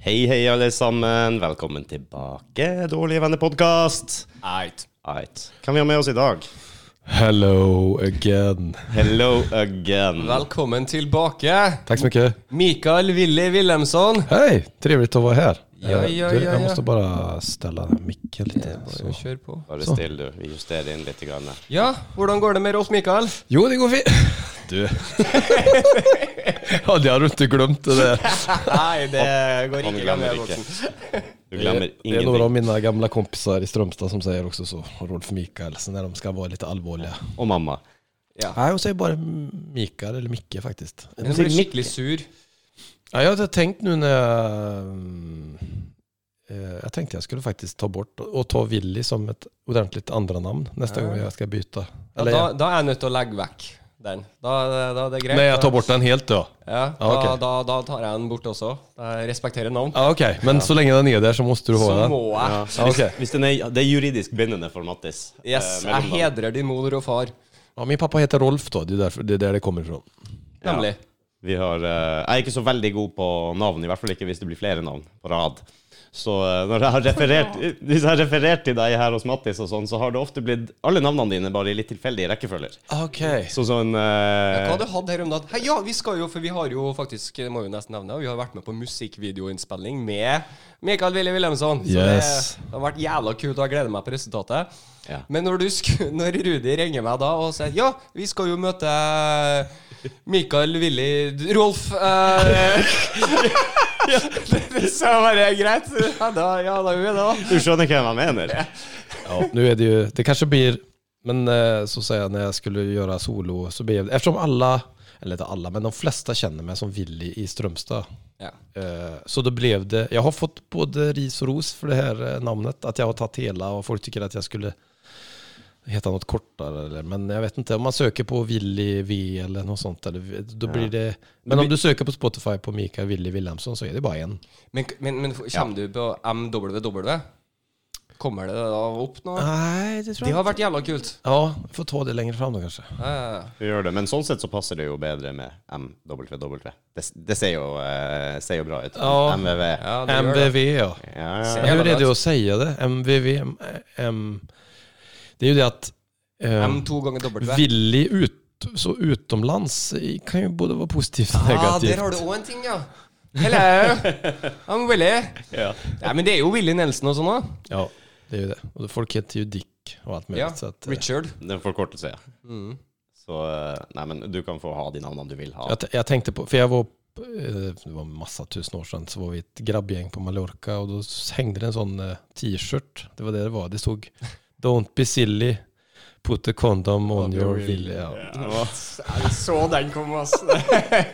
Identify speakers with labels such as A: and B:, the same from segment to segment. A: Hei, hei, alle sammen. Velkommen tilbake, Dårlige venner-podkast.
B: Eit.
A: Right. Hvem vi har med oss i dag?
C: Hello again.
A: Hello again.
B: Velkommen tilbake,
C: Tack så mycket.
B: Mikael Willy Wilhelmsson.
C: Hej, trevligt att vara här.
B: Ja,
C: Eh,
B: ja,
C: du,
B: ja,
C: jag
B: ja.
C: måste bara ställa den här micken lite. Så.
B: Kjør på.
A: Bare still, du. Vi justerer inn litt. Grann.
B: Ja, hvordan går det med oss, Mikael?
C: Jo, det går fint. Du. ja, det har du inte glömt. Det, där.
B: Nei, det går
A: Han
B: ikke.
A: glemmer
B: gamle
A: ikke.
B: voksen.
A: Du
C: det
A: glemmer
C: är några av
A: ingenting.
C: mina gamla kompisar i Strömstad som säger också så. Rolf Mikael, så när de ska vara lite allvarliga.
A: Og mamma.
C: Nej, hon säger bara Mikael eller Micke faktiskt.
B: Men Jeg blir skikkelig sur.
C: Ja, jag hade tänkt nu när jag... mm, eh, Jag tänkte jag skulle faktiskt ta bort och ta Willy som ett ordentligt andra namn nästa gång jag ska byta.
B: Ja,
C: Eller,
B: da, da er jeg nødt til å legge vekk den. Da, da er det greit.
C: nej, jeg tar bort den helt då.
B: Ja, da,
C: Ja, ok.
B: da, da tar jeg den bort også. Jeg respekterer navn.
C: Ja, Okej, men så länge den är där så måste du
B: Så
C: ha den.
B: må jeg.
C: Ja, okej.
A: Hvis den er, det er juridisk bindende for Mattis.
B: Yes,
A: eh,
B: jeg
A: mellom dem.
B: hedrer din mor og far.
C: Ja, min pappa heter Rolf då, det är, därför, det är där det kommer ifrån.
A: Ja.
B: Nemlig.
A: Vi har, eh, jeg er ikke så veldig god på navn, i hvert fall ikke hvis det blir flere navn på rad. Så eh, når jeg har referert, hvis jeg har referert til deg her hos Mattis, og sånn, så har det ofte blitt alle navnene dine bare i litt tilfeldige rekkefølger.
C: Okej.
A: Så sånn eh,
B: Hva hadde du hatt her om dagen? Hei, ja, vi skal jo, for vi har jo faktisk, det må vi jo nesten nevne, vi har vært med på musikkvideoinnspilling med Mikael Willy Wilhelmsson. Så
C: Yes.
B: det, det har vært jævla kult, og jeg gleder meg på resultatet.
A: Ja.
B: Men når, du sk når Rudi ringer meg da og sier ja, vi skal jo møte eh, Mikael Willy Rolf eh, Så jeg bare greit. Ja, da, ja, da gjør vi det, da.
A: Du skjønner hva jeg mener?
C: Ja, nu är det ju, det kanske blir, men eh, så säger jag när jag skulle göra solo så blev det, eftersom alla, eller inte alla, men de flesta känner mig som Willy i Strömstad.
B: Ja.
C: Eh, Så då blev det, jag har fått både ris och ros för det här eh, namnet, att jag har tagit hela och folk tycker att jag skulle heta något kortare eller, men jag vet inte, om man söker på Willy V eller något sånt, eller, då blir det, men om du söker på Spotify på Mikael Willy Wilhelmsson så är det bara en.
B: Men, men, men kommer du på MWW? Kommer det da opp nå?
C: Nej, det tror
B: Det har vært jævla kult.
C: Ja, får ta det längre fram då kanske.
B: Ja, ja, ja.
A: Du gjør det, Men sånn sett så passer det jo bedre med MWW. Det, det ser, jo, eh, ser jo bra ut.
C: Ja.
A: MVV. Ja,
B: Ja, det gjør det.
C: MVV ja.
A: ja.
B: Jävla
C: Hur är
B: rätt.
C: det att säga det? MVV, M, M, det är ju det att eh,
B: M to ganger W.
C: Willy ut, så utomlands i- kan ju både vara positivt och
B: Ah,
C: negativt.
B: der har du òg en ting, ja. Hello, I'm Willy.
A: Ja.
B: Nei, men det er jo Willy Nelson og sånn òg.
C: Ja, det är ju det. Och folk heter ju Dick och allt möjligt.
B: Ja.
C: Så att, eh,
B: Richard.
A: Det er en forkortelse, ja. Så eh, Nei, men du kan få ha de navnene du vil ha.
C: jag, t- jag tänkte på, för jag var, på, eh, det var en massa tusen år sedan, så var vi ett grabbgäng på Mallorca och då hängde det en sån eh, t-shirt. Det var det det var. Det stod Don't be silly, put a condom on your willy. Ja.
B: Jeg så den komme, ass.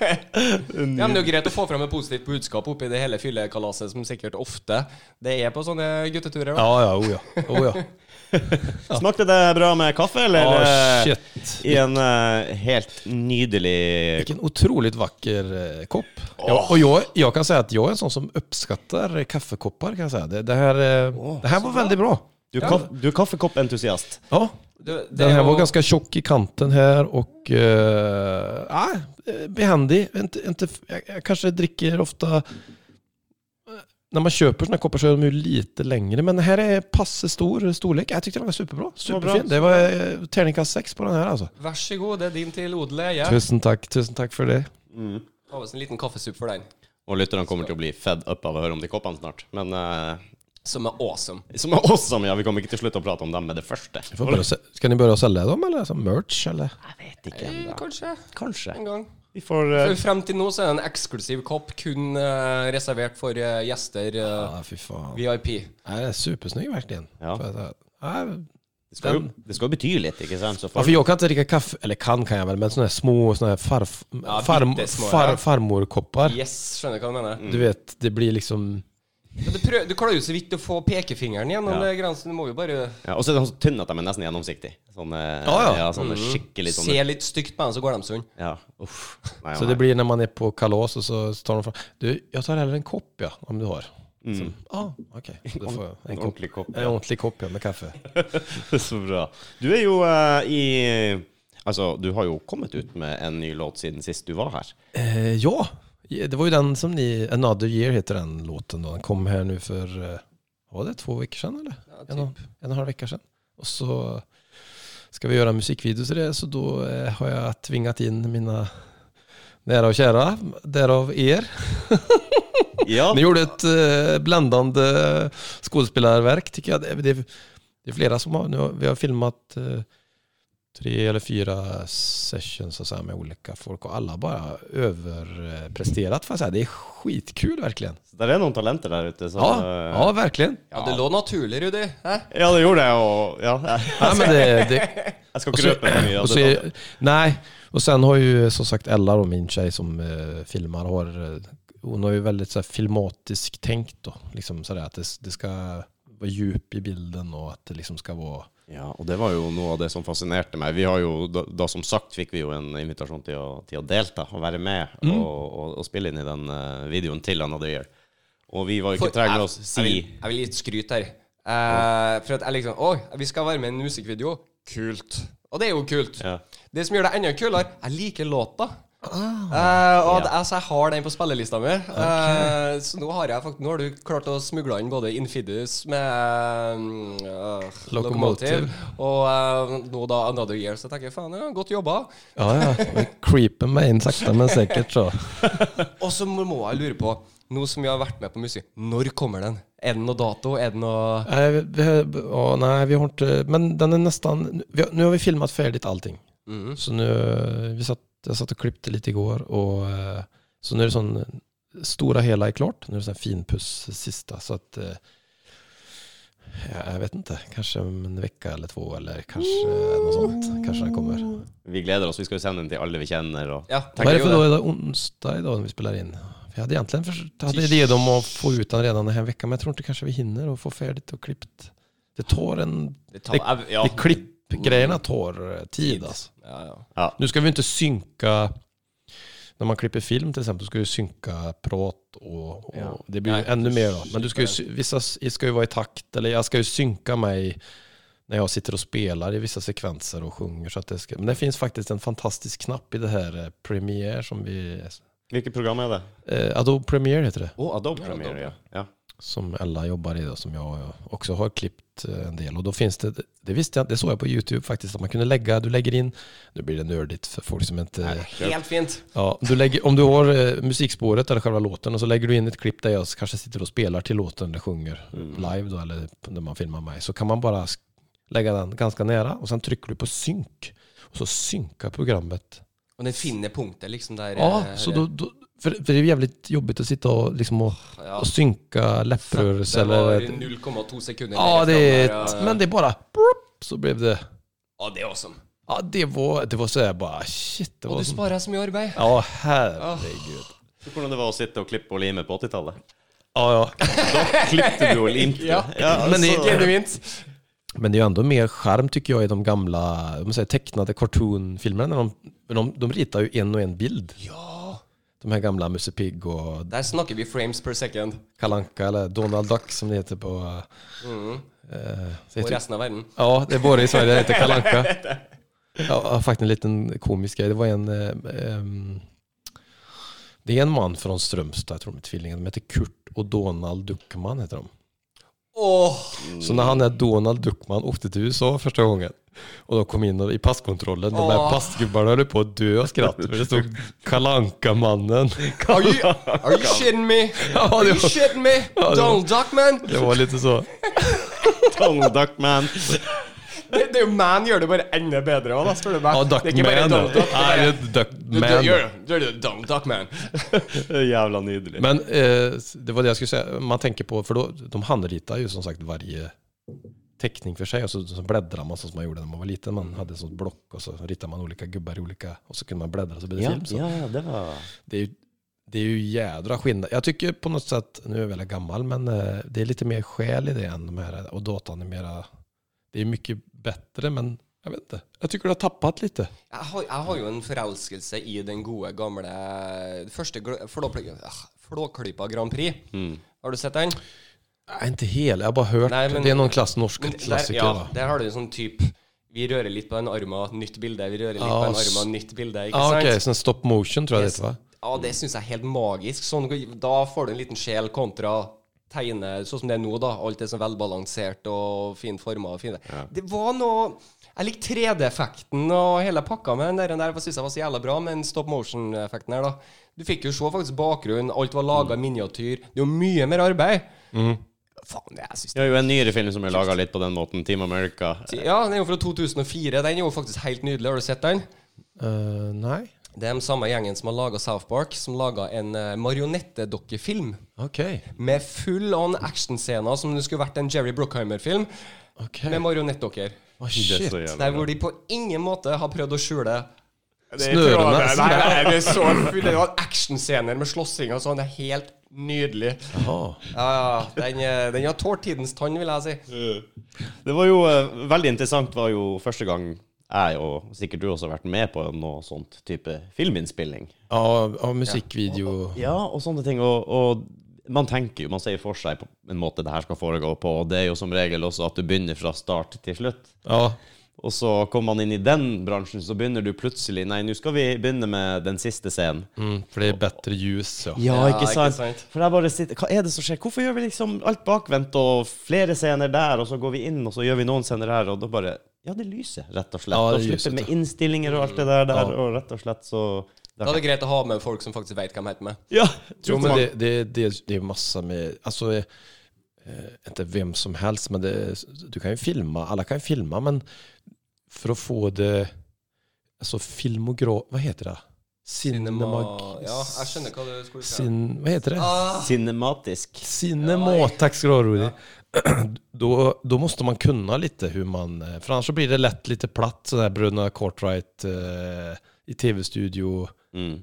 B: Ja, men det er jo greit å få fram et positivt budskap oppi det hele fyllekalaset, som sikkert ofte det er på sånne gutteturer. da.
C: Ja, ja, oh ja. Oh ja.
A: Smakte det bra med kaffe, eller?
C: Ah,
A: eh,
C: shit.
A: I en eh, helt nydelig
C: Vilken otroligt vacker eh, kopp. Ja, och jag, jag kan säga att jag är en sån som uppskattar kaffekoppar. Kan jag säga. Det, det, här, eh, det här var väldigt bra.
A: Du, er kaff, du er kaffekoppentusiast.
C: Ja,
B: Det, det
C: den
B: er
C: här var
B: jo-
C: ganska tjock i kanten här och eh, ah, eh, behändig. Inte, inte, jag, jag kanske dricker ofta... eh, När man köper såna här koppar så är de ju lite längre. Men den här är passe stor storlek. Jag tyckte den var superbra. Superfin. Det var eh, tärningkast 6 på den här alltså.
B: Vær så god, det er din til odel. Ja.
C: Tusen tack, tusen tack för det.
B: Ta oss en liten kaffesupp for den,
A: Og lytterne kommer til å bli fed up av å høre om de koppene snart. Men eh,
B: som er awesome.
A: som er oss som, ja, vi kommer ikke til slutt å prate om dem med det første.
C: Får börja, sä- ska ni börja sälja dem eller som merch? Eller?
B: Eh, Kanskje.
A: Kanskje.
B: En gang.
A: Vi får eh,
B: For Frem til nå så er det en eksklusiv kopp kun eh, reservert for eh, gjester, eh,
C: Ja, fy fan.
B: VIP.
C: Nej, det är supersnygg verkligen.
A: Ja.
C: För att, eh, nej,
A: Det skal, jo, det skal jo bety litt, ikke sant? Så
C: Ja, för jag kan inte dricka kaffe, eller kan kan jag väl, men sådana här små såna här farf,
B: Ja,
C: farm,
B: bittesmå, ja.
C: far, farmorkoppar.
B: Yes, skjønner hva du mener.
C: Du vet, det blir liksom...
B: Men Du, prøv, du klarer jo så vidt å få pekefingeren gjennom
A: Ja.
B: ja. grensen. Du må jo bare
A: ja, og så er den så tynn at de er nesten gjennomsiktige. Sånn, Sånne,
C: Ja, Mm. ja.
A: sånne skikkelig sånne
B: se litt stygt på den, så går de sund.
A: Ja, uff. Nei,
C: Så
A: nei.
C: det blir när man är på kalas och så tar de fram... Du, jag tar hellre en kopp ja, om du har. Ja, ah, okej. Då får jag en
A: Mm. en
C: kopp.
A: ordentlig kopp.
C: En ordentlig kopp ja, med kaffe.
A: Så bra. Du er jo eh, i Altså, du har jo kommet ut med en ny låt siden sist du var her.
C: Eh, ja, det var ju den som ni... Another Year heter den låten då. Den kom här nu för... eh, Var det två veckor sedan eller?
B: Ja,
C: en, og, en og en halv uke siden. Og så skal vi gjøre en musikkvideo til det, så da eh, har jeg tvinget inn mine nære og kjære, derav er.
A: Ja,
C: Ni gjorde et eh, blandende skuespillerverk, tycker jeg. Det, det, det er flere som har, nu, har- vi har filmat eh, tre eller fyra sessions så att säga, med olika folk och alla bara överpresterat. får jag säga. Det är skitkul verkligen.
A: så der er noen talenter der ute. Så,
C: Ja,
A: eh,
C: ja verkligen.
B: Ja, det lå naturlig, Rudi. Hæ?
A: ja, det gjorde jeg, og ja,
C: Ja, men det, det,
A: jeg skal
C: Och
A: ikke
C: så,
A: røpe for mye.
C: och
A: av
C: så
A: det.
C: är, nej, och sen har ju som sagt Ella då, min tjej som eh, filmar, har, eh, hon har ju väldigt så här, filmatisk tänkt då. Liksom sådär, att det, det ska vara djup i bilden och att det liksom ska vara...
A: Ja, og det var jo noe av det som fascinerte meg. Vi har jo, da, da som sagt fikk vi jo en invitasjon til å, til å delta og være med og, og, og spille inn i den eh, videoen til Another Year. Og vi var jo
B: For-
A: ikke trege
B: jeg-
A: å si
B: Jeg vil, jeg vil gi et skryt her. Eh, for at jeg liksom Oi, vi skal være med i en musikkvideo. Kult. Og det er jo kult.
A: ja.
B: Det som gjør det enda kulere, jeg liker låta. Eh, og at jeg, så jeg har den på spillelista mi. Eh, så nå har jeg fakt nå har du klart å smugle inn både Infidus med eh,
C: Locomotive.
B: og eh, nå da Another Year. Så jeg tenker faen, ja, godt jobba.
C: Ja, ja. Vi creeper mig in sakta men säkert så.
B: Og så må jeg lure på, nå som vi har vært med på musikk, når kommer den? Er det noe dato? Er det noe
C: Nej, vi- vi, ja, nej, vi har inte... Men den är nästan... Vi, har- nu har vi filmat färdigt allting. Så nu, vi satt, jag satt och klippte lite igår och eh, så nu är det sån, stora hela är klart. Nu är det sånn sån här finpuss sista så att eh, ja, jag vet inte, kanske om en vecka eller två eller kanske något sånt. Kanske den kommer.
A: Vi gleder oss. Vi skal jo sende den til alle vi kjenner. Og,
B: Ja,
C: Vad är det
B: jo
C: för dag? Är det onsdag idag när vi spelar in? Vi hade egentligen försökt, hade idé om att få ut den redan den här veckan men jag tror inte kanske vi hinner och få färdigt och klippt. Det tar en...
B: Det tar, jeg, ja.
C: Det klippgrejerna tar eh, tid alltså.
B: Ja, ja.
C: Nu ska vi inte synka, när man klipper film till exempel, ska du synka prat och, och
A: Ja.
C: det blir ju
B: Nej,
C: ännu
B: det
C: mer då. Men du ska ju, sy- vissa s- ska ju vara i takt, eller jag ska ju synka mig när jag sitter och spelar i vissa sekvenser och sjunger. Så att det ska, men det finns faktiskt en fantastisk knapp i det här eh, Premiere som vi...
A: Hvilket program er det?
C: Eh, Adobe Premiere heter det,
A: Å, Adobe Premiere, ja. ja.
C: som Ella jobbar i då, som jag också har klippt eh, en del. Och då finns det, det visste jag, det såg jag på YouTube faktiskt, att man kunde lägga, du lägger in, nu blir det nördigt för folk som inte...
B: Helt fint.
C: Ja, du lägger, om du har eh, musikspåret eller själva låten och så lägger du in ett klipp där jag kanske sitter och spelar till låten eller sjunger
B: Mm.
C: live då eller p- när man filmar mig så kan man bara sk- lägga den ganska nära och sen trycker du på synk och så synkar programmet.
B: Og den finner punktet liksom der
C: Ja,
B: eh,
C: så då, då, för, för det är jävligt jobbigt att sitta och, liksom och,
B: ja.
C: och synka läpprörelse
B: Det var
C: eller...
B: 0,2 sekunder.
C: Ja, det
B: lenger
C: är,
B: fram der, ja.
C: men det är bara... plopp, Så blev det...
B: Ja, det er awesome.
C: Ja, det var, det var så här bara shit. Det
B: Og
C: var
B: du
C: som,
B: sparer så mye arbeid.
C: ja, herregud.
A: Så Hvordan det var å sitte og klippe og lime på 80-tallet?
C: Ja, ja.
A: Klippte du og limte?
B: Ja.
A: men
C: det-
A: altså,
B: Genuint.
C: Men det är ju ändå mer charm tycker jag i de gamla om man säger, tecknade cartoonfilmerna. När de, men de, de ritar ju en och en bild.
B: Ja.
C: De här gamla Musse Pigg och
B: Der snakker vi frames per second.
C: Kalanka eller Donald Duck som det heter på... eh, så
B: Mm. Og
C: heter,
B: resten av verden.
C: ja, det är både i Sverige, det heter Kalanka. Ja, jag har faktiskt en liten komisk grej. Det var en... eh, ehm, det är en man från Strömstad, jag tror de är tvillingar. De heter Kurt och Donald Duckman heter de.
B: Åh!
C: Så när han är Donald Duckman åkte till USA första gången och de kom in och, i passkontrollen, de
B: Åh.
C: där passgubbarna höll på att dö av skratt för det stod Kalanka-mannen.
B: Are you, are you shitting me?
C: Ja,
B: Are
C: det
B: you
C: var-
B: shitting me?
C: var-
B: Donald Duckman?
C: Det var lite så.
A: Donald Duckman.
B: Det, det er jo Man gjør det bare enda bedre òg, spør du meg.
C: Ja,
B: det er ikke bare
C: Duckman.
B: Donald Duck. det
C: Nej,
B: er
C: det är
B: bare- Du- du-
C: Duckman.
B: gjør det, gjør det, Donald Duckman.
A: Jævla nydelig.
C: Men eh, det var det jag skulle säga, man tänker på, för då, de handritar ju som sagt varje teckning för sig och så, så bläddrar man så som man gjorde när man var liten. Man hade ett sånt block och så ritade man olika gubbar i olika och så kunde man bläddra så blev det
A: Ja,
C: film. Så
A: ja, ja, det var
C: det, är ju, det är ju jädra skillnad. Jag tycker på något sätt, nu är jag väl gammal, men eh, det är lite mer själ i det än de här och datan är mera, det är mycket bättre men jag vet inte. Jag tycker det har tappat lite.
B: Jeg har, jeg har jo en forelskelse i den gode, gamle Første gl- flåpl- ah, Flåklypa Grand Prix.
A: Mm.
B: Har du sett den?
C: Nej, inte hel. Jag har bara hört.
B: Nej, men-
C: det är någon klass, norsk
B: Men Der,
C: klassiker.
B: ja,
C: va?
B: der har du en sånn type Vi rører litt på den armen, nytt bilde. Vi rører litt
C: Ja,
B: på den
C: s-
B: armen, nytt bilde. Ikke
C: Ja, okej.
B: sant?
C: Sen Ah, sånn stop motion tror jag det heter, va?
B: Ja, det syns jeg er helt magisk. Sånn, da får du en liten sjel kontra tegne sånn som det er nå, da. Alt er så velbalansert og fint forma. Fin. Det var noe Jeg likte 3D-effekten og hele pakka med den der. Den der syns jeg var så jævla bra, men stop motion-effekten her, da. Du fikk jo se faktisk bakgrunnen. Alt var laga i miniatyr. Det er jo mye mer arbeid. Faen, jeg syns
A: Det er jo en nyere film som er laga litt på den måten, Team America.
B: Ja, den er jo fra 2004. Den er jo faktisk helt nydelig. Har du sett den?
C: Eh, nej.
B: Det er den samme gjengen som har laga South Park, som laga en eh, marionettedokkefilm.
C: Okej.
B: Med full on actionscener som om det skulle vært en Jerry Bruckheimer-film.
C: Okej.
B: Med marionettdokker.
C: Åh,
A: Det er
C: shit.
A: så jævla
B: Der hvor de på ingen måte har prøvd å skjule
C: Snørene.
B: Nei, nei, det er så full Det var actionscener med slåssing og sånn. Det er helt nydelig.
C: Jaha.
B: Ja, ja. Den, eh, den har tålt tidens tann, vil jeg si.
A: Det var jo eh, veldig interessant var jo første gang jeg og sikkert du også har vært med på noe sånt type filminnspilling.
C: Ja, ja, musikvideo.
A: Ja, og sånne ting. Og, og man tenker jo, man ser for seg på en måte det her skal foregå på, og det er jo som regel også at du begynner fra start til slutt.
C: Ja.
A: Og så kommer man inn i den bransjen, så begynner du plutselig Nei, nå skal vi begynne med den siste scenen.
C: Mm, för det är bättre ljus. Ja.
A: Ja,
B: Ja,
A: ikke
B: ikke
A: sant?
B: sant.
A: For jeg bare sitter Hva er det som skjer? Hvorfor gjør vi liksom alt bakvendt og flere scener der, og så går vi inn, og så gjør vi noen scener her, og da bare Ja, det lyser, rett og slett.
C: Ja,
A: og
C: det
A: slipper
C: lyser,
A: med
C: ja.
A: innstillinger og alt det der, der
C: Ja.
A: og rett og slett så
B: Da er det greit å ha med folk som faktisk veit hva de heter med.
A: Ja!
C: Jo, men det, det, det, det är massa med, alltså, eh, inte vem som helst, men det, du kan ju filma, alla kan ju filma, men för att få det, alltså filmograf, vad heter det? Cinemag-
B: Ja, jeg skjønner hva du skulle si.
C: Sin, vad heter det?
B: Ah.
A: Cinematisk.
C: Cinema, tack ska du ha Rudi. Då, då måste man kunna lite hur man, eh, för annars så blir det lätt lite platt sådär Bruna Cartwright eh, i tv-studio.
A: Mm.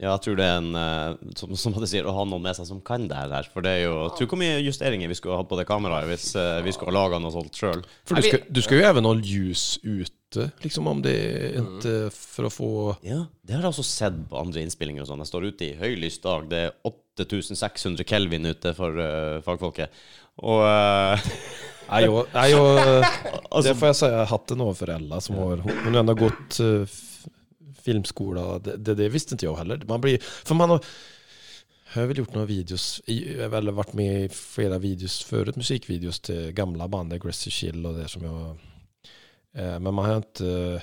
A: Ja, jeg tror det er en eh, som, som det sier, å ha noen med seg som kan det her. For det er jo Tror hvor mye justeringer vi skulle ha hatt på det kameraet hvis eh, vi skulle ha laga noe sånt sjøl.
C: För du, ska, du ska ju även ha ljus ute, liksom om det inte, för att få
A: Ja, det har jeg også sett på andre innspillinger og sånn. Jeg står ute i høylys dag, det er 8600 kelvin ute for eh, fagfolket. Og eh,
C: Nej, jag, nej, jag,
A: Alltså-
C: eh, det får jag säga hatten av för Ella som har, hon har ändå gått eh, f- filmskola. Det, det, det visste inte jag heller. Man blir, för man har, jag har väl gjort några videos, i- jag har väl varit med i flera videos förut, musikvideos till gamla band, Aggressive Chill och det som jag... Eh, men man har inte...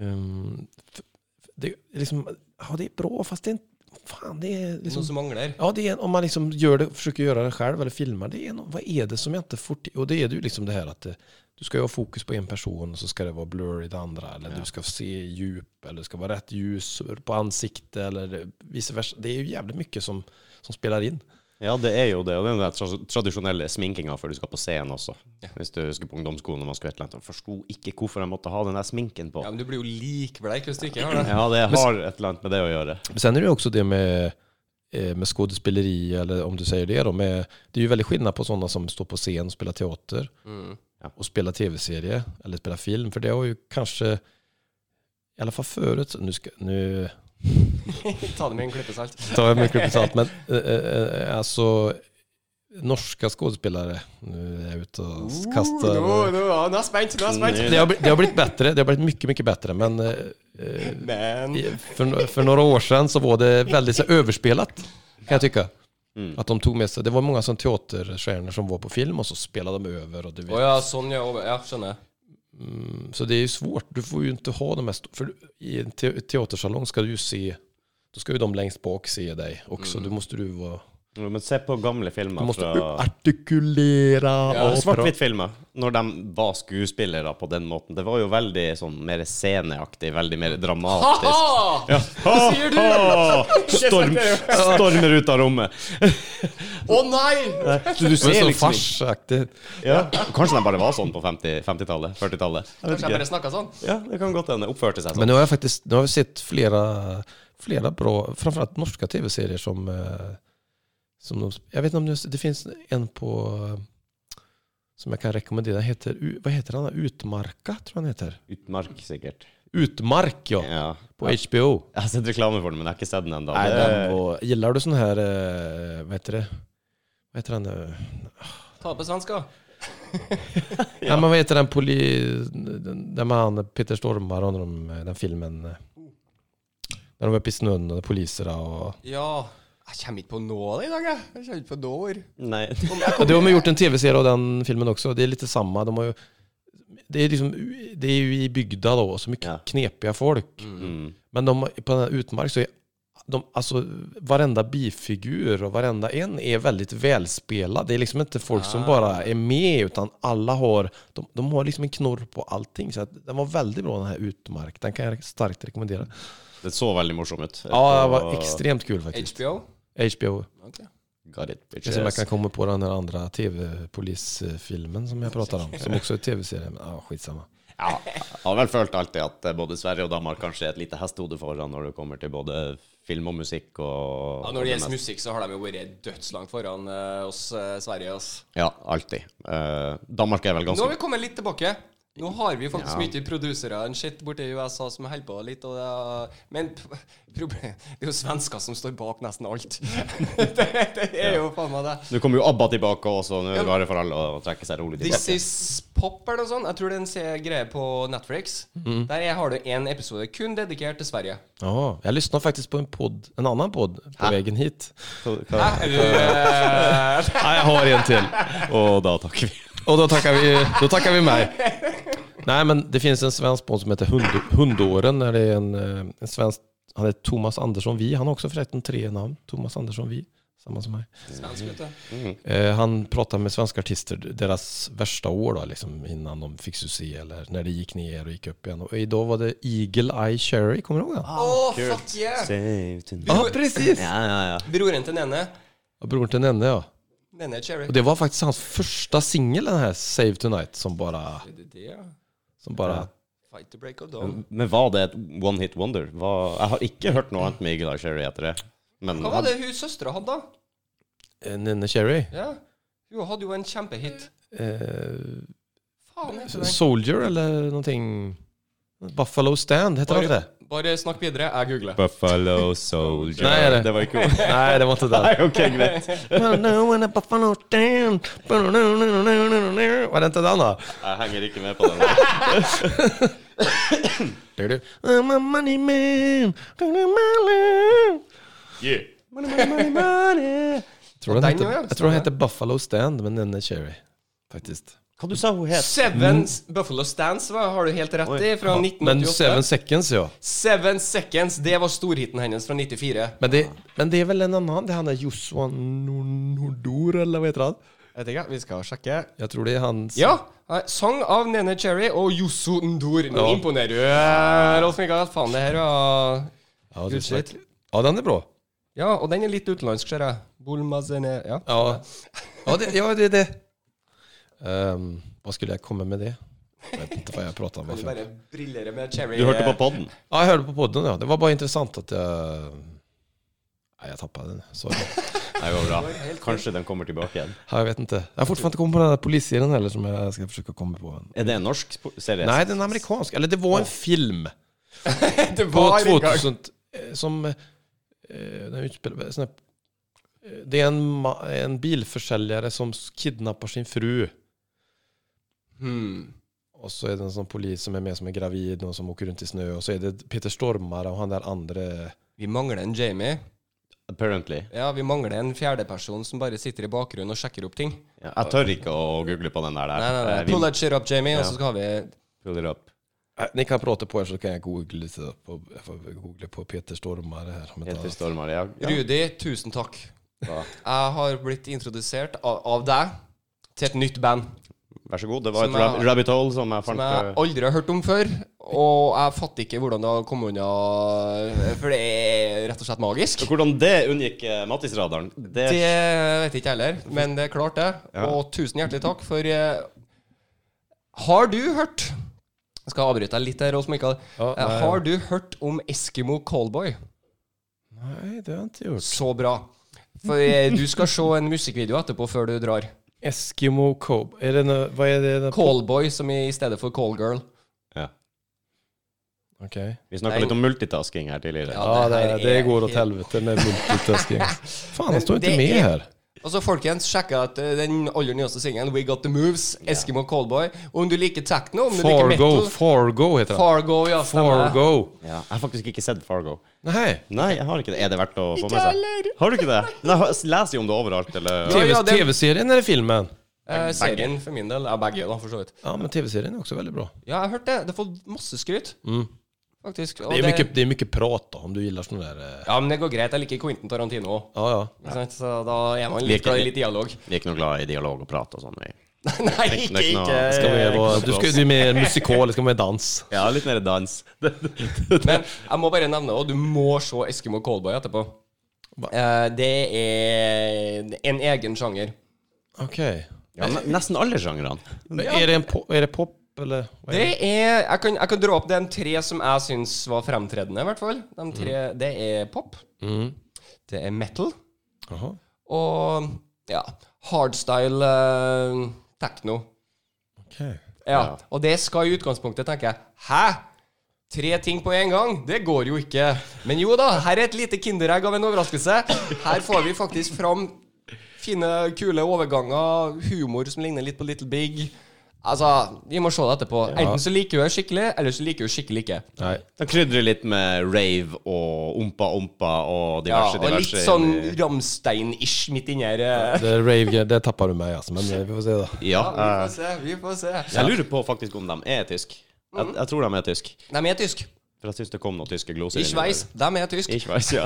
C: Um, f- f- det, är liksom, ja det är bra fast det är inte... Fan det är liksom...
B: Noe som mangler.
C: Ja, det är, om man liksom gör det, försöker göra det själv eller filmar, det är no, vad är det som jag inte får till? Och det är det ju liksom det här att eh, du ska ju ha fokus på en person och så ska det vara blur i det andra. Eller du ska se djup eller det ska vara rätt ljus på ansikte eller vice versa. Det är ju jävligt mycket som, som spelar in.
A: ja, det er jo det. Og det er den der tra tradisjonelle sminkinga før du skal på scenen også. Hvis du husker på ungdomsskolen og man skulle et eller annet, jeg forsto ikke hvorfor jeg måtte ha den der sminken på.
B: Ja,
A: Ja,
B: men du blir jo likbleik hvis du ikke har det.
A: det har et eller annet med det å gjøre.
C: Men Sen är det ju också det med, eh, med skådespeleri eller om du säger det då. Med, det är ju väldigt skillnad på sådana som står på scen och spelar teater.
B: Mm.
C: och spela tv-serie eller spela film. För det har ju kanske, i alla fall förut, nu, ska, nu
B: Ta det med en klype salt.
C: tar jag med en klippa salt, men eh, eh, alltså norska skådespelare, nu är jag ute og kastar.
B: Nå, nå, ja, nå er jeg spent, nå er jeg spent.
A: Mm.
C: Det har, bli- det har blivit bättre, det har blivit mycket, mycket bättre, men eh, eh,
B: Men
C: i- för, för några år sedan så var det väldigt så här, överspelat, kan jag tycka. Att de tog med sig, det var många som teaterstjärnor som var på film och så spelade de över och du vet,
B: Å ja, sånn, ja. over- ja skjønner.
C: Mm, Så det är ju svårt. Du får ju inte ha de mest... För du- i en te teatersalong ska du ju se... Då ska ju de längst bak se dig också. Då måste du vara...
A: Men se på gamle
C: Du
A: filmer
C: måste
A: fra
C: artikulera
A: Ja,
C: och
A: Svart-hvitt-filmer, når de var skuespillere på den måten. Det var jo veldig sånn mer sceneaktig, veldig mer dramatisk.
B: Ha!
A: Ja.
B: Hva sier du?
A: Åh, Storm, stormer ut av rommet.
B: Å nei!
A: Så du
C: Men
A: ser
C: så
A: liksom
C: farsaktigt.
A: ja. Kanskje de bare var sånn på 50 50-tallet? 40-tallet? Jeg vet
B: Kanskje jeg bare
A: ikke.
B: snakka sånn?
A: Ja, det kan godt hende. Oppførte seg
C: Men
A: sånn.
C: nu har jag faktiskt nu har jag sett flera, flera bra, framförallt norska tv-serier som, eh, som de, jag vet inte om det, det finns en på eh, som jag kan rekommendera, heter, U- vad heter han? Utmarka tror jag han heter.
A: Utmark, sikkert.
C: Utmark ja,
A: Ja.
C: på HBO.
A: Jeg har sett reklame for den, men jeg har ikke sett den ennå.
C: Nej, den var, gillar du sån här, eh, vad heter det? Vad heter han nu?
B: Ta det på svenska.
C: Ja. men vad heter den poli... Den, den med han Peter Stormare och de, den filmen? eh, När de var uppe i snön och poliserna och...
B: Ja. Jeg kommer ikke på noe av det i dag, jeg. Jeg kommer ikke på noe ord.
A: Nei.
C: Ja, de har gjort en tv-serie av den filmen också. Det är lite samma. De har ju, det, är liksom, det är ju i bygda då, så mycket
A: Ja.
C: knepiga folk.
A: Mm.
C: Men de, på den här utmark så är de, alltså, varenda bifigur och varenda en är väldigt välspelad. Det är liksom inte folk som bara är med, utan alla har, de, de har liksom en knorr på allting. Så att, den var väldigt bra den här utmark. Den kan jag starkt rekommendera.
A: Det så veldig morsom ut.
C: Ja, den var extremt kul faktiskt.
B: HBO?
C: HBO.
B: Ok.
A: Got it,
C: Det som jag
A: bitches.
C: kan komma på den här andra tv-polisfilmen som jag pratade om, som också är tv-serie. Men ja, skitsamma.
A: Ja, jeg har vel følt alltid at eh, både Sverige og Danmark kanskje er et lite hestehode foran når det kommer til både film og musikk og
B: Ja, når det gjelder
A: meste.
B: musikk, så har de jo vært dødslangt foran eh, oss eh, Sverige. Ass.
A: Ja, alltid. Eh, Danmark er vel
B: Nå har
A: ganske
B: vi kommet litt tilbake. Nå har vi faktisk
A: Ja.
B: mye produsere enn shit borte i USA som holder på litt. Og det er, men p- problem, det er jo svensker som står bak nesten alt. det, det er jo faen meg det.
A: Nå kommer jo ABBA tilbake også, nå er
B: Ja,
A: det bare for alle å trekke seg rolig
B: This
A: tilbake.
B: is pop eller noe sånt. Jeg tror det er en se- greie på Netflix.
C: Mm.
B: Der har du en episode kun dedikert til Sverige.
C: Ja, jag lyssnade faktiskt på en podd, en annan podd på vägen hit.
A: Hva-
B: Hæ?
A: hva-
B: Eller, eh,
C: Ja, jag har en till.
A: Og da takker vi.
C: Och då tackar vi, då tackar vi mig. Nej, men det finns en svensk podd som heter Hund, Hundåren. Där det är en, eh, en svensk, han heter Thomas Andersson Vi. Han har också förresten tre namn. Thomas Andersson Vi. Samma som mig.
B: svensk, vet du.
C: Eh, han pratar med svenska artister deras värsta år då, liksom, innan de fick succé eller när det gick ner och gick upp igen. Och idag var det Eagle Eye Cherry, kommer du ihåg den?
B: Å, fuck yeah!
A: Save tonight.
C: Ja, precis!
A: Ja, ja, ja.
B: Broren til Nene.
C: Och Bror till Nenne ja.
B: Nene Cherry.
C: Och det var faktiskt hans första singel den här Save Tonight som bara,
B: Det, det, det, ja.
C: som bara
B: Fight the break of dawn.
A: Men var det et one hit wonder? Hva- Jeg har ikke hørt noe annet med Eagle Eye Cherry etter det.
C: Mm.
A: Men
B: Hva var det hun søstera hadde, da?
C: Eh, Nenne Cherry.
B: Ja. Hun hadde jo en kjempehit.
C: Eh,
B: Faen heter den.
C: Soldier eller någonting. Buffalo Stand, heter det inte
B: Bare,
C: det?
B: bare snakk videre. Jeg googler.
A: Buffalo Soldier
C: Nei, det-
A: Det var ikke ord.
C: Nej, det var inte det.
A: Nei, ok, greit.
C: Buffalo Stand. Var det inte den då?
A: Jeg henger ikke med på den.
C: Du, du. I'm a money man. I'm a money.
A: Yeah.
C: Tror den
B: Den
C: heter,
B: gör jag
C: jag
B: också,
C: tror den
B: ja.
C: heter Buffalo Stand, men den är Cherry. Faktiskt.
A: Hva du sa hun het?
B: Seven Buffalo Stands var, har du helt rett i, fra
C: Men
B: 1988.
C: Seven
B: Seven,
C: Seconds ja.
B: Seconds, det var storhiten hennes fra 94.
C: Men det, men det är väl en annan, det är han där Joshua Nordur eller vad heter han?
B: Vet ikke, vi skal sjekke.
C: Jag tror det är hans...
B: Ja! eh, Sang av Nene Cherry og Josso Ndour. Nå
C: Ja.
B: imponerer du, eh, Rolf Mikael. Faen, det her var
C: Ja,
B: Good
C: det är
B: shit.
C: ja den är bra.
B: Ja, og den er litt utenlandsk, ser jeg. Bulmazene Ja.
C: Ja, ja det ja, det. är det. Ehm, vad skulle jag komma med det? Jag vet inte vad jeg pratar om.
B: Kan du
C: Varför.
B: bare brillere med Cherry
A: Du hørte på podden?
C: Ja, jag hörde på podden ja. Det var bara intressant att jag... Nej, jag tappade den. Sorry.
A: Det går bra. Kanskje den kommer tilbake igjen.
C: Ja, Jag vet inte. Jag har fortfarande inte kommit på den där polisserien heller som jag ska försöka komma på.
A: Er det en norsk sp- serie?
C: Nej, den är amerikansk. Eller det var en film.
B: eh, Det
C: på
B: var en gang.
C: 2000 eh, som eh, den utspelar, sån här, eh, Det är en, ma- en bilförsäljare som s- kidnappar sin fru.
B: Hmm.
C: Och så är det en sån polis som är med som är gravid och som åker runt i snö. Och så är det Peter Stormare och han där andra.
B: Vi mangler en Jamie.
A: Apparently.
B: Ja, vi mangler en fjerdeperson som bare sitter i bakgrunnen og sjekker opp ting.
A: Ja, Jeg tør ikke å google på den der.
B: Nei, nei, nei.
A: Eh, vi-
B: Pull that shit up, Jamie, og så skal vi
A: Pull it up.
C: Äh, Ni kan prata på er så kan jag googla lite. På, jag får googla på Peter Stormare här. Om inte
A: Peter
C: annat.
A: Stormare. Ja. Ja.
B: Rudi, tusen takk.
A: Ja.
B: Jeg har blitt introdusert av, av deg til et nytt band
A: Vær så god. Det var
B: Som
A: et rab
B: jeg-
A: rabbit hole som jeg
B: som
A: fant
B: jeg
A: eh,
B: aldri har hørt om før. Og jeg fatter ikke hvordan det har kommet unna, for det er rett og slett magisk.
A: Hvordan det unngikk eh, Mattis-radaren, det,
B: Det vet jeg ikke heller, men det er klart, det.
A: Ja.
B: Og tusen hjertelig takk for eh, Har du hørt Jeg skal avbryte deg litt her, Rolf Mikael.
C: Ja,
B: Eh,
C: nei.
B: har du hørt om Eskimo Callboy?
C: Nei, det har jeg ikke gjort.
B: Så bra. For eh, du skal se en musikkvideo etterpå før du drar.
C: Eskimo Cob... Er det noe Hva er det? det
B: Callboy som i, i stedet for Callgirl.
A: ja.
C: Ok.
A: Vi snakka litt om multitasking her tidligere.
C: Ja, det,
B: her
C: det
B: er
C: går
B: helt-
C: åt helvete med multitasking. Faen, han står
B: det
C: ikke med
B: er-
C: her.
B: Og så folkens, sjekk ut eh, den aller nyeste singelen, We Got The Moves, Eskimo Callboy. Og om du liker techno, om du
C: Fargo,
B: liker metal
C: Fargo heter han.
B: Fargo, ja. stemmer det.
C: Fargo.
A: Ja. Jeg har faktisk ikke sett Fargo.
C: Nei.
A: Nei, jeg har ikke det. Er det verdt å få
B: Ikke
A: med seg?
B: heller.
A: Har du ikke det? Nei, ha- leser jo om det overalt, eller
B: Ja, ja, det-
C: TV-serien eller filmen?
B: Eh, serien for min del er begge, da, for så vidt.
C: Ja, men TV-serien är också väldigt bra.
B: Ja, jeg har hørt det. Det får masse skryt. Faktisk. Og
C: Mm. Det är, mycket, det är mycket prat då, om du gillar sån där... eh,
B: Ja, men det går greit. Jeg liker Quentin Tarantino òg.
C: Ja, ja.
B: Så da er man litt
A: Liker-
B: glad i litt dialog.
A: Vi er ikke noe glad i dialog og prat og sånn. vi.
B: Nei, ikke,
A: Eh, Ikke noe-
B: ikke.
C: Ska vi vara,
A: Exakt.
C: du, ska, du är mer musikal, det ska vara mer dans.
A: Ja, litt mer dans.
B: Men jeg må bare nevne, og du må se Eskimo Callboy etterpå.
C: Hva?
B: Eh, det er en egen sjanger.
C: Okej.
A: Ja, ne- nesten alle sjangrene.
C: Är, det en po- är det pop eller? Vad är
B: Det er Jeg kan, jeg kan dra opp de tre som jeg syns var fremtredende, i hvert fall. De tre, Det er pop. Det er metal.
C: Jaha.
B: Og ja, hardstyle eh, techno.
C: Okej.
B: Ja, og det skal i utgangspunktet tenke Hæ? Tre ting på en gang? Det går jo ikke. Men jo da, her er et lite kinderegg av en overraskelse. Her får vi faktisk fram fine, kule overganger, humor som ligner litt på Little Big. Altså, vi må se det etterpå. Enten så liker hun det skikkelig, eller så liker hun det skikkelig ikke.
C: Nej.
A: De krydrer litt med rave og ompa-ompa og
B: Ja,
A: diverse,
B: og litt
A: diverse.
B: sånn Ramstein-ish midt inni her. eh.
C: Det är rave, det tappar du mig alltså, men eh, vi får se då.
A: Ja.
B: Ja, vi får se, vi får se.
A: Jeg lurer på faktisk om de er tysk. Jeg,
B: Mhm.
A: jeg tror de er tysk.
B: De er tysk.
A: For jeg syns det kom noen tyske gloser
B: I Sveis. De er tysk.
A: I Schweiz, ja.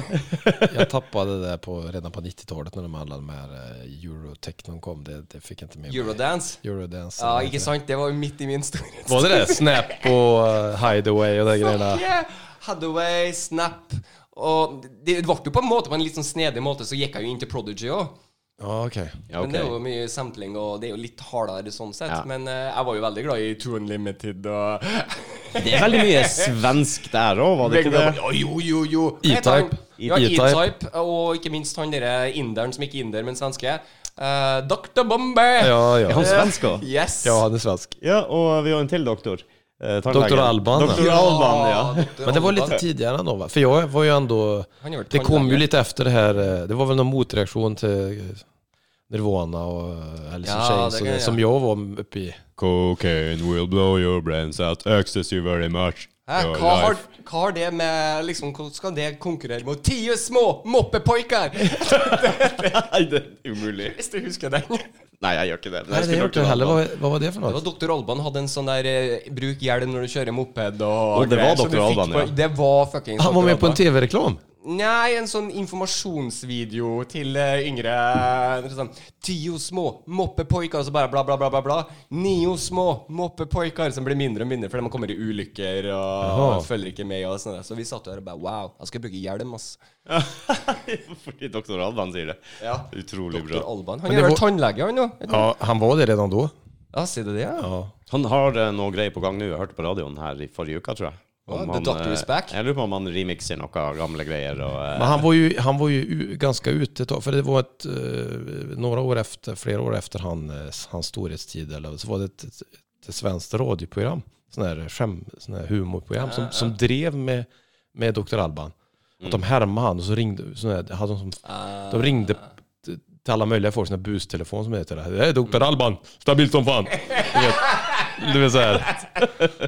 C: Jag tappade det där på, redan på 90-talet när de alla de här eh, Eurotechnon kom. Det, det fick jag inte med mig.
B: Eurodance.
C: Eurodance.
B: Ja, ikke sant? Det var jo midt i min storhet.
C: Var det det? Snap och eh, Hideaway och de grejerna?
B: Yeah. Hathaway, Snap Og det ble jo på en måte på en litt sånn snedig måte, så gikk jeg jo inn til Prodigy òg.
C: Ja, okej.
A: ja
B: Men det er
A: ok.
B: jo mye sampling, og det er jo litt hardere sånn sett.
A: Ja.
B: Men eh, jeg var jo veldig glad i True Unlimited og
A: Det er veldig mye svensk der òg, var det ikke det?
B: Ja, Jo, jo, jo.
C: E-Type.
B: Hva heter han? Ja,
C: E-Type.
B: E-Type, og ikke minst han derre inderen som ikke er inder, men svenske. Eh, Dr. Bombay!
C: Ja,
A: Er
C: ja.
A: han svensk òg?
B: Yes!
C: Ja, han är svensk.
A: Ja, og vi har en til doktor. Eh, tannlegen.
C: Doktor Alban, ja.
A: Doktor Alban, ja.
B: Dr.
C: Men det var
B: Alban.
C: lite tidigare då va? För jag var ju ändå...
B: Han gjorde
C: Det kom ju
B: tandlege.
C: lite efter det här, eh, det var väl någon motreaktion till eh, Nirvana och eh, Alice in
B: Ja,
C: Chains och
B: det kan
C: det,
B: jag.
C: som jag var uppe i.
A: Cocaine will blow your brains out. Access you very much.
B: Hæ?
A: Your
B: Hva har,
A: life.
B: hva har det med liksom, Hvordan skal det konkurrere mot ti små moppepoiker?
A: Nei, det er umulig.
B: Hvis du husker den. Det
A: Nei, jeg gjør ikke det. men
C: Nej,
A: jeg
C: det
A: skulle
C: gjorde
A: doktor
C: jag heller.
A: Alban.
C: Vad, vad var det för
B: var
C: något?
B: Dr. Alban hadde en sånn der eh, 'bruk hjelm når du kjører moped' og
A: Å, det var
B: greier, så du
A: Dr.
B: fikk
A: Alban,
B: på-
A: ja.
B: Det var fucking
C: Han var
B: Dr.
C: med på en
B: Alban.
C: tv-reklam.
B: Nei, en sånn informasjonsvideo til eh, yngre eh, sånn, Tio små moppepoiker, og så bare bla, bla, bla, bla, bla. Nio små moppepoiker, som blir mindre og mindre fordi de kommer i ulykker og
C: Jaha.
B: følger ikke med. og sånn der. Så vi satt der og bare Wow, jeg skal bruke hjelm, ass.
A: Fordi doktor Alban sier det.
B: Ja.
A: Utrolig
B: Dr.
A: bra.
B: Alban.
C: Men
B: Han
C: det
B: gjør
C: var-
B: vel tannlege, han òg?
C: Ja, han var det redan då.
B: Ja, sier du det? Ja.
C: Ja.
A: Han har eh, noe greier på gang nå. Jeg hørte på radioen her i forrige uke, tror jeg.
B: Ja, The Doctor is
A: eh,
B: back.
A: Jeg lurer på om han remixer noen gamle greier. Og, eh,
C: Men han var ju, han var ju u- ganska ute ett tag, för det var ett, eh, några år efter, flera år efter han, eh, hans storhetstid, eller, så var det ett, ett, ett svenskt radioprogram, sån här, skäm, sån här humorprogram, som, som drev med, med Dr. Alban. Och de härmade han och så ringde, sån här, hade de, som, de ringde t- till alla möjliga folk, sån här bustelefon som heter det. Det är Dr. Alban, stabilt som fan. Du vet, Du vet så här.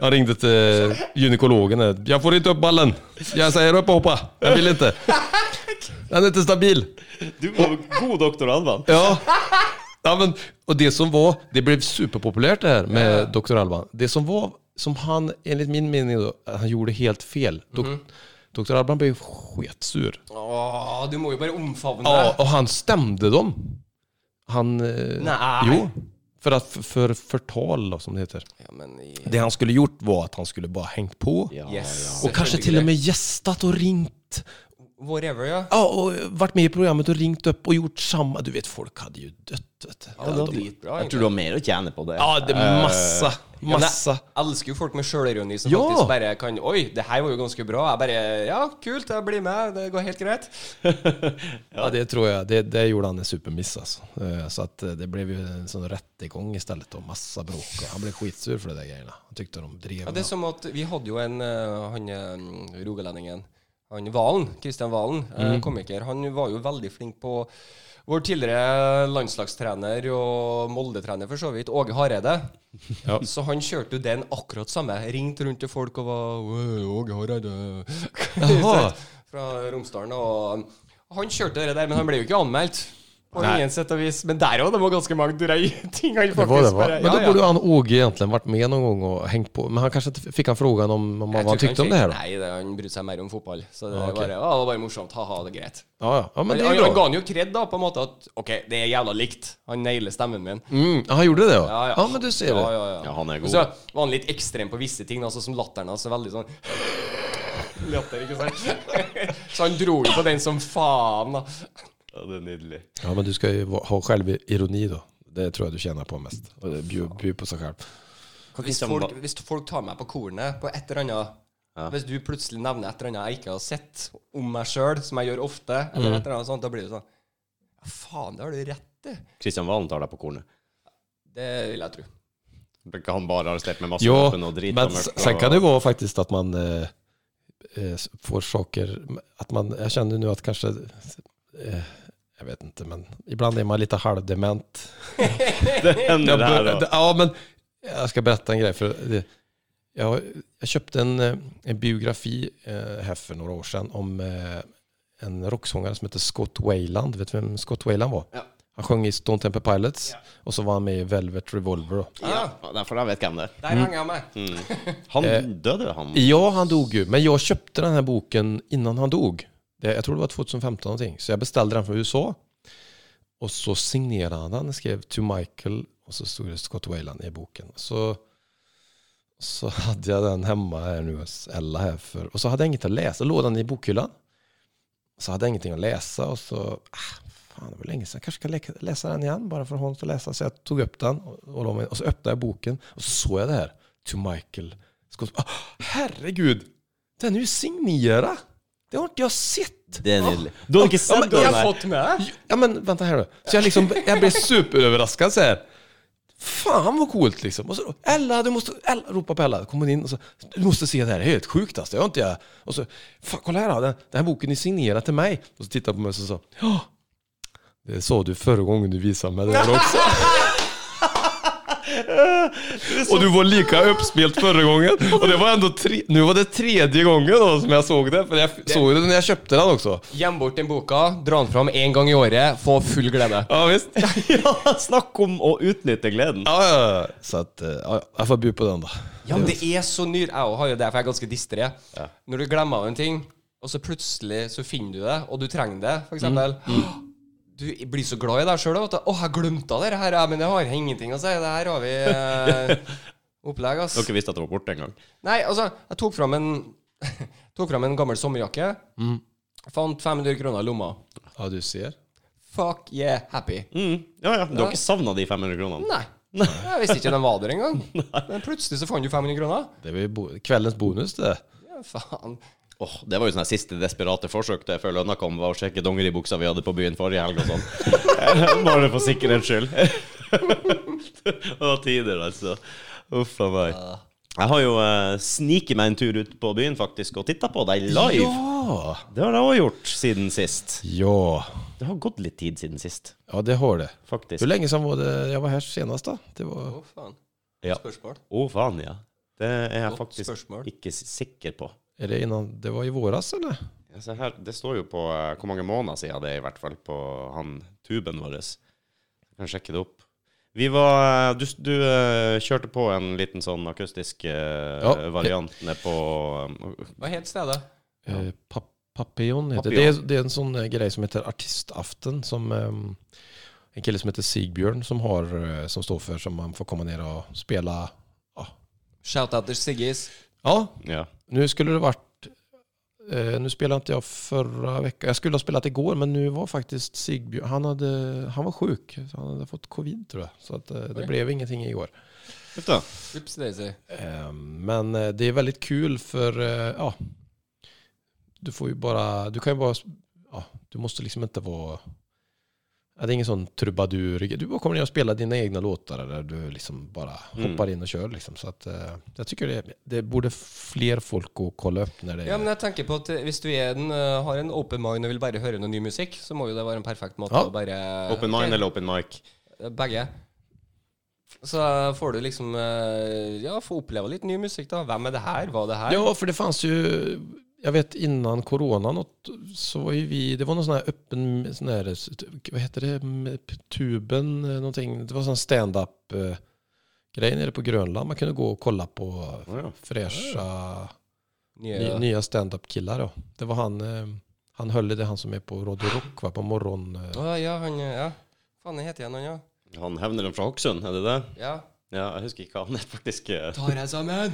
C: Han ringde till gynekologen. där. Jag får inte upp ballen. Jag säger upp och hoppa. Jag vill inte. Den är inte stabil.
A: Du var god doktor Alban.
C: Ja. ja men, och det som var, det blev superpopulärt det här med Dr. Alban. Det som var, som han, enligt min mening då, att han gjorde helt fel. Dok- Dr. Alban blev sketsur.
B: Åh, du må jo bare omfavne
C: Ja,
B: det.
C: och han stämde dem. Han... eh,
B: Nej.
C: Jo. För, att, för förtal då, som det heter.
B: Ja, men i...
C: Det han skulle gjort var att han skulle bara hängt på.
A: Ja,
B: Yes.
C: Och kanske till och med gästat och ringt.
B: Whatever, ja.
C: Ja, och varit med i programmet och ringt upp och gjort samma. Du vet, folk hade ju dött. Vet du.
A: ja. Ja, da-
B: dritbra,
A: jeg tror du har mer å tjene på det.
C: Ja, det är massa. Massa.
B: Jeg elsker jo folk med sjølironi som
C: Ja.
B: faktisk bare kan Oi, det her var jo ganske bra. Jeg bare Ja, kult, jeg blir med. Det går helt greit.
C: Ja, det tror jag. Det, det gjorde han en supermiss alltså. Eh, Så att eh, det blev ju en sån rättegång istället och massa bråk. Och han blev skitsur för de där grejerna. Han tyckte de drev.
B: Ja, det er som at Vi hadde jo en eh, han eh, rogalendingen Han Valen, Kristian Valen,
C: Mm.
B: eh, komiker, han var jo veldig flink på vår tidligere landslagstrener og Molde-trener for så vidt, Åge Hareide.
C: Ja.
B: Så han kjørte jo den akkurat samme. Ringte rundt til folk og var «Åh, Åge Hareide
C: Jaha.
B: fra Romsdalen. Og um, han kjørte det der, men han ble jo ikke anmeldt. På
C: Nei.
B: ingen sett og vis. Men der òg, det var ganske mange drøye ting han faktisk
C: Det var det va?
B: bare-
C: Men då
B: Ja, ja.
C: borde ju han Åge egentligen varit med någon gång och hängt på. Men han kanske inte fick han frågan om, om
B: Jeg
C: vad han
B: tror
C: tyckte om det
B: kanskje
C: här
B: ikke-
C: då?
B: Nei, det, han brydde seg mer om fotball. Så det,
C: Ja, ok.
B: var, bare, å, det var bare morsomt. Ha-ha, det er greit.
C: Ja, ja. ja men
B: Han,
C: det är
B: han,
C: ju
B: han ga
C: bra.
B: han jo kred, da, på en måte, at OK, det er jævla likt. Han nailer stemmen min.
C: Mm, ja, han gjorde det ja.
B: Ja, ja.
C: Ja, men du ser
B: Ja,
C: det.
B: ja, ja.
A: Ja, han er
B: Og
A: god.
B: Så var han litt ekstrem på visse ting, altså, som latteren hans. Veldig sånn Latter, ikke sant? så han dro jo på den som faen, da.
A: Ja, det er nydelig.
C: Ja, men du ska ju ha självironi då. Det tror jag du tjänar på mest. Och det bjud, bjud på sig själv.
B: Hvis
A: Kristian
B: folk,
A: Ba-
B: hvis folk tar meg på kornet på et eller annet
A: Ja.
B: Hvis du plutselig nevner et eller annet jeg ikke har sett om meg sjøl, som jeg gjør ofte,
C: Mm.
B: eller et eller annet sånt, da blir det sånn Ja, faen, det har du rett i.
A: Kristian Valen tar deg på kornet.
B: Det vil jeg tro.
A: Ble ikke han bare arrestert med masse
C: Ja,
A: våpen og drit?
C: men
A: og mørkt
C: s- sen
A: og-
C: kan det vara faktiskt att man eh, eh, s- får saker, att man, jag känner nu att kanske, eh, jag vet inte, men ibland är man lite halvdement.
A: Det hender det her
C: bör-
A: også.
C: ja, men jag ska berätta en grej. För det, jag, jag köpte en, eh, en biografi eh, här för några år sedan om eh, en rocksångare som heter Scott Weiland. Vet du vem Scott Weiland var?
B: Ja.
C: Han sjöng i Stone Temple Pilots og och så var han med i Velvet Revolver. Då.
B: Ja,
A: Ja, derfor jeg vet hvem det er.
B: der hang jeg meg.
A: Han
C: Eh,
A: døde, jo, han.
C: Ja, han dog ju. Men jag köpte den här boken innan han dog. Det, jag tror det var 2015 någonting. Så jag beställde den från USA. Och så signerade han den. skrev to Michael och så stod det Scott Wayland i boken. Så, så hade jag den hemma här nu hos Ella här för. Och så hade jag inget att läsa. Låg den i bokhyllan. Så hade jag ingenting att läsa och så, ah, fan det var länge sedan, jag kanske kan lä- läsa den igen bara för att ha något att läsa. Så jag tog upp den och, och, la mig- och så öppnade jag boken och så såg jag det här. To Michael Scott. Ah, herregud, den är ju signerad! Det har inte jag sett!
A: Det er nydelig. Ah, Du har ikke
C: Ja, men
A: sett den
B: Jeg har
A: der?
B: fått med deg.
C: Ja men vänta här nu. Så jag liksom, jag blev superöverraskad så här. Fan vad coolt liksom. Och så då, Ella, du måste, Ella, ropa på Ella. Kom hon in och så, du måste se det här, det är helt sjukt alltså. Det har inte jag. Och så, fan kolla här då, den, den här boken är signerad till mig. Och så tittade hon på mig och så sa, ja. Det sa du förra gången du visade mig det här också. Och du var lika uppspelt förra gången. Och det var ändå tre, nu var det tredje gången då som jag såg det. För jag såg det när jag köpte den också.
B: Gjem bort den boka, dra den fram én gang i året, få full glede.
C: Ja visst.
A: Ja, snakk om å utnytte gleden.
C: Ja, ja, ja. Så att, eh, ja, jag får bjuda på den då.
B: Ja, men det er så nyr... Jeg også har jo det, for jeg er ganske distré. Når du glemmer en ting, og så plutselig så finner du det, og du trenger det, for eksempel. Du blir så glad i deg sjøl at du- 'Å, jeg glemte av det her, ja, men det har ingenting å si.' Det her har vi eh, opplegg, ass.
A: Dere visste at det var borte en gang.
B: Nei, altså, jeg tok fram en, tok fram en gammel sommerjakke. Fant 500 kroner i lomma.
C: Ja, du ser.
B: Fuck yeah, happy.
A: Mm. Ja, ja. Du har ikke savna de 500 kronene?
B: Nei. Jeg visste ikke den var der engang. Men plutselig så fant du 500 kroner.
C: Det var ju bo kvällens bonus det.
B: Ja, faen.
A: Åh, det var jo sånne siste desperate forsøk det før lønna kom, var å sjekke dongeribuksa vi hadde på byen forrige helg og sånn. Bare for sikkerhets skyld. Det var tider, altså. Uff a meg. Jeg har jo uh, sniket meg en tur ut på byen faktisk og titta på deg live.
C: Ja.
A: Det har jeg òg gjort siden sist.
C: Ja.
A: Det har gått litt tid siden sist,
C: Ja, det har det.
A: faktisk.
C: Hur länge sedan var det jag var här senast då? Det var...
B: Å, faen.
A: Ja.
B: Spørsmål.
A: Å, faen, ja. Det er jeg
B: Godt
A: faktisk
B: spørsmål.
A: ikke s- sikker på.
C: Är det innan? Det var i våras eller?
A: Ja, se her, det står jo på eh, hvor mange måneder siden det er, i hvert fall, på han tuben vår. Jeg kan sjekke det opp. Vi var Du, du eh, kjørte på en liten sånn akustisk eh,
C: Ja.
A: variant ned på eh,
B: Hva het stedet?
C: Eh, pap Papillon heter det. Det
A: Papillon.
C: er, det er en sånn eh, grej som heter Artistaften. Som, ehm, en kille som heter Sigbjørn som, har, eh, som står för som man får komma ner och spela. Ja,
B: Shout-out til Siggis.
C: ja
A: eh, Ja.
C: nu skulle det varit eh, nu spelade inte jag förra veckan. Jag skulle ha spelat igår, men nu var faktiskt Sigbjörn, han, hade, han var sjuk. Så han hade fått covid tror jag. Så att, eh, det
B: Oj.
C: blev ingenting igår.
A: Vet du.
B: Ups, Daisy.
C: Eh, Men eh, det är väldigt kul för eh, ja, du får ju bara, du kan ju bara, ja, du måste liksom inte vara, ja, det är ingen sån trubadur. Du bara kommer ner och spelar dina egna låtar där du liksom bara
A: Mm.
C: hoppar in och kör liksom. Så att eh, jag tycker det, det borde fler folk gå och kolla upp när det
B: Ja, men jeg tenker på at Hvis du er en, eh, har en open mind og vil bare høre noe ny musikk, så må jo det være en perfekt måte
C: Ja.
B: å bare
A: Open
B: Ok.
A: mind eller open mic?
B: Begge. Så får du liksom eh, Ja, få oppleve litt ny musikk, da. Hvem er det her? Hva er det her?
C: Ja, för det fanns ju, jag vet innan corona något, så var ju vi, det var någon sån här öppen, sån här, vad heter det, M- tuben eh, någonting, det var sån stand-up eh, grej nere på Grönland, man kunde gå och kolla på
A: Ja.
C: fräscha,
B: Nye,
C: ny, nya stand-up killar då. Det var han, eh, han höll i det, han som är på Radio Rock va, på morgon, eh,
B: Å, ja, han eh, Ja. Faen, hva heter han, han, ja?
A: Han hevneren fra Hokksund, er det det?
B: ja?
A: Ja, jeg husker ikke hva han er faktisk.
B: Tar jeg sammen?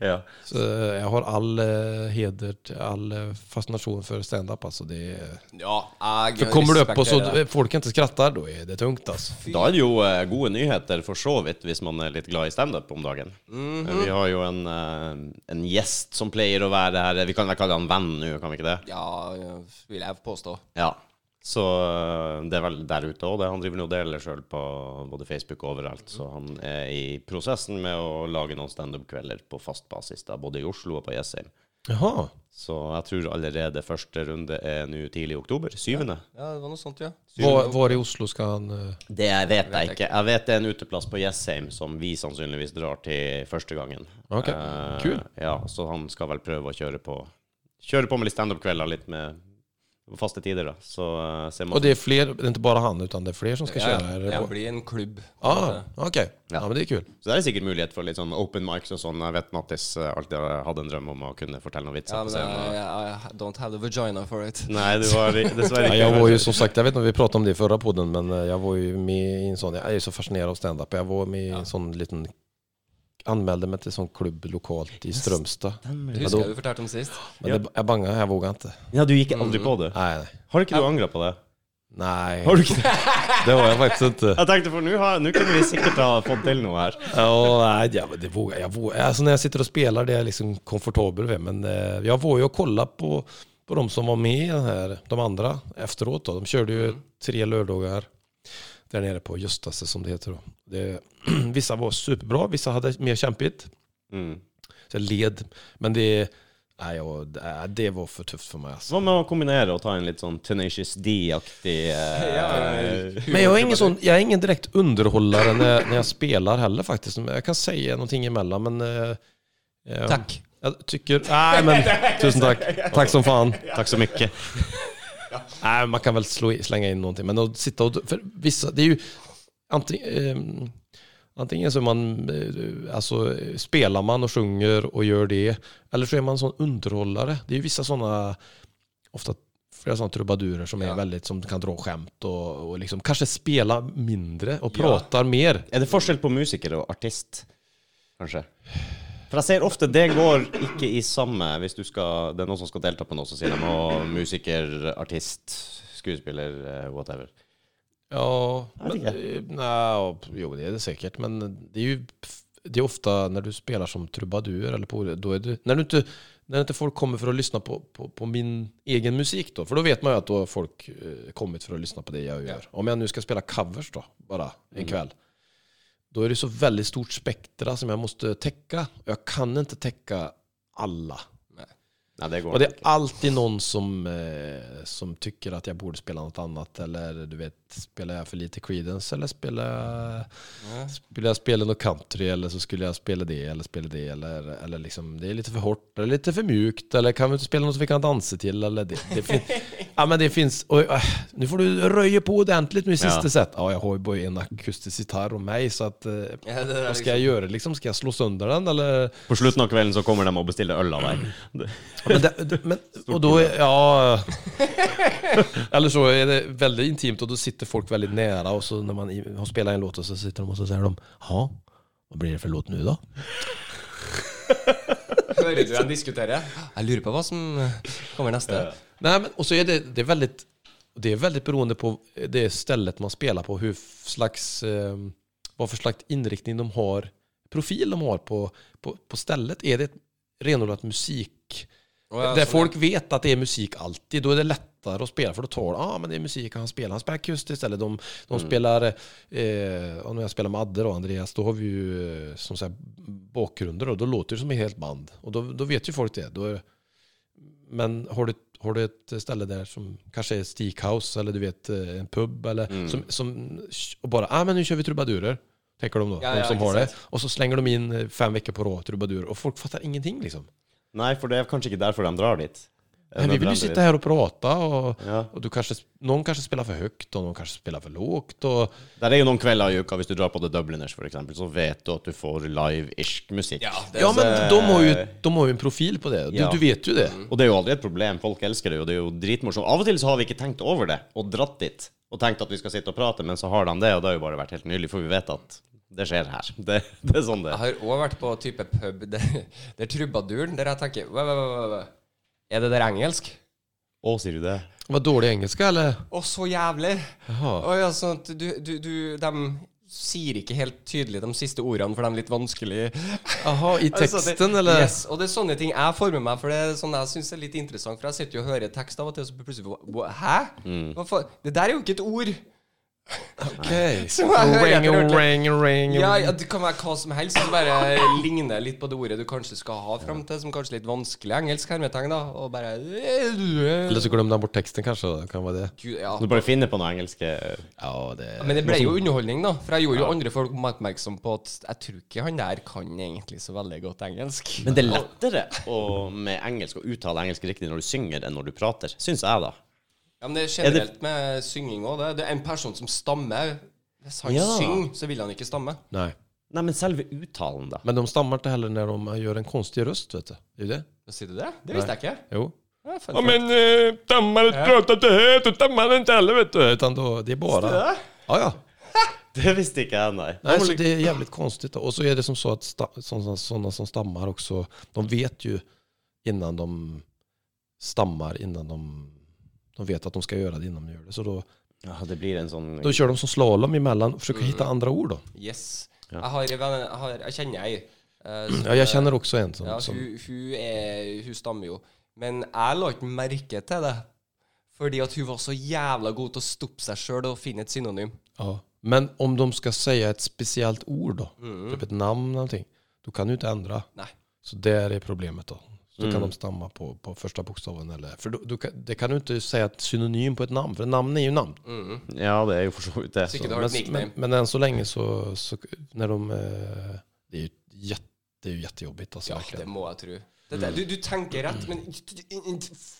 A: ja.
C: så eh, jag har all eh, heder, till- all eh, fascination för stand-up alltså. Det, är-
B: Ja, jeg
C: för kommer du upp och så
B: respekterer det.
C: eh, folk inte skrattar, då är det tungt alltså.
A: Da er det jo eh, gode nyheter for så vidt, hvis man er litt glad i standup om dagen. Vi har jo en, eh, en gjest som pleier å være her. Vi kan vel kalle han venn nå, kan vi ikke det?
B: Ja, eh, vil jeg påstå.
A: Ja. Så eh, det er vel der ute òg. Han driver nå og deler sjøl på både Facebook og overalt. Så han er i prosessen med å lage noen standup-kvelder på fast basis, da, både i Oslo og på Jessheim.
C: Jaha.
A: Så jeg tror allerede første runde er nå tidlig i oktober. Syvende.
B: Ja, det var noe sånt, ja.
C: Var, var i Oslo skal han eh,
A: Det jeg vet jeg ikke. Jeg vet det er en uteplass på Jessheim som vi sannsynligvis drar til første gangen.
C: Ok,
A: Eh,
C: kul.
A: Ja, så han skal vel prøve å kjøre på Kjøre på med litt standup-kvelder, litt med faste tider, da. Så eh, ser man
C: Och det är fler, det är inte bara han utan det är fler som ska
B: Ja,
C: köra? Ja,
B: det
C: ja.
B: blir en klubb.
C: Ah, Okej, ja. men det är kul.
A: Så det er sikkert mulighet for litt sånn open mics og sånn. Jeg vet Mattis eh, alltid har hatt en drøm om å kunne fortelle noen vitser
B: Ja,
A: på
B: men
A: scenen.
B: eh, I don't have the vagina for it.
A: Nei, du har i- dessverre
C: Ja,
A: ikke
C: jag var ju som sagt, jag vet inte om vi pratade om det i förra podden, men eh, jag var ju med i en sån, jag är ju så fascinerad av stand-up. Jag var med i en sån liten, anmälde mig till en sån klubb lokalt i Strömstad.
B: Det husker jeg du fortalte om sist.
C: Men det, jag bangade, jag vågade inte.
A: Ja, du gikk aldri på det.
B: Mm.
C: Nej, nej.
A: Har ikke du angra på det?
C: nej.
A: Har du ikke det?
C: Det var jag faktiskt inte.
A: Jeg tenkte, for nå har- nå kunne vi sikkert ha fått til noe her.
C: Ja, nej, ja, men det vågar jag. Vågar. Alltså när jag sitter och spelar det är jag liksom komfortabel med. Men eh, jag var ju och kolla på, på de som var med i den här, de andra efteråt. Då. De körde ju tre lördagar där nere på Göstase som det heter. Då. Det, vissa var superbra, vissa hade mer kämpigt.
A: Mm.
C: Så jag led. Men det, nej, jag, nej, det var för tufft för mig. Alltså.
A: Hva med å kombinere og ta en litt sånn Tenacious D-aktig eh,
C: Men jag är, ingen sån, jag är ingen direkt underhållare när, när jag spelar heller faktiskt. Jag kan säga någonting emellan men... eh, eh,
B: Takk.
C: Jag tycker... Nej men, tusen tack. Tack som fan.
A: Takk så mye.
C: Nej, man kan väl slå i, slänga in någonting. Men att sitta och... För vissa, det är ju... Antingen, ehm, antingen så är man... eh, Alltså eh, spelar man och sjunger och gör det. Eller så är man en sån underhållare. Det är ju vissa sådana... Ofta flera sådana trubadurer som är
B: Ja.
C: väldigt... Som kan dra skämt och, och liksom kanske spela mindre och
B: Ja.
C: pratar mer.
A: Er det forskjell på musiker og artist, kanskje? For jeg ser ofte det går ikke i samme Hvis du skal, det er noen som skal delta på noe, så sier de å, musiker, artist, skuespiller, eh, whatever.
C: Ja,
A: Jag
C: men,
A: tycker
C: eh, nej, jo det är det säkert. Men det är ju det är ofta när du spelar som trubadur eller på, då är du, när, du inte, när inte folk kommer för att lyssna på, på, på min egen musik då. För då vet man ju att då har folk eh, kommit för att lyssna på det jag gör. Om jag nu ska spela covers då, bara en kväll. Då är det så väldigt stort spektra som jag måste täcka. Jag kan inte täcka alla.
A: Nei, det
C: Och
A: går
C: det
A: ikke.
C: är alltid någon som, eh, som tycker att jag borde spela något annat eller du vet spelar jag för lite Creedence eller spelar jag, skulle jag spela något country eller så skulle jag spela det eller spela det eller, eller liksom det är lite för hårt eller lite för mjukt eller kan vi inte spela något vi kan dansa till eller det, det finns, ja men det finns och, äh, nu får du röja på ordentligt nu i sista
A: Ja.
C: set. Ja, jag har ju bara en akustisk gitarr och mig så att eh,
B: Ja, det där
C: vad ska jag göra liksom? Ska jag slå sönder den eller?
A: På slutten av kvelden så kommer de og bestiller øl av deg.
C: Ja, Men det, det- men, och då, är- ja... Eller så är det väldigt intimt och då sitter folk väldigt nära och så när man i- har spelat en låt och så sitter de och så säger de Ja, vad blir det för låt nu då?
B: Hører du dem diskutere? Jeg lurer på hva som kommer neste.
C: Nej, men, och så är det, det är väldigt Det är väldigt beroende på det stället man spelar på, hur slags eh, vad för slags inriktning de har, profil de har på, på, på stället. Är det ett renodlat musik
B: Å, ja,
C: Där
B: sånn,
C: folk vet att det är musik alltid, då är det lättare att spela för då tar de, ah, men det är musik han spelar, han spelar akustiskt eller de,
B: Mm.
C: de spelar, eh, och när jag spelar med Adde och Andreas, då har vi ju eh, som så här, bakgrunder och då låter det som ett helt band och då, då vet ju folk det. Då, är- men har du, har du ett ställe där som kanske är steakhouse eller du vet eh, en pub eller
B: Mm.
C: som, som och bara, ah men nu kör vi trubadurer, tänker de då,
B: Ja,
C: de
B: ja,
C: som har det.
B: exakt.
C: Och så slänger de in eh, fem veckor på rad trubadurer och folk fattar ingenting liksom.
A: Nei, for det er kanskje ikke derfor de drar dit.
C: Nej, vi vill ju sitta här och prata och,
A: Ja.
C: och du kanske, någon kanske spelar för högt och någon kanske spelar för lågt. Och,
A: Der er jo noen kvelder i uka, hvis du drar på The Dubliners for eksempel, så vet du at du får live irsk musikk.
B: Ja, det,
C: ja, men de har, ju, de har ju en profil på det. Du,
A: Ja.
C: du vet ju det.
A: Og det er jo aldri et problem. Folk elsker det, og det er jo dritmorsomt. Av og til så har vi ikke tenkt over det, og dratt dit, og tenkt at vi skal sitte og prate, men så har de det, og det har jo bare vært helt nylig, for vi vet at det skjer her. Det, det er sånn det
B: Jeg
A: er.
B: har òg vært på type pub der, der trubaduren Der jeg tenker "Væ, væ, væ, væ, væ. Er det der engelsk?
A: Å, sier du det?
C: Vad dålig engelska eller?
B: Å, så jævlig!
C: Jaha.
B: Å, ja, sånn at du, du, du, de sier ikke helt tydelig de siste ordene, for de er litt vanskelige.
C: Jaha, i
B: Altså,
C: texten
B: det,
C: eller?
B: Yes, og det er sånne ting jeg får med meg, for det er sånn jeg syns er litt interessant. For jeg sitter jo og hører tekst av og til, og så plutselig hva- hva- Hæ?
C: Mm.
B: Hva faen? Det der er jo ikke et ord!
C: Okej.
B: Som jag hör, jag
C: Ring,
B: hör det.
C: ring, ring.
B: Ja, ja, Det kan være hva som helst som bare ligner litt på det ordet du kanskje skal ha fram til, som kanskje er litt vanskelig engelsk hermetegn, da, och bara
C: Eller så glömde han bort texten kanske, det kan vara det.
B: Gud, ja.
A: Du bare finner på noe eh, engelske
C: Ja, det...
B: Men det ble jo underholdning, da. For jeg gjorde jo andre folk oppmerksom på at jeg tror ikke han der kan egentlig så veldig godt engelsk.
A: Men det er lettere å, med engelsk å uttale engelsk riktig når du synger, enn når du prater, syns jeg, da.
B: Ja, men det er generelt med synging òg. Det. det er en person som stammer. Hvis han
A: Ja.
B: synger, så vil han ikke stamme.
C: Nej.
A: Nei, men selve uttalen, da.
C: Men de stammar inte heller när de gör en konstig röst, vet du. Det är ju det.
B: Hva Sier du det? Det visste jeg ikke.
C: Jo.
B: Ja, fun fact.
C: men eh, dammar pratar inte högt och dammar inte heller, vet du. Utan då, det är bara...
B: Ja.
C: Ja, ja.
A: Det visste ikke jeg, nei.
C: Nej, så det är jävligt konstigt. då. Och så är det som så att sta- sådana, sådana som stammar också, de vet ju innan de stammar, innan de, de vet att de ska göra det innan de gör det. Så då,
A: Ja, det blir en sånn
C: då kör de som slalom emellan och försöker hitta andra ord då.
B: Yes. Jeg, har, en venn- jeg, har, jeg kjenner ei. eh, som-
C: Ja, jag känner också en som...
B: Ja,
C: som
B: hun, hun, er, hun stammer jo. Men jeg la ikke merke til det. Fordi at hun var så jævla god til å stoppe seg sjøl og finne et synonym.
C: ja. Men om de ska säga ett speciellt ord då, typ ett namn eller någonting, då kan du inte ändra.
B: Nei.
C: Så där är problemet då. Så kan de stamma på, på första bokstaven. Eller, för då, då, kan- det kan du inte säga ett synonym på ett namn, för namn är ju namn.
B: Mm.
A: Ja, det er jo for så vidt det.
B: Så ikke
A: Så.
B: du har et
C: Men, men,
B: nickname.
C: men än så länge så, så när de... eh, Det är ju, jätte, det är ju jättejobbigt alltså,
B: Ja, det
C: verkligen.
B: må jeg tro. Det, det, du, du tenker rett, men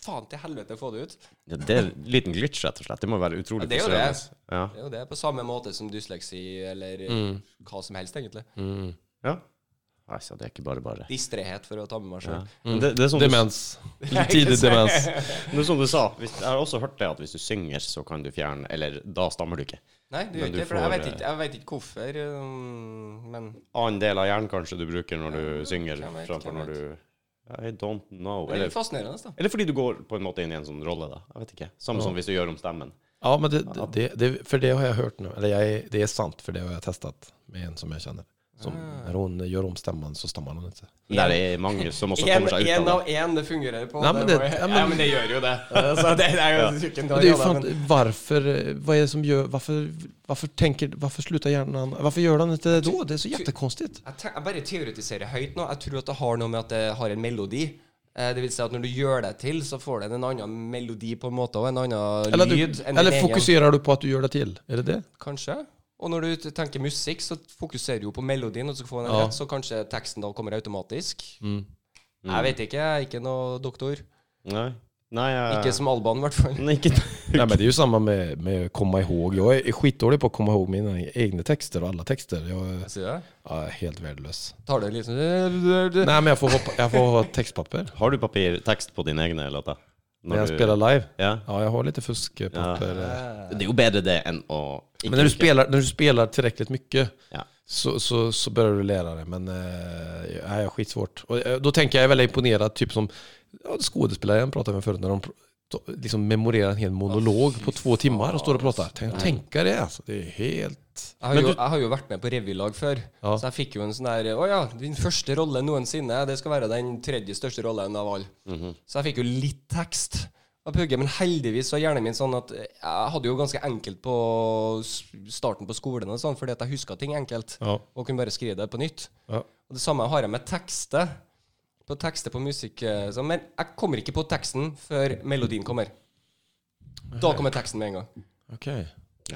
B: faen til helvete, få det ut.
A: Ja, det er en liten glitch, rett og slett. Det må være utrolig
B: Ja, det er jo det.
A: frustrerende. Ja.
B: Det er jo det, på samme måte som dysleksi eller eh, hva som helst, egentlig.
A: Ja. Altså, det er ikke bare bare.
B: Distrhet, for å ta med meg sjøl.
A: Men Det, Mm. det, er som du,
C: Demens. Tidig demens.
A: det er som du sa, hvis, jeg har også hørt det at hvis du synger, så kan du fjerne Eller da stammer du ikke.
B: Nei, det gjør
A: Men
B: ikke
A: du
B: det, for jeg
A: får,
B: vet ikke, jeg vet ikke hvorfor, um, men
A: Annen del av hjernen kanskje du bruker når du synger,
B: hvem vet,
A: framfor
B: hvem
A: når du I don't know.
B: Men det er
A: Eller,
B: litt fascinerende, da.
A: eller fordi du går på en måte inn i en sånn rolle, da. Jeg vet ikke. Samme som hvis du gjør om stemmen.
C: Ja, men det, det, det, för det har jag hört nu. Eller jag, är- det är sant, för det har jag testat med en som jag känner. Som,
B: Ah.
C: När hon gör om stämman så stammar hon inte.
A: Men Der er mange som også
B: En,
A: kommer seg
B: en
A: ut av
B: av én, det fungerer på.
C: Nei, men
B: det,
C: det-
B: må jeg-
C: ja, men-
B: ja, men det gjør jo det. Altså, det, det er jo ikke en
C: Men
B: dag,
C: det är ju
B: da,
C: fan,
B: men-
C: varför, eh, vad är det som gör, varför, varför tänker, varför slutar hjärnan, varför gör den inte det då? Det är så jättekonstigt.
B: Jeg, tenk, jeg bare teoretiserer høyt nå. Jeg tror at det har noe med at det har en melodi. Eh, Det vil si at når du gjør det til, så får den en annen melodi på en måte, og en annen
C: Eller,
B: lyd.
C: du,
B: enn din
C: eller
B: egen.
C: fokuserer du på at du gjør det til? Er det det?
B: Kanskje. Og når du t- tenker musikk, så fokuserer du jo på melodien, og så får den
C: Ja.
B: rett, så kanskje teksten da kommer automatisk. Jeg vet ikke, jeg er ikke noe doktor.
A: Nei. Nei, jeg,
B: Ikke som Alban, i hvert fall.
A: Nei, ikke
C: Nej, men det är ju samma med, med komma ihåg. Jag är skitdålig på att komma ihåg mina egna texter och alla texter. Jag är,
B: Sier jeg.
C: ja, helt värdelös.
B: Tar det liksom Nei,
C: Nej, men jag får, hoppa, jag får ha textpapper
A: Har du papir, tekst på dine egne låter?
C: när
A: Når
C: jag
A: du-
C: spelar live.
A: Ja. eh.
C: Ja, jag har lite fuskpapper.
A: Det er jo bedre det enn å ikke
C: Men när du,
A: huske.
C: spelar, när du spelar tillräckligt mycket
A: Ja.
C: så, så, så börjar du lära dig. Men eh, nej, skitsvårt. Och, eh, då tänker jag, jag är väldigt imponerad, typ som ja, skådespelare jag pratade med förut, när de pr- to- liksom memorerar en hel monolog på två timmar och står och pratar. Tänk, tänka det alltså, det är helt...
B: Jeg har, jo, jeg har jo vært med på revylag før,
C: Ja.
B: så jeg fikk jo en sånn der Å ja, din første rolle noensinne, det skal være den tredje største rollen av alle. Så jeg fikk jo litt tekst av Pugge, men heldigvis så er hjernen min sånn at jeg hadde jo ganske enkelt på s- starten på skolen og sånn, fordi at jeg huska ting enkelt,
C: Ja.
B: og kunne bare skrive det på nytt.
C: Ja.
B: Og det samme har jeg med tekster. På tekster på musikk eh, sånn, Men jeg kommer ikke på teksten før melodien kommer. Da kommer teksten med en gang.
C: Okej.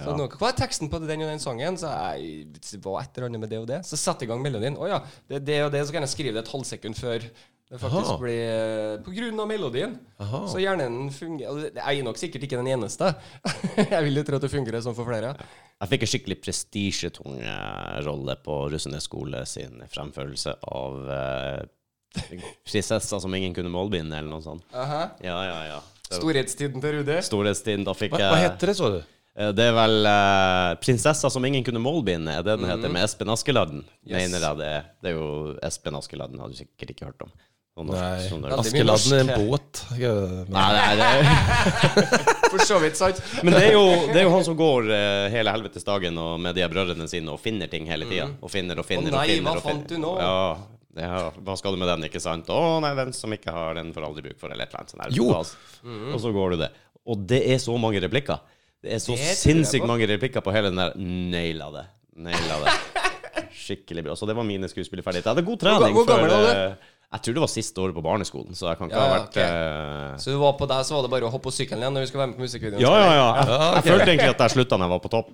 B: Så nå, hva er teksten på den og den sangen? Så jeg, det var et eller annet med det og det. Så sett i gang melodien. Å ja, det er det og det, så kan jeg skrive det et halvt sekund før det faktisk
C: Aha.
B: blir eh, På grunn av melodien.
C: Aha.
B: Så hjernen fungerer og det- Jeg er nok sikkert ikke den eneste. jeg vil jo tro at det fungerer sånn for flere.
A: Jeg fikk en skikkelig prestisjetung eh, rolle på Russenes skole sin fremførelse av eh, prinsessa som ingen kunne målbinde, eller noe sånt.
B: Aha.
A: Ja, ja, ja. Det var
B: Storhetstiden til Rudi.
A: Storhetstiden, da fikk
C: Va,
A: jeg
C: vad hette det sa du?
A: Eh, Det er vel eh, 'Prinsessa som ingen kunne målbinde', er det den heter, med Espen Askeladden.
B: Mhm. Yes.
A: Mener jeg det er. Det er jo Espen Askeladden, har du sikkert ikke hørt om. Sånn norsk-
C: Nej,
A: sånn der-
B: Veldig mye
C: Askeladden är
B: norsk.
C: en båt. Men,
A: Nei, nei, det,
B: For så vidt, sant?
A: men det er, jo, det er jo han som går eh, hele helvetes dagen og med de her brødrene sine og finner ting hele tida. Og finner og finner
B: Mm. Å nei,
A: og finner.
B: hva
A: og finner.
B: fant du nå?
A: Ja, det er- hva skal du med den, ikke sant? Å nei, den som ikke har den, får aldri bruk for, eller et eller annet sånt. der.
C: Jo.
A: Altså.
B: Mm.
A: Og så går du det. Og det er så mange replikker. Det er så
B: Det tror jeg på.
A: sinnssykt mange replikker på hele den der Naila det. Naila det. Skikkelig bra. Så det var mine skuespillerferdigheter. Jeg hadde god trening.
B: hvor gammel
A: før,
B: var du?
A: eh, Jeg tror det var siste året på barneskolen, så jeg kan ikke
B: Ja,
A: ha
B: ja,
A: vært
B: ok.
A: eh,
B: Så du var på deg, så var det bare å hoppe på sykkelen igjen når vi skal være med på musikkvideoen?
A: ja, ja, ja. Jeg følte egentlig at jeg slutta når jeg var på topp.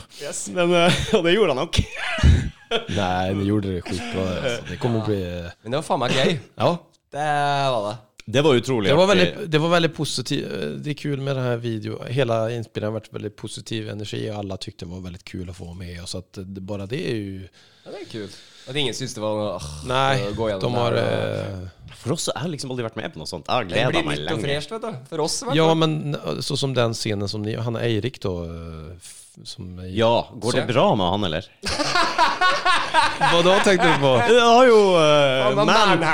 A: Men, eh, og det gjorde jeg nok.
C: nej, ni gjorde det skitbra. Alltså. Det kommer bli...
B: Men det var faen meg gøy.
C: Ja,
B: Det var det.
A: Det var utrolig
C: Det var
A: artig.
C: väldigt, det var väldigt positivt. Det är kul med den här videon. Hela inspelningen har varit väldigt positiv energi och alla tyckte det var väldigt kul att få vara med. Och så att det, bara det är ju...
B: Ja, det er kult. At ingen syns det var noe ah,
C: Nej,
B: gå
C: de
B: gjennom det
C: har...
B: her, og-
C: eh,
A: For oss så- jeg har liksom aldri vært med på noe sånt. Jeg har
B: Det
A: gleda
B: blir
A: meg
B: nytt og
A: lenge.
B: fresht, vet du. For oss, i hvert
C: Ja,
B: fall.
C: men eh, så som den scenen som ni... Han Eirik då, eh, f- som... i-
A: Ja, går det bra med han, eller?
C: Vadå tänkte du på?
A: Jeg har jo eh,
B: Han har manhandlet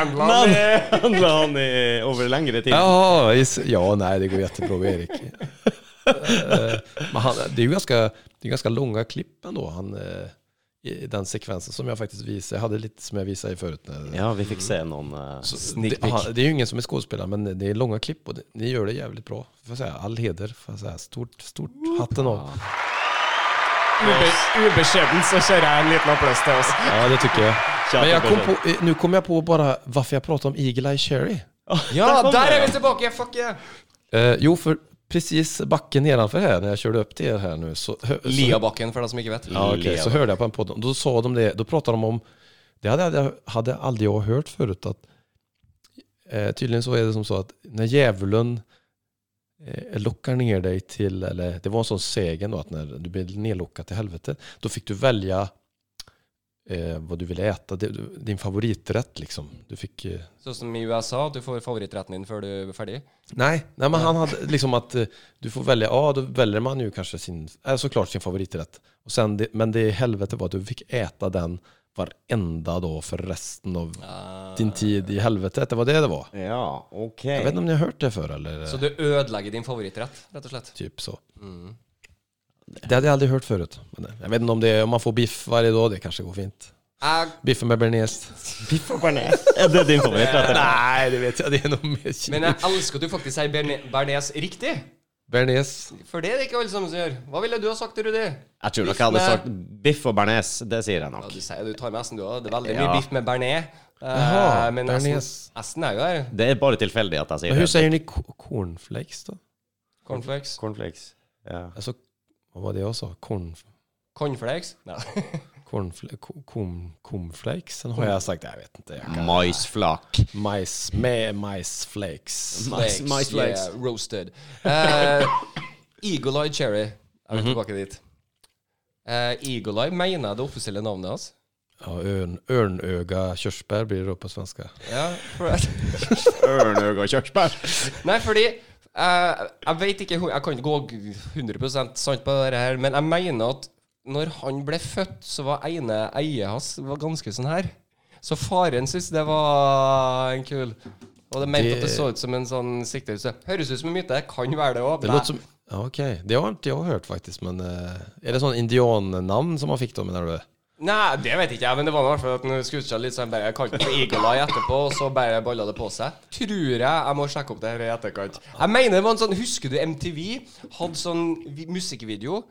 B: han
A: manhandla han i, over lengre tid.
C: Jaha, is- ja, nej, det går jättebra med Erik. Eh, Men han, det är ju ganska, det är ganska långa klipp ändå, han, eh, i den sekvensen som jag faktiskt visade, jag hade lite som jag visade i förut. När,
A: Ja, vi fikk se noen eh,
C: det, aha, det är ju ingen som är skådespelare, men det är långa klipp och det, ni gör det jävligt bra. Får jag säga, all heder, får jag säga, stort, stort hatten av.
B: Ubeskjedent så kjører jeg en liten applaus til oss.
C: Ja, det tycker jag.
A: Tja,
C: Men jag
A: det
C: kom
A: börjar.
C: på, eh, nu kom jag på bara varför jag pratar om Eagle Eye Cherry.
B: Ja,
A: kom
B: der er
A: det.
B: vi tilbake! Fuck yeah!
C: Eh, jo, för precis backen nedanför här, när jag körde upp till er här nu, så, så
B: Liabakken, for de som ikke vet.
A: Ja.
C: Ja, okej.
A: Leva.
C: Så hörde jag på en podd, och då sa de det, då pratade de om, det hade, hade, hade aldrig jag hört förut, att eh, tydligen så är det som så att när djävulen eh, lockar ner dig till, eller det var en sån sägen då, att när du blev nedlockad till helvetet, då fick du välja eh, vad du ville äta, det, du- din favoriträtt liksom. Du fick... Eh,
B: Sånn som i USA, at du får favorittretten din før du er ferdig.
C: Nej, nej men han hade liksom att eh, du får välja, ja då väljer man ju kanske sin, eh, såklart sin favoriträtt. Och sen det, men det helvete var att du fick äta den varenda dag för resten av
B: Eh,
C: din tid i helvetet. Det var det det var.
A: Ja, OK.
C: Jag vet inte om ni har hört det förr eller? eh,
B: Så du ødelegger din favorittrett, rett og slett.
C: Typ så. Det hade jag aldrig hört förut. Men eh, jag vet inte om det är, om man får biff varje dag, det kanske går fint.
B: Jeg,
C: Biffen med bearnaise.
A: Er det din favorittrett? eller?
C: Nej, det vet jag. Det är nog mer
B: men jeg elsker at du faktisk sier berne- bearnés riktig.
C: Bearnés.
B: For det er det ikke alle sammen som gjør. Hva ville du ha sagt til Rudi?
A: Jeg tror nok
B: Biff
A: jeg hadde
B: med-
A: sagt biff og bearnés. Det sier jeg
B: Ja,
A: nok.
B: du sier du tar med S-en, du òg. Det er veldig
A: Ja.
B: mye biff med bearnés. Eh,
C: Jaha,
B: men
C: bearnés.
B: S-en er jo her.
A: Det er bare tilfeldig at jeg
C: Men hur
A: sier det.
C: säger ni ko- cornflakes då?
B: Cornflakes.
A: Cornflakes. Ja.
C: Alltså, vad var det jag sa? Corn,
B: Cornflakes? Nei.
C: cornfl ko- kom, cornflakes? Sen har jag sagt, jag vet inte. Jag kan.
A: Maisflak.
C: Majs, med majsflakes.
A: Mais-
B: Flakes,
A: maisflakes.
B: Yeah, roasted. Eh, Eagle Eye Cherry. Jeg vil tilbake dit. Eh, Eagle Eye mener jeg det offisielle navnet hans.
C: Ja, örn, örnöga körsbär blir det då på svenska.
B: Ja, for,
A: Ørnøg og kjørsbær.
B: Nei, fordi eh, Jeg vet ikke hun- Jeg kan ikke gå 100 sant på det her, men jeg mener at når han ble født, så var ene eiet hans var ganske sånn her. Så faren syntes det var en kul Og det mente at det
C: Det-
B: så ut som en sånn siktelse. Høres ut som en myte. Kan være det òg.
C: Det låter som... Ja, okej. Det har inte jag hört faktiskt, men eh, är det sån indiannamn som man fick då menar du?
B: Nei, det vet ikke jeg, men det var i hvert fall at han skrudd seg litt sånn bare kalte det for Eagle Eye etterpå, og så bare balla det på seg. Tror jeg. Jeg må sjekke opp det her i etterkant. Jeg mener det var en sånn Husker du MTV hadde sånn vi- musikkvideo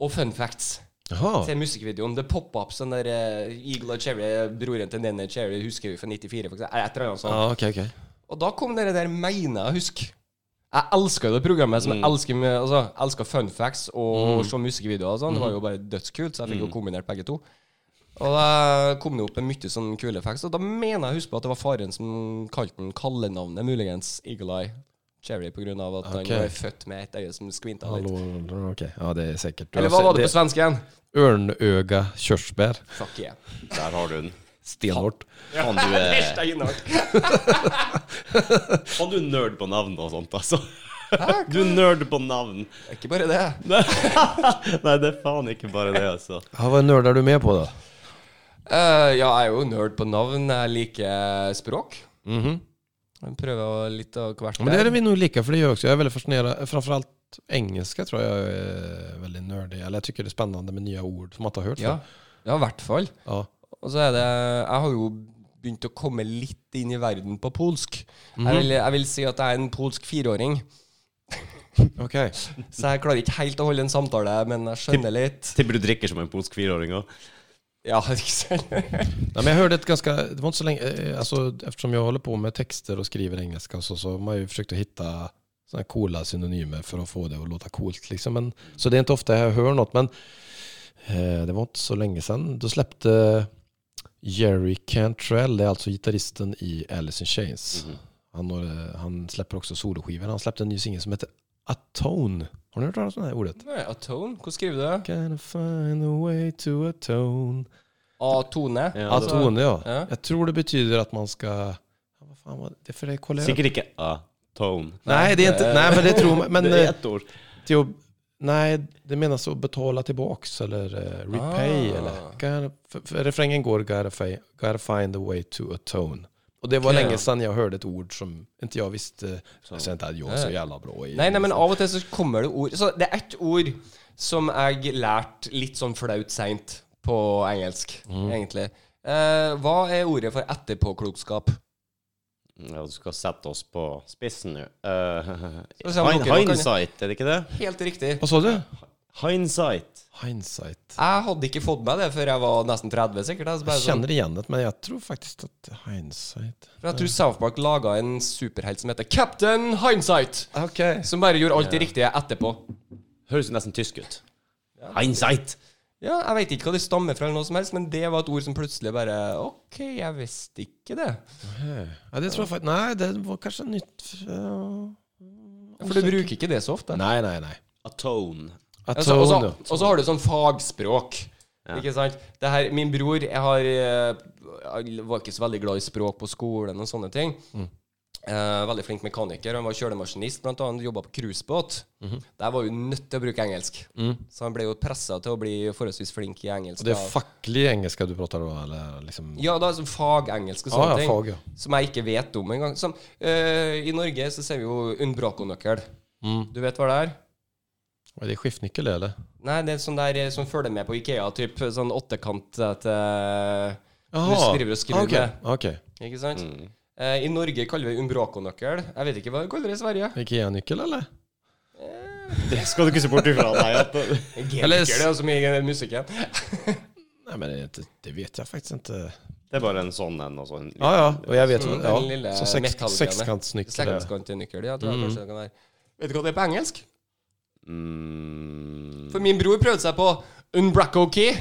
B: og fun facts
C: Jaha.
B: til musikkvideoen? Det poppa opp sånn der eh, Eagle Eye Cherry, broren til Nenner Cherry, husker vi fra 94, for eksempel. Et eller annet sånt.
C: Ja, okej, okej.
B: Og da kom det der mener jeg husker. Jeg elska det programmet. som jeg
C: Mm.
B: elsker, med, altså, jeg elsker fun facts og se musikkvideoer og sånn. Det var
C: Mm.
B: jo bare dødskult, så jeg fikk jo kombinert begge to. Og da kom det opp med mye sånn kule facts. Og da mener jeg husker på at det var faren som kalte den kallenavnet, muligens Eagle Eye Cherry, på grunn av at
C: Ok.
B: han var født med et øye som skvinta litt.
C: Hallå, okej. Ja, det är säkert.
B: Eller hva var det på svensk igjen?
C: Örnöga körsbär.
B: Fuck yeah.
A: Der har du den.
C: Stenhårt.
A: Faen, du eh, er,
B: Hashtag innhold.
A: faen, du er nerd på navn og sånt, altså. Du er nerd på navn.
B: Ikke bare det.
A: Nei, det er faen ikke bare det, altså.
C: Ja, vad nördar du med på då?
B: Eh, ja, jeg er jo nerd på navn. Jeg liker språk.
C: Mhm.
B: Jeg prøver å litt av hvert.
C: Men det
B: der.
C: är vi nog lika, för det gör jag också. Jag är väldigt fascinerad, framförallt engelska tror jag är väldigt nördig. Eller jag tycker det är spännande med nya ord som man inte har hört
B: Ja,
C: förr.
B: ja i hvert fall.
C: Ja.
B: Og så er det Jeg har jo begynt å komme litt inn i verden på polsk.
A: Mhm.
B: jeg, vil, jeg vil si at jeg er en polsk fireåring,
C: Okej.
B: så jeg klarer ikke helt å holde en samtale, men jeg skjønner litt.
A: Tipper du drikker som en polsk fireåring òg.
B: Ja, ikke sant?
C: Nej, men jag hörde ett ganska, det var inte så länge, eh, alltså, eftersom jag håller på med texter och skriver engelska och så, så har man ju försökt att hitta sådana coola synonymer för att få det att låta coolt. Liksom. Men, så det är inte ofta jag hör något, men eh, det var inte så länge sedan. Då släppte Jerry Cantrell, det är alltså gitarristen i Alice in Chains. Han, har, eh, han släpper också soloskivor. Han släppte en ny singel som heter Atone. Har ni hört talas om det här ordet?
B: Nei, Atone? Hvordan skriver du det?
C: Gotta find a way to atone.
B: Atone? Altså,
A: Ja, det-
C: Atone, ja.
B: Ja.
C: Jeg tror det betyder at man skal ja, Vad fan var det? det? För det kollar jag upp.
A: Sikkert ikke A-tone.
C: Nej, det är inte, nej, men det tror man. Men
A: det er
C: eh,
A: ett ord.
C: till att, nej, det menas att betala tillbaks eller eh, repay.
B: Ah.
C: Eller, gotta, för, för refrängen går gotta, fi- gotta find a way to atone. Och det var
B: Okej.
C: länge sedan jag hörde ett ord som inte jag visste. Jag säger inte att jag är så jävla bra i.
B: Nei, nei, men av og til så kommer det ord Så det er ett ord som jeg lærte litt sånn flaut seint på engelsk,
A: Mhm.
B: egentlig. Eh, hva er ordet for etterpåklokskap?
A: Ja, du skal sette oss på spissen nå. Eh,
B: vi se om
A: hin-
B: dere kan-
A: hindsight, er det ikke det?
B: Helt riktig.
C: Vad sa du?
A: Hindsight.
C: Hindsight.
B: Jeg hadde ikke fått med det før jeg var nesten 30, sikkert. Jeg,
C: Jag
B: bare sånn,
C: känner igen det, men jag tror faktiskt att hindsight...
B: for jeg tror South Park laga en superhelt som heter Captain Hindsight.
C: Okej.
B: Som bare gjorde alt det riktige etterpå.
A: Høres jo nesten tysk ut. Hindsight.
B: Ja, Jeg veit ikke hva det stammer fra, eller noe som helst, men det var et ord som plutselig bare OK, jeg visste ikke det.
C: Ja, det tror jag faktiskt... Nej, det var kanske nytt... Ja.
B: For du bruker ikke det så ofte.
C: Nej, nej, nej.
A: Atone.
B: Altså, og så-
C: Atone.
B: og så har du sånn fagspråk. Ikke sant? Det her, min bror jeg har, eh, jeg var ikke så veldig glad i språk på skolen og sånne ting.
C: Mm.
B: Eh, veldig flink mekaniker. Han var kjølemaskinist, blant annet. Jobba på cruisebåt.
C: Mhm.
B: Der var jo nødt til å bruke engelsk.
C: Mm.
B: Så han ble jo pressa til å bli forholdsvis flink i engelsk.
C: Och det
B: da.
C: är facklig engelska du pratar då, eller liksom...
B: Ja, da, som fagengelsk og
C: Ah, Ja,
B: sånne
C: ja,
B: ting.
C: fag, ja.
B: Som jeg ikke vet om engang. Som, eh, I Norge så ser vi jo Unbraco-nøkkel.
C: Mm.
B: Du vet hva det er?
C: Är det skiftnyckel eller?
B: Nei, det er sånn der eh, som følger med på Ikea, typ sånn åttekant at, eh,
C: Jaha.
B: Du skriver og skriver
C: Okej, Okej.
B: Ikke sant?
A: Mm.
B: Eh, I Norge kaller vi Umbraco-nøkkel. Jeg vet ikke hva de kaller det i Sverige.
C: Ikea-nyckel eller?
B: Eh,
A: Det skal du ikke se bort ifra. Nei, at,
B: Eller det er jo så mye musikken.
C: Nej, men det, det vet jeg faktisk ikke.
A: det er bare en sånn en. Og så en
C: Ah, Ja, ja, og jeg vet jo
B: Mm,
C: ja.
B: den lille
C: Så
B: metallgreia.
C: seks, sekskantsnykkel. ja.
B: Sekskantnykker, ja. Tror jeg kanskje det kan være. Vet du hva det er på engelsk?
A: mm,
B: For min bror prøvde seg på Unbracco Key,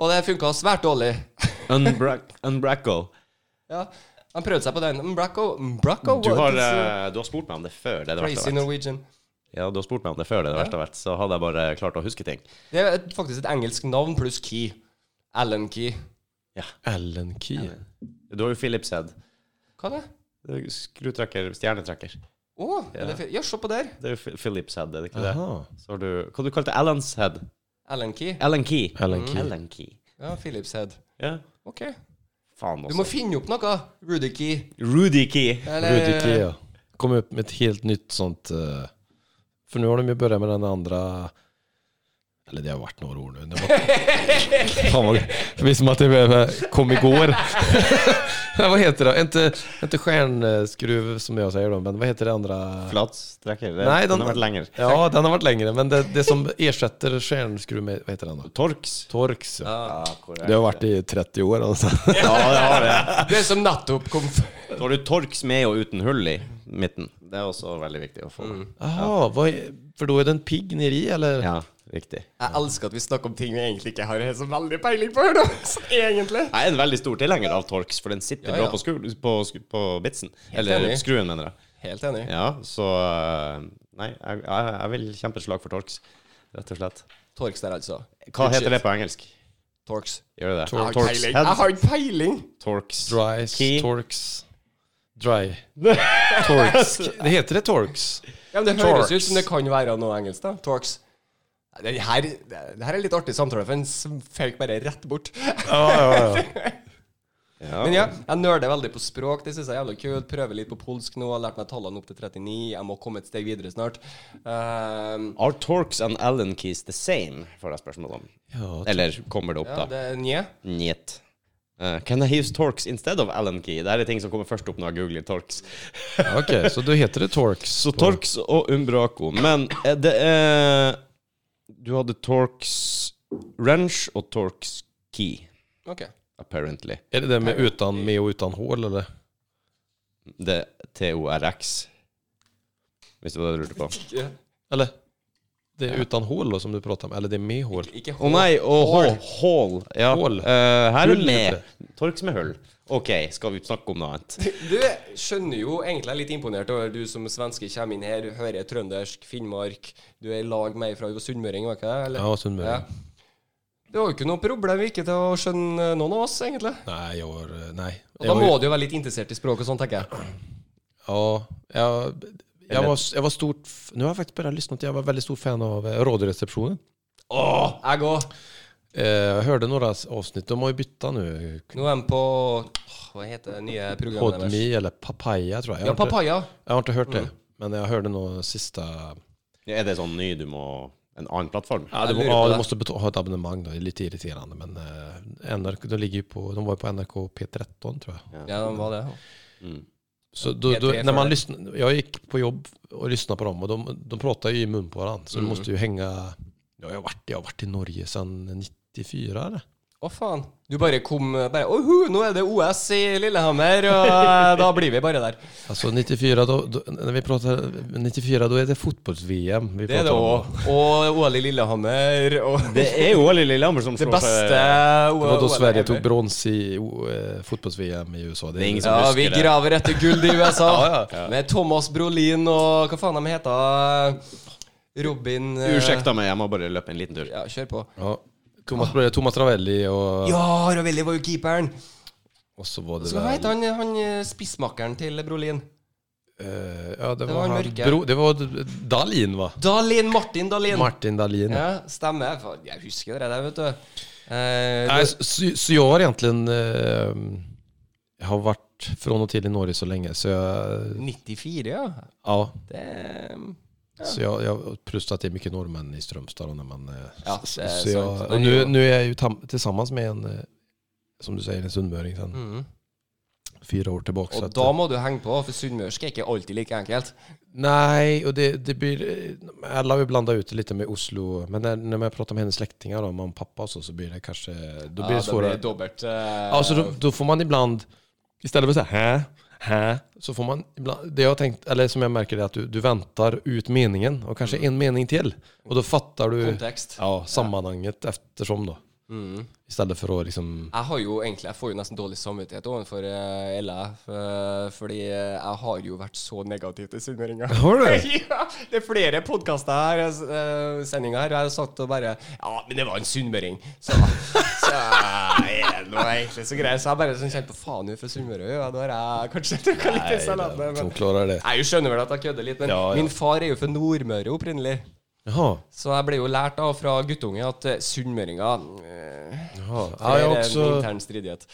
B: og det funka svært dårlig.
A: unbrac unbracco.
B: Ja, Han prøvde seg på den. Unbracco, Unbracco
A: Du har,
B: it's, uh,
A: eh, du har spurt meg om det før. Det er det verste
B: Crazy
A: jeg vet.
B: Norwegian.
A: Ja, du har spurt meg om det før, det er det verste jeg vet. Så hadde jeg bare klart å huske ting.
B: Det er et- faktisk et engelsk navn pluss Key. Alan Key.
C: Allen Key.
A: Du har jo Philips head.
B: Hva er det?
A: Skrutrekker, stjernetrekker.
B: Å, er det fi- ja, se på der.
A: Det er jo Ph- Philips head, er det ikke det?
C: Aha.
A: Så har du Hva du kalte du Alan's head?
B: Alan Key.
A: Alan Key.
C: Alan Key.
A: Alan Key.
B: Ja, Philips Head.
A: Ja.
B: OK.
A: Faen
B: Du må
A: også.
B: finne opp noe. Rudy Key.
A: Rudy Key.
C: Rudy Key, ja. Kom upp med ett helt nytt sånt. eh, För nu har de ju börjat med den andra... Eller det har varit några år nu. Det var... Fan vad... Det är som att det var- kom igår. Ja, vad heter det? Inte, inte stjärnskruv som jag säger då, men vad heter det andra?
A: Flatstrekker. Det
C: Nej, den-
A: den har vært lenger.
C: Ja, den har varit längre, men det, det som ersätter stjärnskruv med, vad heter den då?
A: Torx.
C: Torx. Ja.
A: Ja, korrekt.
C: Det har varit i 30 år. Alltså.
A: Ja, det har det.
B: Det som nettopp kom f-
A: Så har du Torx med og uten hull i midten. Det er også veldig viktig å få.
C: Mm. Jaha, vad är, för då är den pigg nere i eller?
A: Ja, riktig.
B: Jeg elsker at vi snakker om ting vi egentlig ikke har så veldig peiling på. Da. Så egentlig.
A: Jeg er en veldig stor tilhenger av Torx, for den sitter
B: Ja, ja.
A: bra på, skru, på, skru, på bitsen. Eller
B: enig.
A: skruen, mener jeg.
B: Helt enig.
A: Ja, så øh, Nei, jeg, jeg, jeg vil kjempe et slag for Torx, rett og slett.
B: Torx der, altså.
A: Hva heter det på engelsk?
B: Torx.
A: Gjør det det?
B: Jeg har
A: Torx
B: peiling. Jeg
A: head.
B: har ikke peiling.
A: Torx
C: Dry
A: Key.
C: Torx Dry Torx Det heter det Torx?
B: Ja, men det
C: Torx.
B: høres ut som det kan være noe engelsk, da. Torx. Nei, Det her, det her er litt artig samtale, for en s- føyk bare rett bort.
C: Ja, ja, ja.
A: Ja.
B: Men ja, jeg nerder veldig på språk. Det syns jeg er jævlig kult. Prøver litt på polsk nå. Har lært meg tallene opp til 39. Jeg må komme et steg videre snart. Ehm,
A: Are Torx and Allen Keys the same, får jeg spørsmål om. Eller kommer det opp,
B: ja,
A: da?
B: det er nye.
A: Njet. Eh, can I use Torx instead of Allen Key? Det her er ting som kommer først opp når jeg googler Torx.
C: Okej, så då heter det Torx
A: Så Torx og Umbraco. Men eh, det er Du hadde Torx Wrench og Torx Key,
B: Ok.
A: apparently.
C: Är det det med utan med och utan hål eller?
A: Det er TORX. Hvis det var det du lurte på.
B: Ikke,
C: Eller? Det är utan hål då som du pratar om, eller det är med hål?
B: ikke
A: Å nei, og
B: Hål.
A: hå- hål. Ja.
C: Hål.
A: eh, her
C: Hull
A: er
C: heter
A: med. Torx med hull. OK, skal vi snakke om noe annet?
B: Du skjønner jo egentlig jeg er litt imponert over du som svenske kommer inn her, hører trøndersk, Finnmark, du er i lag med ei fra du var sunnmøring, var ikke det? Eller?
C: Ja, sånn Sundberg
B: Ja. Det var jo ikke noe problem ikke til å skjønne noen av oss, egentlig.
C: Nej, jag har, nej
B: Og da
C: Jag var-
B: må du jo være litt interessert i språk og sånn, tenker jeg.
C: Ja, jag, jag, var, jag var stort f- Nu har jag faktiskt börjat lyssna, jag var väldigt stor fan av eh, radioreceptionen
B: Åh, jeg òg.
C: Eh, Jag hörde några s- avsnitt, de har ju bytt nu
B: Nå er de på åh, Hva heter det nye programmet
C: Podme eller Papaya tror jeg. Jeg
B: Ja,
C: har, ikke,
B: Papaya.
C: jeg har ikke hørt det, men jeg hørte noe siste
A: Ja, Er det sånn ny du må En annen plattform?
C: Ja, du, må,
B: Jeg lurer
C: ja,
B: på
C: du
B: det.
C: måste betala, ha ett abonnemang då. Det är lite irriterande men eh, NRK, de, ligger ju på, de var ju på NRK P13 tror jag.
B: Ja, de var det.
C: Så då,
B: P3
C: då, när man
B: för-
C: lyssnar, jag gick på jobb och lyssnade på dem och de, de pratar ju i mun på varandra så du måste ju hänga, ja, jag, har varit, jag har varit i Norge sedan 94 eller?
B: Å, faen. Du bare kom bare Åhu, nå er det OS i Lillehammer, og eh, da blir vi bare der.
C: Alltså 94 då, då, när vi pratar 94 då är det fotbolls-VM. vi
B: Det er
C: pratar
B: det
C: om.
B: òg. Og OL i Lillehammer, og
A: Det er jo Olli Lillehammer som
B: Det
A: slår seg
B: beste
C: Det var då Sverige tog brons i o- eh, fotbolls-VM i USA. Det
A: Det är ingen som-
B: Ja,
A: husker
B: vi
A: det.
B: graver etter gull i USA. Med Thomas Brolin og hva faen de heter Robin eh,
A: Ursäkta meg, jeg må bare løpe en liten tur.
B: Ja, kjør på.
C: Ja. Thomas, Thomas Travelli och,
B: Ja, Ravelli var jo keeperen.
C: och så var det
B: Så hva heter han, han eh, spissmakkeren til Brolin?
C: Eh, ja, det,
B: Det
C: var,
B: var
C: han
B: mörka.
C: bro, Det var Dalin va?
B: Dalin. Martin Dalin.
C: Martin Dalin.
B: ja, stemmer. Faen, Jeg husker det der, vet du. Eh,
C: Nej,
B: det-
C: så, så jag har egentligen eh, jag har varit från och till i Norge så länge så jag,
B: 94, ja.
C: ja,
B: Det
C: så jag, jag har prustat i mycket norrmän i Strömstad då när man eh,
B: Ja,
C: så,
B: det är
C: så
B: sant.
C: jag, och nu, nu är jag ju tam, tillsammans med en eh, som du säger en sundmöring sen
B: mm.
C: fyra år tillbaka. så
B: Og
C: att-
B: da må du henge på, for sunnmørsk er ikke alltid like enkelt.
C: Nej, och det, det blir... Alla vill blanda ut det lite med Oslo. Men när, när man pratar med hennes släktingar, då, mamma och pappa och så, så blir det kanske... Då blir det Altså, svårare.
B: blir det dobbelt eh,
C: Ja, så då, då får man ibland, istället för så här, hä, hä, så får man ibland, det jag har tänkt, eller som jag märker det är att du, du väntar ut meningen och kanske en mening till. Och då fattar du
B: Mm. kontekst. Mm.
C: ja, sammanhanget eftersom då. Istället för att liksom,
B: Jeg har jo egentlig, jeg får jo nesten dårlig samvittighet overfor eh, Ella, eh, fordi eh, jeg har jo vært så negativ til sunnmøringer.
C: Har du?
B: ja, det er flere podkaster her, eh, sendinger her, og jeg har sagt og bare Ja, men det var en sunnmøring. Så, så eh, er det noe egentlig så greit. Så jeg bare sånn kjente på faen, hun er fra Sunnmøre, ja, nå har jeg kanskje trykka litt i salaten. her,
C: som
B: men-
C: klarar det.
B: Nei, Jeg skjønner vel at jeg kødder litt, men
C: Ja, ja.
B: min far er jo fra Nordmøre opprinnelig.
C: Jaha.
B: Så jeg ble jo lært av fra guttunge at eh, sunnmøringer eh,
C: Jaha. Ja,
B: det
C: jag, har
B: er en
C: också,
B: intern stridighet.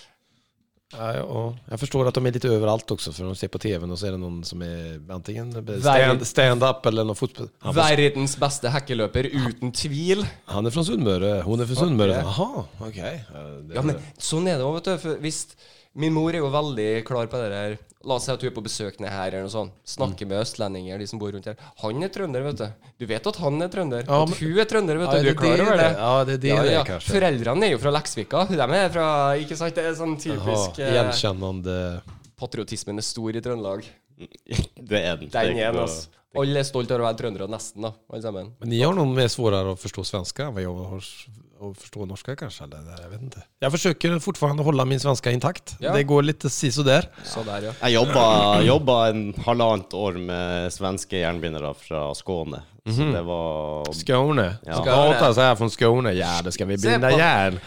C: ja, ja, jag förstår att de är lite överallt också, för de ser på tvn och så är det någon som är antingen
B: Värre.
C: stand- stand-up eller någon fotboll. Han, var-
B: Verdens beste hekkeløper, uten tvil.
C: han är från Sundmöre, hon är från Sundmöre.
B: yeah.
C: Jaha, okej. Ja, det-
B: Ja, men sånn er det òg, vet du. For hvis Min mor er jo veldig klar på det der. La oss si at du er på besøk ned her, eller noe sånt.
C: Mm.
B: Snakker med østlendinger, de som bor rundt her. Han er trønder, vet du. Du vet at han er trønder.
C: Ja,
B: at
C: men-
B: hun er trønder, vet
C: Ja,
B: du. Du
C: det
B: er
C: er
B: klar
C: det
B: over det?
C: det- ja, det er det det er, kanskje.
B: Foreldrene er jo fra Leksvika. De er fra Ikke sant? Det er sånn
C: Jaha,
B: typisk eh,
C: igenkännande.
B: Patriotismen er stor i Trøndelag.
A: Det er den.
B: Den er en, altså. Alle er stolt over å være trøndere, nesten, da. Alle sammen.
C: Men ni har nog mer svårare att förstå svenska än vad jag har s- att förstå norska kanske? Eller? Nej, Jag vet inte. Jag försöker fortfarande hålla min svenska intakt.
B: Ja.
C: Det går lite sisådär.
B: Så der, ja.
A: Jeg jobba, jobba en halvannet år med svenske jernbindere fra Skåne. Så
B: Mhm.
A: det var
C: Skåne.
A: Ja.
C: Prata så här från Skåne. Ja, det ska vi binda
B: på-
C: järn.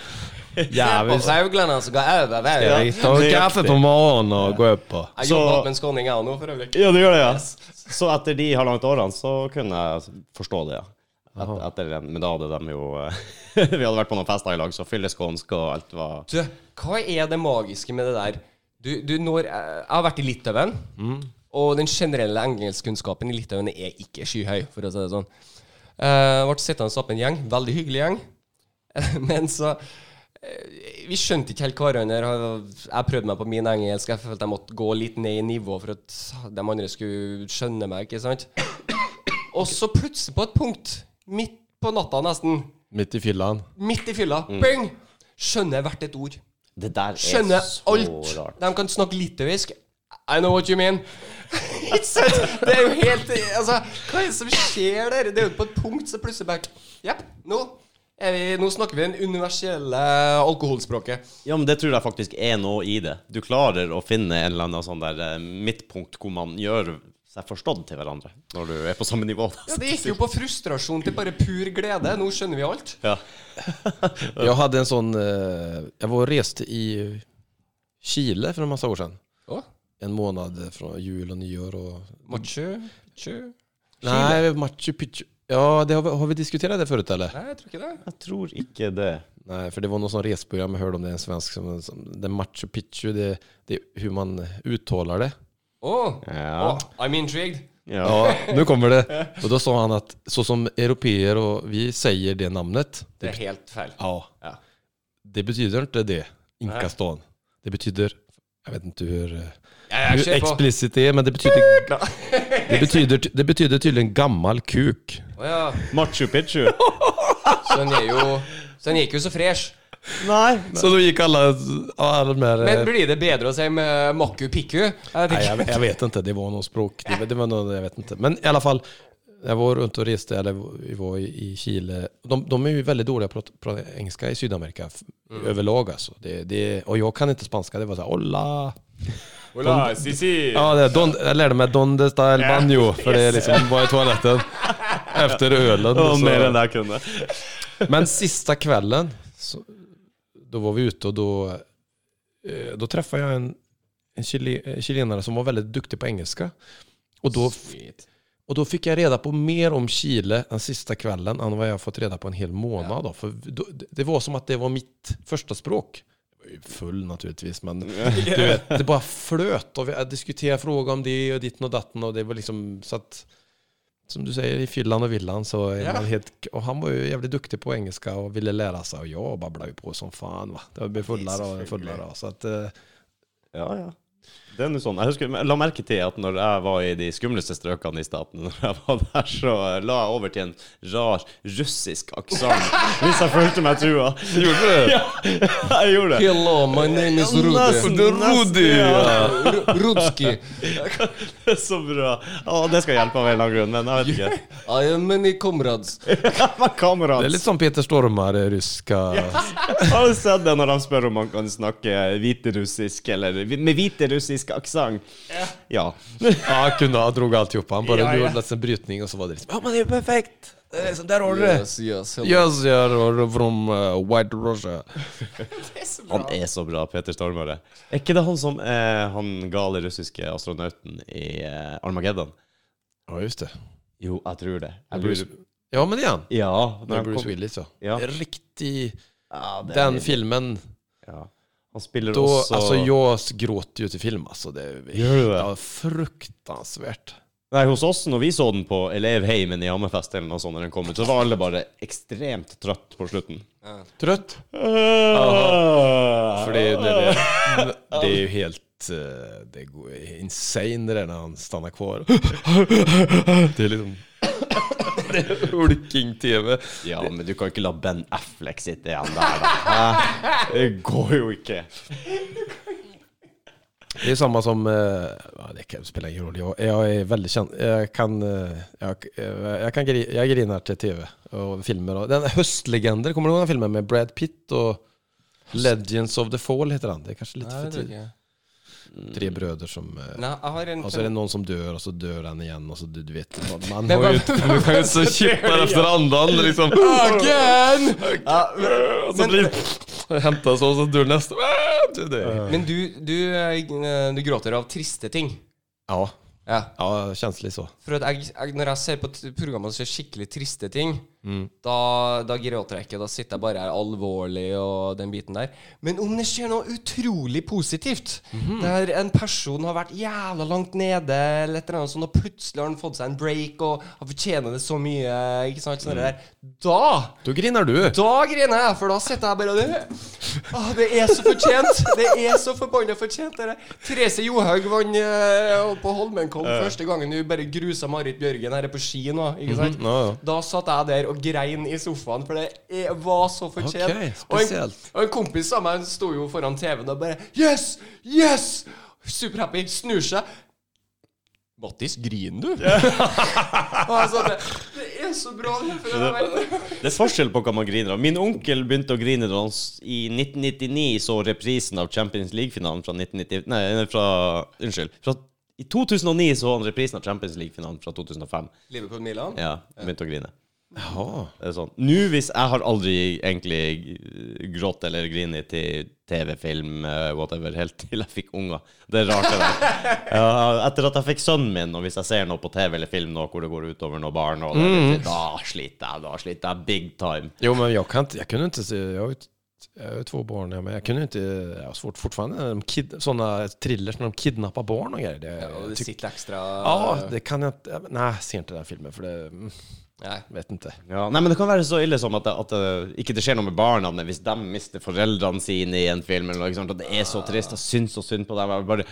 C: Ja, vi ska
B: sauglene som går over
A: Ja.
B: veien.
C: ta
A: det är
C: kaffe
A: riktigt.
C: på morgonen och gå upp på.
B: Jeg
A: Så-
B: jobber opp med en skåning, jeg nå, for øyeblikket.
A: Ja, det gjør det, ja. Så etter de halvannet årene så kunne jeg forstå det, ja. Et, etter den, men da hadde de jo eh, Vi hadde vært på noen fester i lag, så fylle skånsk og alt var
B: Du, hva er det magiske med det der? Du, du når, eh, jeg har vært i Litauen, og den generelle engelskkunnskapen i Litauen er ikke skyhøy, for å si det sånn. Jeg ble sittende opp en gjeng, veldig hyggelig gjeng, men så eh, Vi skjønte ikke helt hverandre. og Jeg prøvde meg på min engelsk. Jeg følte jeg måtte gå litt ned i nivå for at de andre skulle skjønne meg, ikke sant? Og så plutselig, på et punkt, midt på natta nesten,
C: Mitt i fyllan.
B: midt i fylla, bing! Skjønner jeg hvert et ord.
A: Det der er
B: Skjønner
A: så
B: alt.
A: rart.
B: De kan snakke litauisk. I know what you mean. Ikke sant? det er jo helt Altså, hva er det som skjer der? Det er jo på et punkt så plutselig bare Jepp, nå, er vi, nå snakker vi det universelle alkoholspråket.
A: Ja, men det tror jeg faktisk er noe i det. Du klarer å finne en eller annen sånn der eh, midtpunkt hvor man gjør seg forstått til hverandre når du er på samme nivå.
B: Ja, Det gikk jo på frustrasjon til bare pur glede. Nå skjønner vi alt.
A: Ja.
C: Jag hade en sån... eh, Jag var och reste i Chile för en massa år sedan.
B: Å,
C: En månad från jul og nyår och
B: machu, machu.
C: Nej, Machu Picchu. Ja, det har, vi, har vi diskuterat det förut eller?
B: Nei, jeg tror ikke det.
A: Jeg tror ikke det.
C: Nej, för det var någon sån resprogram jag hörde om det, en svensk som, som det Machu Picchu, det, det är hur man uttalar det.
B: Å,
A: Ja.
B: å, I'm intrigued.
A: Ja.
C: Ja, nu kommer det. Och då sa han att så som europeer och vi säger det namnet,
B: Det er helt feil.
C: ja,
B: Ja.
C: det betyder inte det, Inkastan. Det betyder, jag vet inte hur, eh,
B: Jeg,
C: hur
B: jeg kjører på.
C: explicit det är, men det betyder, det betyder, det betyder tydligen gammal kuk.
B: Å ja.
A: Machu Picchu?
B: Så den er jo Så den gikk jo så fresh.
A: Nei.
C: Så då gick alla, alla de här... eh,
B: Men blir det bedre å si med Maku Piku? Jeg vet
C: Nej,
B: ikke.
C: jag, jag vet inte, det var någon språk. Det, var- det var någon, jag vet inte. Men i alla fall, jag var runt och reste, eller vi var i, i Chile. De, de är ju väldigt dåliga på att prata engelska i Sydamerika f- överlag alltså. Det, det, och jag kan inte spanska, det var så här, hola.
B: Hola, si, si.
C: Ja, det, don, jag lärde mig donde está el baño, för det är liksom var i toaletten efter ölen.
A: Det
C: och
A: var
C: så-
A: mer enn jeg kunne.
C: men sista kvällen, så, då var vi ute och då, eh, då träffade jag en, en chile, eh, chilenare som var väldigt duktig på engelska. Och då, och då fick jag reda på mer om Chile den sista kvällen än vad jag fått reda på en hel månad. Då, för då, det var som att det var mitt första språk. Jag var ju Full naturligtvis, men du vet, det bara flöt. Och vi jag diskuterade frågor om det och ditten och datten. Och det var liksom så att, som du säger, i fyllan och villan så är
B: Ja.
C: man helt... Och han var ju jävligt duktig på engelska och ville lära sig. Och jag babblade ju på som fan. Va? Det blev fullare och fullare. Så att, eh,
A: Ja, ja. Det er nå sånn. Jeg husker, jeg la merke til at når jeg var i de skumleste strøkene i staten, når jeg var der, så eh, la jeg over til en rar russisk aksent hvis jeg følte meg trua.
D: Gjorde du det?
A: Ja, jeg gjorde det.
B: Hello, my name is
A: Nesten,
B: Rudi.
D: Det er Rudi,
A: nesten,
D: ja.
B: Ru- Rudski.
A: Det er Så bra. Å, det skal hjelpe av en eller annen grunn, men jeg vet ikke.
B: I am many comrades.
A: Men
C: Det er
A: kamerat
C: litt sånn Peter Stormare, ryska
A: Har du sett det når de spør om man kan snakke hviterussisk, eller vi- med hviterussisk aksent? Ja.
C: Ja, han kunne ha drog alt ihop. Han bare
A: Ja, ja.
C: gjorde nesten brytning, og så var det liksom Ja, men det er jo perfekt! Det er liksom, Der har du det!
B: Yes, yes, hello.
C: Yes, yeah, from uh, White Russia.
A: Han er så bra, Peter Stormare. Er ikke det han som er han gale russiske astronauten i eh, Armageddon?
C: Ja, just det.
A: Jo, jeg tror det. Jeg
C: Bruce-
A: lurer-
C: Ja, men det er han.
A: Ja.
C: Det
A: når
C: er
A: han
C: Bruce
A: kom-
C: Willis, ja.
A: Ja.
C: Riktig
A: Ja, det er-
C: Den filmen altså,
A: Ja. Han spiller
C: då,
A: også
C: Alltså jag gråter ju till film alltså. Det är
A: Gör du det?
C: Ja, fruktansvärt.
A: Nei, hos oss, når vi så den på elevheimen i Hammerfest eller noe sånt, når den kom ut, så var alle bare ekstremt trøtt på slutten.
C: Trött?
A: For
C: För det, är- det, det, det är ju helt eh, det går är insane det där när han stannar kvar. Det är liksom det är Hulking-tv.
A: Ja, men du kan ikke la Ben Affleck sitte igjen der, da. Hæ? Det går jo ikke.
C: Det är samma som, eh, ja, det kan spela ingen roll, jag, jag är väldigt känd, jag kan, eh, jag, eh, jag kan gri, jag grinar till tv och filmer. Och, den Höstlegender, kommer du ihåg den filmen med Brad Pitt och Legends of the Fall heter han? Det är kanske lite
B: Nei,
C: för
B: det er
C: tidigt.
B: ikke.
C: Tre bröder som, eh,
B: Nei, jeg har en
C: och så är det någon som dör och så dör han igen och så du, du vet, man
B: Men
C: har ju,
B: vad-
C: du kan ju så chippa efter andan liksom.
B: Again!
C: Och så Altså, Sånn blir, hämtas och så dör nästa. Du dör.
B: Men du, du, eh, du gråter av triste ting.
C: Ja,
B: Ja.
C: ja, känslig så.
B: For at jeg, jeg, når jeg ser på t- programmer som ser skikkelig triste ting, da, da gråter jeg ikke. Da sitter jeg bare her alvorlig og den biten der. Men om det skjer noe utrolig positivt, der en person har vært jævla langt nede, eller et eller annet sånt, og plutselig har han fått seg en break og han fortjener det så mye, ikke sant, sånn det der. da
C: Då grinar du.
B: da griner jeg, for da sitter jeg bare og det, Åh, det er så fortjent! Det er så forbanna fortjent. Det der. Therese Johaug vant eh, på Holmenkollen første gangen hun bare grusa Marit Bjørgen her er på ski nå. Ikke sant?
C: Mhm, ja, ja.
B: Da satt jeg der og grein i sofaen, for det er, var så fortjent.
C: Ok,
B: og, en,
C: spesielt.
B: og en kompis av meg sto jo foran TV-en og bare Yes! Yes! Superhappy. Snur seg. Mattis, griner du? og jeg sa det. Det er så bra. det, For jeg vet.
A: Det er forskjell på hva man griner av. Min onkel begynte å grine da han s- i 1999 så reprisen av Champions League-finalen fra 1990 Nei, fra Unnskyld. Fra, I 2009 så han reprisen av Champions League-finalen fra 2005.
B: Liverpool-Milan.
A: Ja, begynte å grine.
C: Jaha.
A: Det er sånn. Nå hvis jeg har aldri egentlig grått eller grinet til TV, film, eh, whatever, helt til jeg fikk unger. Det er rart det der. Ja, etter at jeg fikk sønnen min, og hvis jeg ser noe på TV eller film nå hvor det går utover noen barn, og det, da sliter jeg, da sliter jeg big time.
C: Jo, men jag, kan inte, jag kunde inte se, jag har ju, t- jag har ju två barn, ja, men jag kunde inte, jag har svårt fortfarande, när de kid, sådana thrillers när de kidnappar barn och grejer. Det,
B: Ja,
C: jag
B: det
C: tyck-
B: sitter ekstra
C: ja, det kan jag inte, nej, jag ser inte den filmen för det, mm,
B: Nei.
C: vet inte.
A: Ja, nei, men Det kan være så ille som at, det, at det, ikke det skjer noe med barna, men hvis de mister foreldrene sine i en film, eller noe ikke sant, at det er så trist, jeg syns så synd på dem. Jeg bare,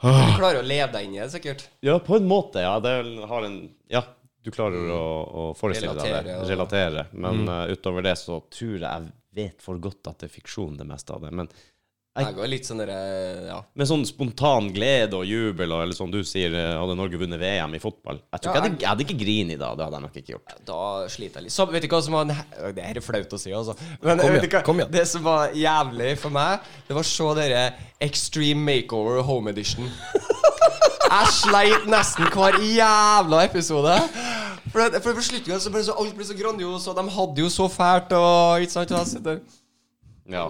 B: Du klarer å leve deg inn i det, sikkert.
A: Ja, på en måte. Ja, det er- har en Ja, du klarer å, å forestille deg det.
B: Mm. Relatere Mm. og-
A: Relatere. Men eh, utover det så tror jeg jeg vet for godt at det er fiksjon, det meste av det. Men,
B: Jeg går litt sånn derre Ja.
A: men sånn spontan glede og jubel, og, eller som du sier, eh, hadde Norge vunnet VM i fotball Jeg tror ikke
B: Ja,
A: jeg hadde, jeg hadde ikke grinet da. Det hadde jeg nok ikke gjort.
B: Da sliter jeg litt. Så, vet du hva som var Nei, Det her er flaut å si, altså.
C: Kom
B: Men vet
C: igjen,
B: du hva?
C: kom igjen.
B: det som var jævlig for meg, det var å se dere Extreme Makeover Home Edition. Jeg sleit nesten hver jævla episode. For, det- for på slutten så ble det så, alt ble så grandios, og de hadde jo så fælt og ikke sant, og jeg sitter-
A: Ja.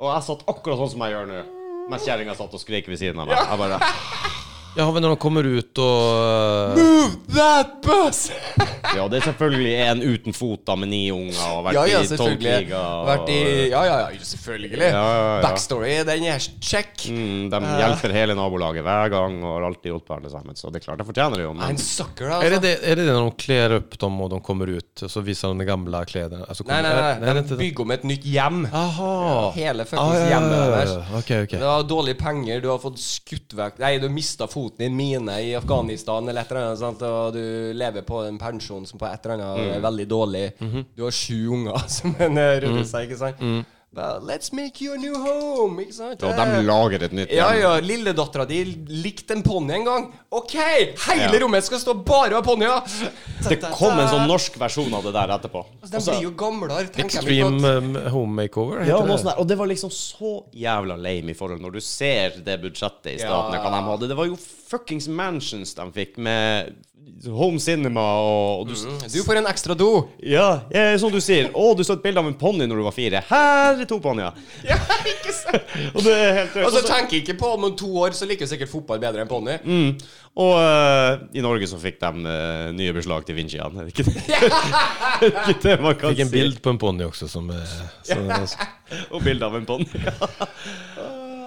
A: Og jeg satt akkurat sånn som jeg gjør nå. Mens kjerringa satt og skrek ved siden av meg. Jeg bare
C: Ja, men når de kommer ut eh, og
B: Move that bus!
A: Ja, det er selvfølgelig en uten fot da, med ni unger og vært
B: Ja, ja,
A: i
B: selvfølgelig.
A: tolvliga. og-
B: Vært i Ja, ja, ja, selvfølgelig.
A: Ja, ja, ja.
B: Backstory, den er check.
A: Mm, de hjelper hele nabolaget hver gang og har alltid hjulpet alle sammen. Så det er klart, jeg fortjener det jo.
B: Jeg er
A: Men
B: en sucker, da.
C: Er
B: Altså.
C: det, det, er det det når de kler opp dem og de kommer ut, så viser de de gamle klærne? Altså,
B: Nei,
C: kommer-
B: nei,
C: er- er det
B: nei. De
C: ikke det?
B: bygger om et nytt hjem.
C: Aha.
B: Hele
C: Ah,
B: fuckings hjemmet deres.
C: Ok, ok.
B: Du har dårlige penger, du har fått skutt vekk Nei, du har mista foten din, mine, i Afghanistan eller et eller annet, sant? og du lever på en pensjon som på et eller annet
C: Mm.
B: er veldig dårlig.
C: Mhm.
B: Du har sju unger som en eh, ruller seg, ikke sant?
C: Mm.
B: Well, let's make you a new home, ikke sant?
A: og
B: Eh,
A: de lager et nytt hjem.
B: ja, ja, lilledattera di likte en ponni en gang. OK! Hele
A: Ja.
B: rommet skal stå bare av ponnier! Altså,
A: Det kom en sånn norsk versjon av det der etterpå.
B: De blir jo gamlere, tenker jeg.
C: Extreme um, Home Makeover, heter
A: Ja, noe
C: det.
A: sånt der. Og det var liksom så jævla lame i forhold når du ser det budsjettet i staten.
B: Ja.
A: Hva de hadde. Det var jo fuckings mansions de fikk med home cinema og, og du,
B: Du får en ekstra do.
A: Ja, eh, som du sier. Å, du så et bilde av en ponni når du var fire. Her er to ponnier.
B: Ja, ikke sant?
A: Og det er helt
B: Og
A: rødt.
B: så tenker jeg ikke på om om to år så liker jo sikkert fotball bedre enn ponni.
A: Mm. Og eh, i Norge så fikk de eh, nye beslag til Vincian. Er det ikke det, ikke det man kan
C: Fikk en
A: si?
C: bild på en ponni også som eh, som-
A: Og bilde av en ponni.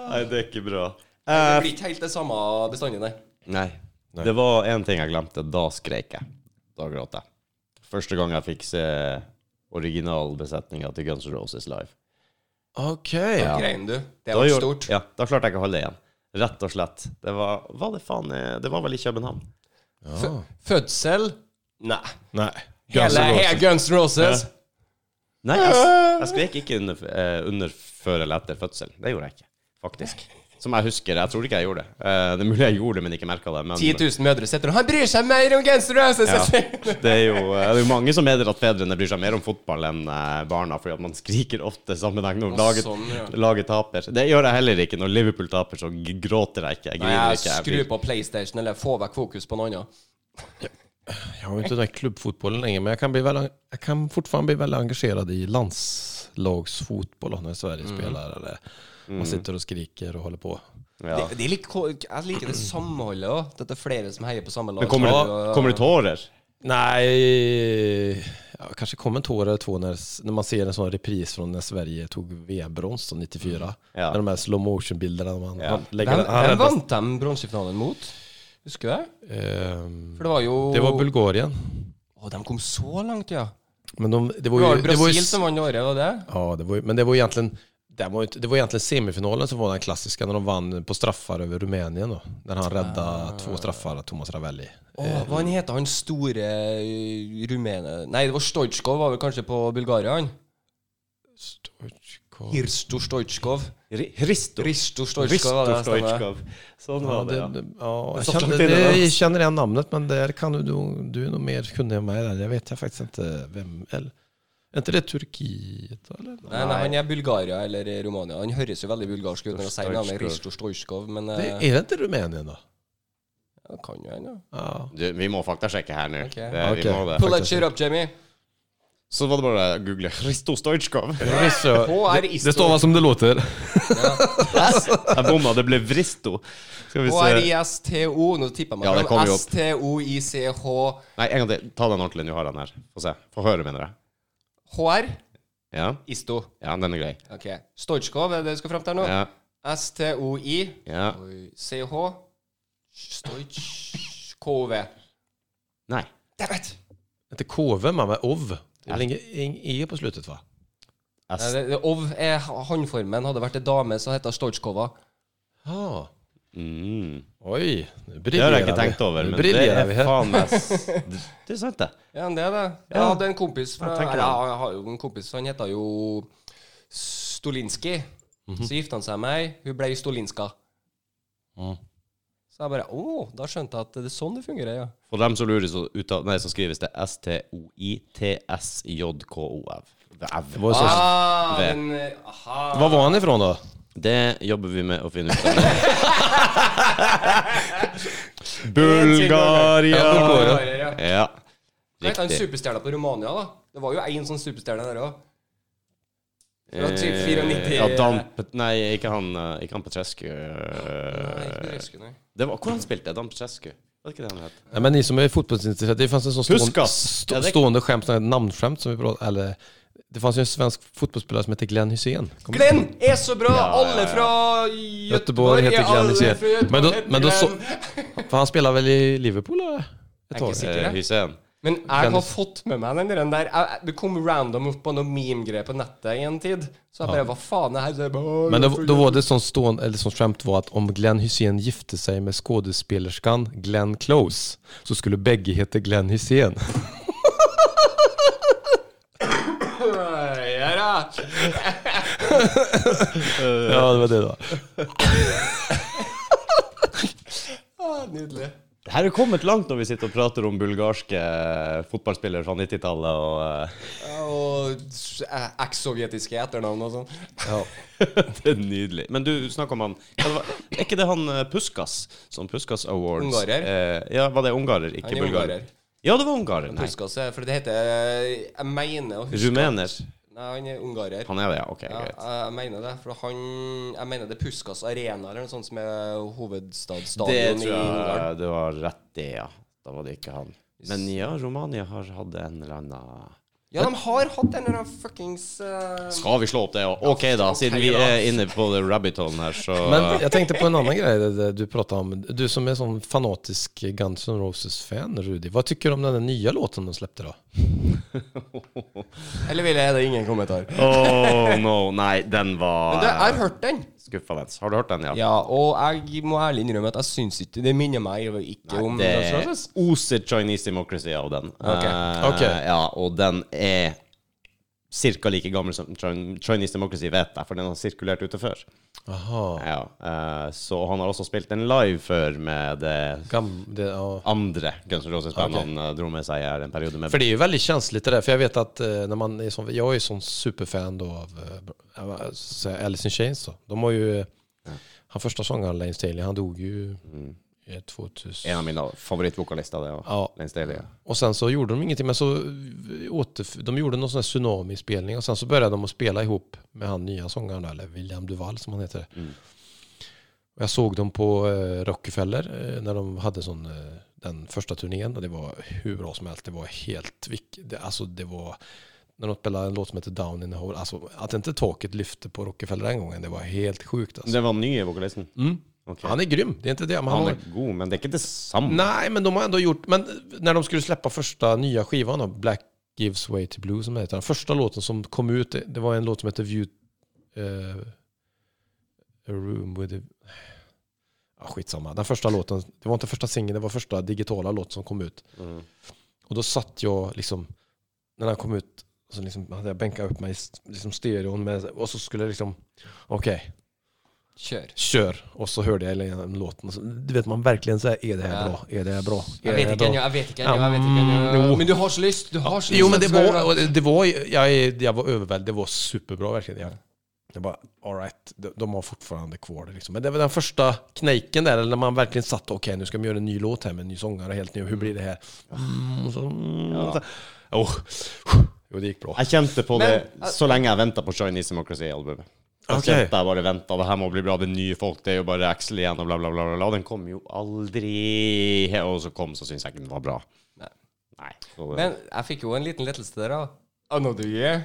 A: Nei, det er ikke bra.
B: Det blir ikke helt det samme bestandig, nei.
A: Nei. Det var én ting jeg glemte. Da skreik jeg. Da gråt jeg. Første gang jeg fikk se originalbesetninga til Guns N' Roses live.
C: Ok.
A: Ja.
B: Grein, du. Det
A: Da,
B: var
A: gjorde-
B: stort.
A: Ja, da klarte jeg ikke å holde det igjen. Rett og slett. Det var, var det faen eh, Det var vel i København.
B: Fø fødsel? Nei.
C: Nei. Guns
B: Hele
C: N' Roses.
B: hele Guns N' Roses.
A: Nei, jeg, s- jeg skrek ikke under, eh, under før eller etter fødsel. Det gjorde jeg ikke, faktisk. Som jeg husker. Jeg tror ikke jeg gjorde det. Eh, det er mulig jeg gjorde det, men ikke merka det. Men,
B: 10 000 mødre sitter og Han bryr seg mer om Guns N' Roses!
A: Ja.
B: Ja.
A: Det er jo eh, det er jo mange som mener at fedrene bryr seg mer om fotball enn eh, barna, fordi at man skriker ofte i sammenheng når laget,
B: sånn, ja.
A: laget taper. Det gjør jeg heller ikke. Når Liverpool taper, så g- gråter jeg ikke. Jeg griner
B: Jeg
A: ikke. Jeg
B: skrur
A: blir-
B: på PlayStation eller får vekk fokus på noe annet.
C: Jeg har jo ikke den klubbfotbollen lenger, men jeg kan, bli veldig, jeg kan fortfarande bli veldig engasjerad i landslagsfotboll når Sverige spelar eller man sitter og skriker og håller på.
A: ja.
B: Det, det er litt, ko- jeg liker det samholdet òg. At det er flere som heier på samme lag.
A: Men kommer det,
B: Ja.
A: kommer det tårer?
C: Nej, ja, kanske kom en tår eller två när, när man ser en sån repris från när Sverige tog VM-brons då, 94.
A: Ja.
C: Med de här slow motion-bilderna. Man,
A: Ja.
C: han lägger
B: Hvem,
C: den- han
B: hvem
C: räddar-
B: vant de bronsefinalen mot? Husker du det?
C: Ehm,
B: For det var jo
C: det var Bulgarien.
B: Å, de kom så langt, ja.
C: Men de, det
B: Det
C: var ju...
B: var jo
C: Det var ju
B: Brasil som vant året, var det?
C: Ja, det var, ju- men det var egentligen det var, ju inte- det var egentligen semifinalen som var den klassiska när de vann på straffar över Rumänien då. När han räddade två straffar, Thomas Ravelli.
B: Åh,
A: Eh,
B: hva han heter han store eh, rumene Nei, det var Stojkov, var vel kanskje på Bulgaria? han?
C: Stoichkov.
B: Hirsto Stojkov.
A: Risto.
B: Risto Stojkov,
A: Risto
B: var det stemmer.
A: Stoichkov. Sånn
C: Ja,
A: var det,
C: det,
A: ja.
C: det, ja, jag,
A: Så
C: känner,
A: försvinner
C: det,
A: den.
C: jag känner igen namnet men där kan du, du, du är nog mer kunnig än mig där. Jag vet jag faktiskt inte vem. Eller, är inte det Turkiet? Eller?
B: Nei, nei, han er Bulgaria eller i Romania. Han høres jo veldig bulgarsk ut når han sier navnet
A: Stojkov.
B: Risto Stojkov, men
C: Det,
B: eh,
C: är det inte Rumänien då?
B: ja, kan jo hende. ja.
C: Ja.
A: Du, vi må faktasjekke her nå.
B: Ok.
A: Det, vi
C: Ok.
A: må det.
B: Pull that shit up, Jamie.
A: Så var det bare å google Risto Stoichkov.
C: Det,
B: HR
C: det, det stavas som det låter.
A: Jeg bomma, det ble Vristo. Skal vi se
B: H-R-I-S-T-O. Nå tipper
A: Ja,
B: jeg
A: det
B: meg
A: kommer jo
B: fram.
A: opp.
B: S-T-O-I-C-H.
A: Nei, en gang til. Ta den ordentlig. Nå har jeg den her. Få se. Få høre, mener jeg.
B: HR.
A: Ja,
B: Isto.
A: ja den er grei.
B: Ok. Stojkov er det du skal fram til nå?
A: Ja,
B: S-T-O-I.
A: ja.
B: Oi, C-H. Stojkov.
A: Nei.
B: Dammit!
C: Inte KV man, men OV. Det är väl ingen ingen E på slutet va?
B: Nei,
A: S.
B: det- det- Ov er håndformen. Hadde det vært ei dame, så hette hun Stojkova.
C: Ja.
A: Mm.
C: Oj,
A: Det
C: nu
A: har
C: briljerar
A: jeg ikke tenkt over,
C: vi. Nu
A: men det
C: briljerar
A: er
C: vi här.
A: faen meg s- Det er sant, det.
B: Ja, det er det. Jeg
A: Ja.
B: hadde en kompis fra,
A: Ja, tenker
B: eller,
A: det.
B: Jeg har jo en kompis, han heter jo Stolinski.
C: Mhm.
B: Så gifta han seg med ei. Hun ble Stolinska.
C: Mm.
B: Så jeg bare Å, da skjønte jeg at det er sånn det fungerer, ja.
A: For dem som lurer, så, uttaler- nei, så skrives det S-T-O-I-T-S-J-K-O-F. Det er
C: Det
A: v-
C: var så-
B: Ah,
A: Vet.
B: den, eh, aha.
C: Var var han ifrån då?
A: Det jobber vi med å finne ut av. Bulgaria.
B: Bulgaria, ja.
A: Ja.
B: Hva heter han
A: Riktig.
B: superstjerna på Romania, da? Det var jo én sånn superstjerne der òg. Det var typ 94
A: Ja, Dan Pet- Nei, ikke han, eh, ikke han Petrescu. eh,
B: Nei, ikke Petrescu, nei.
A: Det var, hvor han spilte Dan Petrescu? Var det ikke det han het?
C: Nej, men ni som är fotbollsintresserade, det fanns en sån
A: Puskas.
C: stående, stå,
A: Ja, det-
C: stående skämt, sån här namnskämt som vi pratade eller det fanns ju en svensk fotbollsspelare som hette Glenn Hysén. Kommer-
B: Glenn er så bra! Alle fra
C: Göteborg
B: er
C: heter Glenn
B: alle
C: Hysén.
B: fra Göteborg
C: Men då,
B: heter
C: men då så,
B: Glenn.
C: för han spelar väl i Liverpool eller? Ett
B: Jag
C: tag.
B: kan se.
A: Eh, Hussein.
B: Men jeg har fått med meg den der- der jeg, Det kom random opp på noe meme-greier på nettet i en tid. Så jeg bare Hva faen er det her? Så jeg bare,
C: Men då, då var det sån stående, eller sån skämt var att om Glenn Hysén gifte sig med skådespelerskan Glenn Close så skulle bägge heta Glenn Hysén.
B: Ja, da.
C: ja, det var det då.
B: Ah, Nydelig.
A: Det her er kommet langt når vi sitter og prater om bulgarske eh, fotballspillere fra 90-tallet. Og eh,
B: Og s- eh, eks-sovjetiske etternavn og sånn.
A: det er nydelig. Men du snakka om han ja, det var, Er ikke det han eh, Puskas? Sånn Puskas Awards.
B: Ungarer?
A: Eh, ja, var det ungarer, ikke
B: Han er
A: bulgarer?
B: ungarer.
A: Ja, det var ungarer. Nei.
B: Husk også, for det heter Jeg mener å huske
A: Rumener.
B: Nei, han er ungarer.
A: Han er det, ja. Ok,
B: Ja,
A: greit.
B: jeg mener det. For han Jeg mener det er Puskas Arena eller noe sånt som er
A: Det
B: hovedstadsstadion i
A: tror
B: Ungarn.
A: jeg du har rett i, ja. Da var det ikke han. Men ja, Romania har hatt en eller annen
B: Ja, de har hatt en eller annen fuckings eh,
A: Skal vi slå opp det, ja? OK, da. Siden vi er inne på the rabbit hole her, så
C: Men jag tänkte på en annan grej det- det du pratade om. Du som är sån fanatisk Guns N' Roses-fan, Rudi. Vad tycker du om den där nya låten de släppte då?
B: Eller vil jeg det? er Ingen kommentar.
A: Oh no, nei, den var
B: Men det, jeg har hørt den.
A: skuffende. Har du hørt den, ja?
B: Ja, og jeg må ærlig innrømme at jeg syns ikke Det minner meg jo ikke om Guns N'
A: Det
B: Roses.
A: oser Chinese Democracy av den. Eh,
C: Ok.
A: Ja, og den er ca. like gammel som Chin- Chinese Democracy, vet jeg, for den har sirkulert ute før.
C: Aha.
A: Ja, eh, så han har også spilt den live før med det
C: Gam, det, ja.
A: andre Guns N' Roses-bandet han eh, dro med seg her en periode med.
C: För det är ju väldigt känsligt det där. För jag vet att eh, när man är sån, jag är ju sån superfan då av eh, ja, vad ska jag säga, Alice in Chains då. De har ju, eh, han första sångaren Lane Staley, han dog ju eh, 2000.
A: En av mine favorittvokalister, det. Og
C: Ja.
A: Lance Daly. ja.
C: Och sen så gjorde de ingenting, men så eh, återf- de gjorde någon sån här tsunami-spelning och sen så började de att spela ihop med han nya sångaren, då, eller William Duval som han heter. Och Jag såg dem på eh, Rockefeller eh, när de hade sån, eh, den första turnén och det var hur bra som helst. Det var helt, vilk- det, alltså det var, när de spelade en låt som heter Down in the Hole, alltså att inte taket lyfte på Rockefeller den gången, det var helt sjukt alltså.
A: Det var den nye vokalisten? Ok.
C: Mm. Han är grym, det är inte det. Men han
A: Han
C: var,
A: er god, men det er ikke det samme.
C: Nej, men de har ändå gjort... Men när de skulle släppa första nya skivan då, Black Gives Way to Blue som det heter. Den första låten som kom ut, det- det var en låt som hette View... eh, a Room with a... Ja, skitsamma. Den första låten, det var inte första singeln, det var första digitala låten som kom ut.
A: Mm.
C: Och då satt jag liksom, när den kom ut, så liksom hade jag bänkat upp mig i s- liksom stereon med, och så skulle jag liksom, okej,
B: Kjør.
C: kör. Och så hörde jag den låten. och så- Du vet man verkligen så här, är det här
B: Ja.
C: bra? Är det här bra? Är
B: Jeg
C: det
B: vet
C: här
B: ikke
C: bra?
B: ennå. Jeg vet ikke ennå. jeg vet ikke ennå.
C: Mm, jo.
B: Men du har så lyst. Du har så lyst.
C: Jo, men det
B: Skal
C: var,
B: du-
C: och det var jag, är- jag var överväldigad. Det var superbra verkligen. Jag, jag bara, all right, de, de har fortfarande kvar det liksom. Men det var den första knejken där, eller när man verkligen satt, okej nu ska vi göra en ny låt här med en ny sångare, helt ny, hur blir det här? Mm, och så, mm, och så, oh, jo, det gick bra.
A: Jeg kjente på det
B: Men, eh,
A: så lenge jeg venta på Chinese Democracy-albumet. Jeg
C: Ok.
A: kjente jeg bare venta. Det her må bli bra. Det er nye folk. Det er jo bare Axel igjen og bla, bla, bla. bla, bla. Den kom jo aldri. Og så kom, så syns jeg ikke den var bra.
B: Nei.
A: Nei. Så, eh, det-
B: Men jeg fikk jo en liten lettelse der òg. Another year.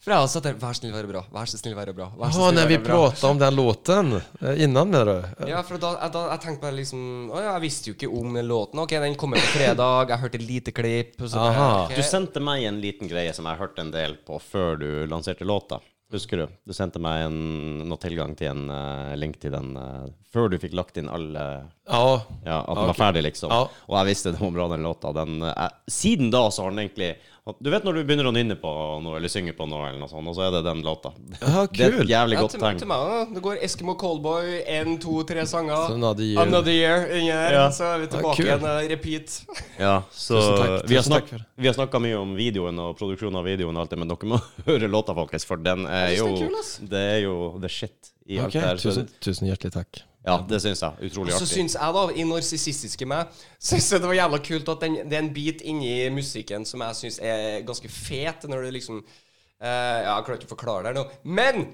B: For jeg har satt der Vær så snill, være bra. Vær så snill, være bra. Vær så
C: Ja,
B: snill,
C: när vi
B: være bra.
C: pratade om den låten eh, innan menar du?
B: Ja, for da, jeg- da jeg tenkte bare liksom Å ja, jeg visste jo ikke om den låten. Ok, den kommer på fredag. Jeg hørte lite klipp. og Så,
C: Aha.
B: ok.
A: Du sendte meg en liten greie som jeg har hørt en del på før du lanserte låta. Husker du? Du sendte meg en, noe tilgang til en eh, link til den eh, før du fikk lagt inn alle
C: Ja,
A: Ja, at den var ferdig, liksom.
C: Ja.
A: Og jeg visste det var bra, den låta. Den, eh, siden da så har den egentlig Du vet når du begynner å nynne på noe, eller synge på noe, eller noe sånt, og så er det den låta.
C: Ja,
A: Det er
C: kul.
A: et jævlig
B: Ja,
A: godt
B: til,
A: tegn.
B: til meg også. Det går Eskimo Callboy, én, to, tre sanger.
C: Så Another Year.
B: Another year inni der.
A: Ja.
B: Så er vi
C: eh, Ja,
B: tilbake
C: kul.
B: igjen. eh, Repeat.
A: Ja, så
C: Tusen takk,
A: Vi har,
C: tusen takk
A: snak,
C: for det.
A: vi har snakka mye om videoen og produksjonen av videoen og alt det, men dere må høre låta, folkens, for den er
B: Jeg
A: jo
B: synes den er kul, ass.
A: Det er jo the shit i alt
C: okej,
A: det her. så
C: tusen,
A: det-
C: tusen hjärtligt tack.
A: Ja, det syns jeg. Utrolig
B: Så
A: artig.
B: syns jeg, da, i narsissistiske meg, syns jeg det var jævla kult at den, det er en bit inni musikken som jeg syns er ganske fet, når du liksom Eh, ja, jeg klarer ikke å forklare det her nå. Men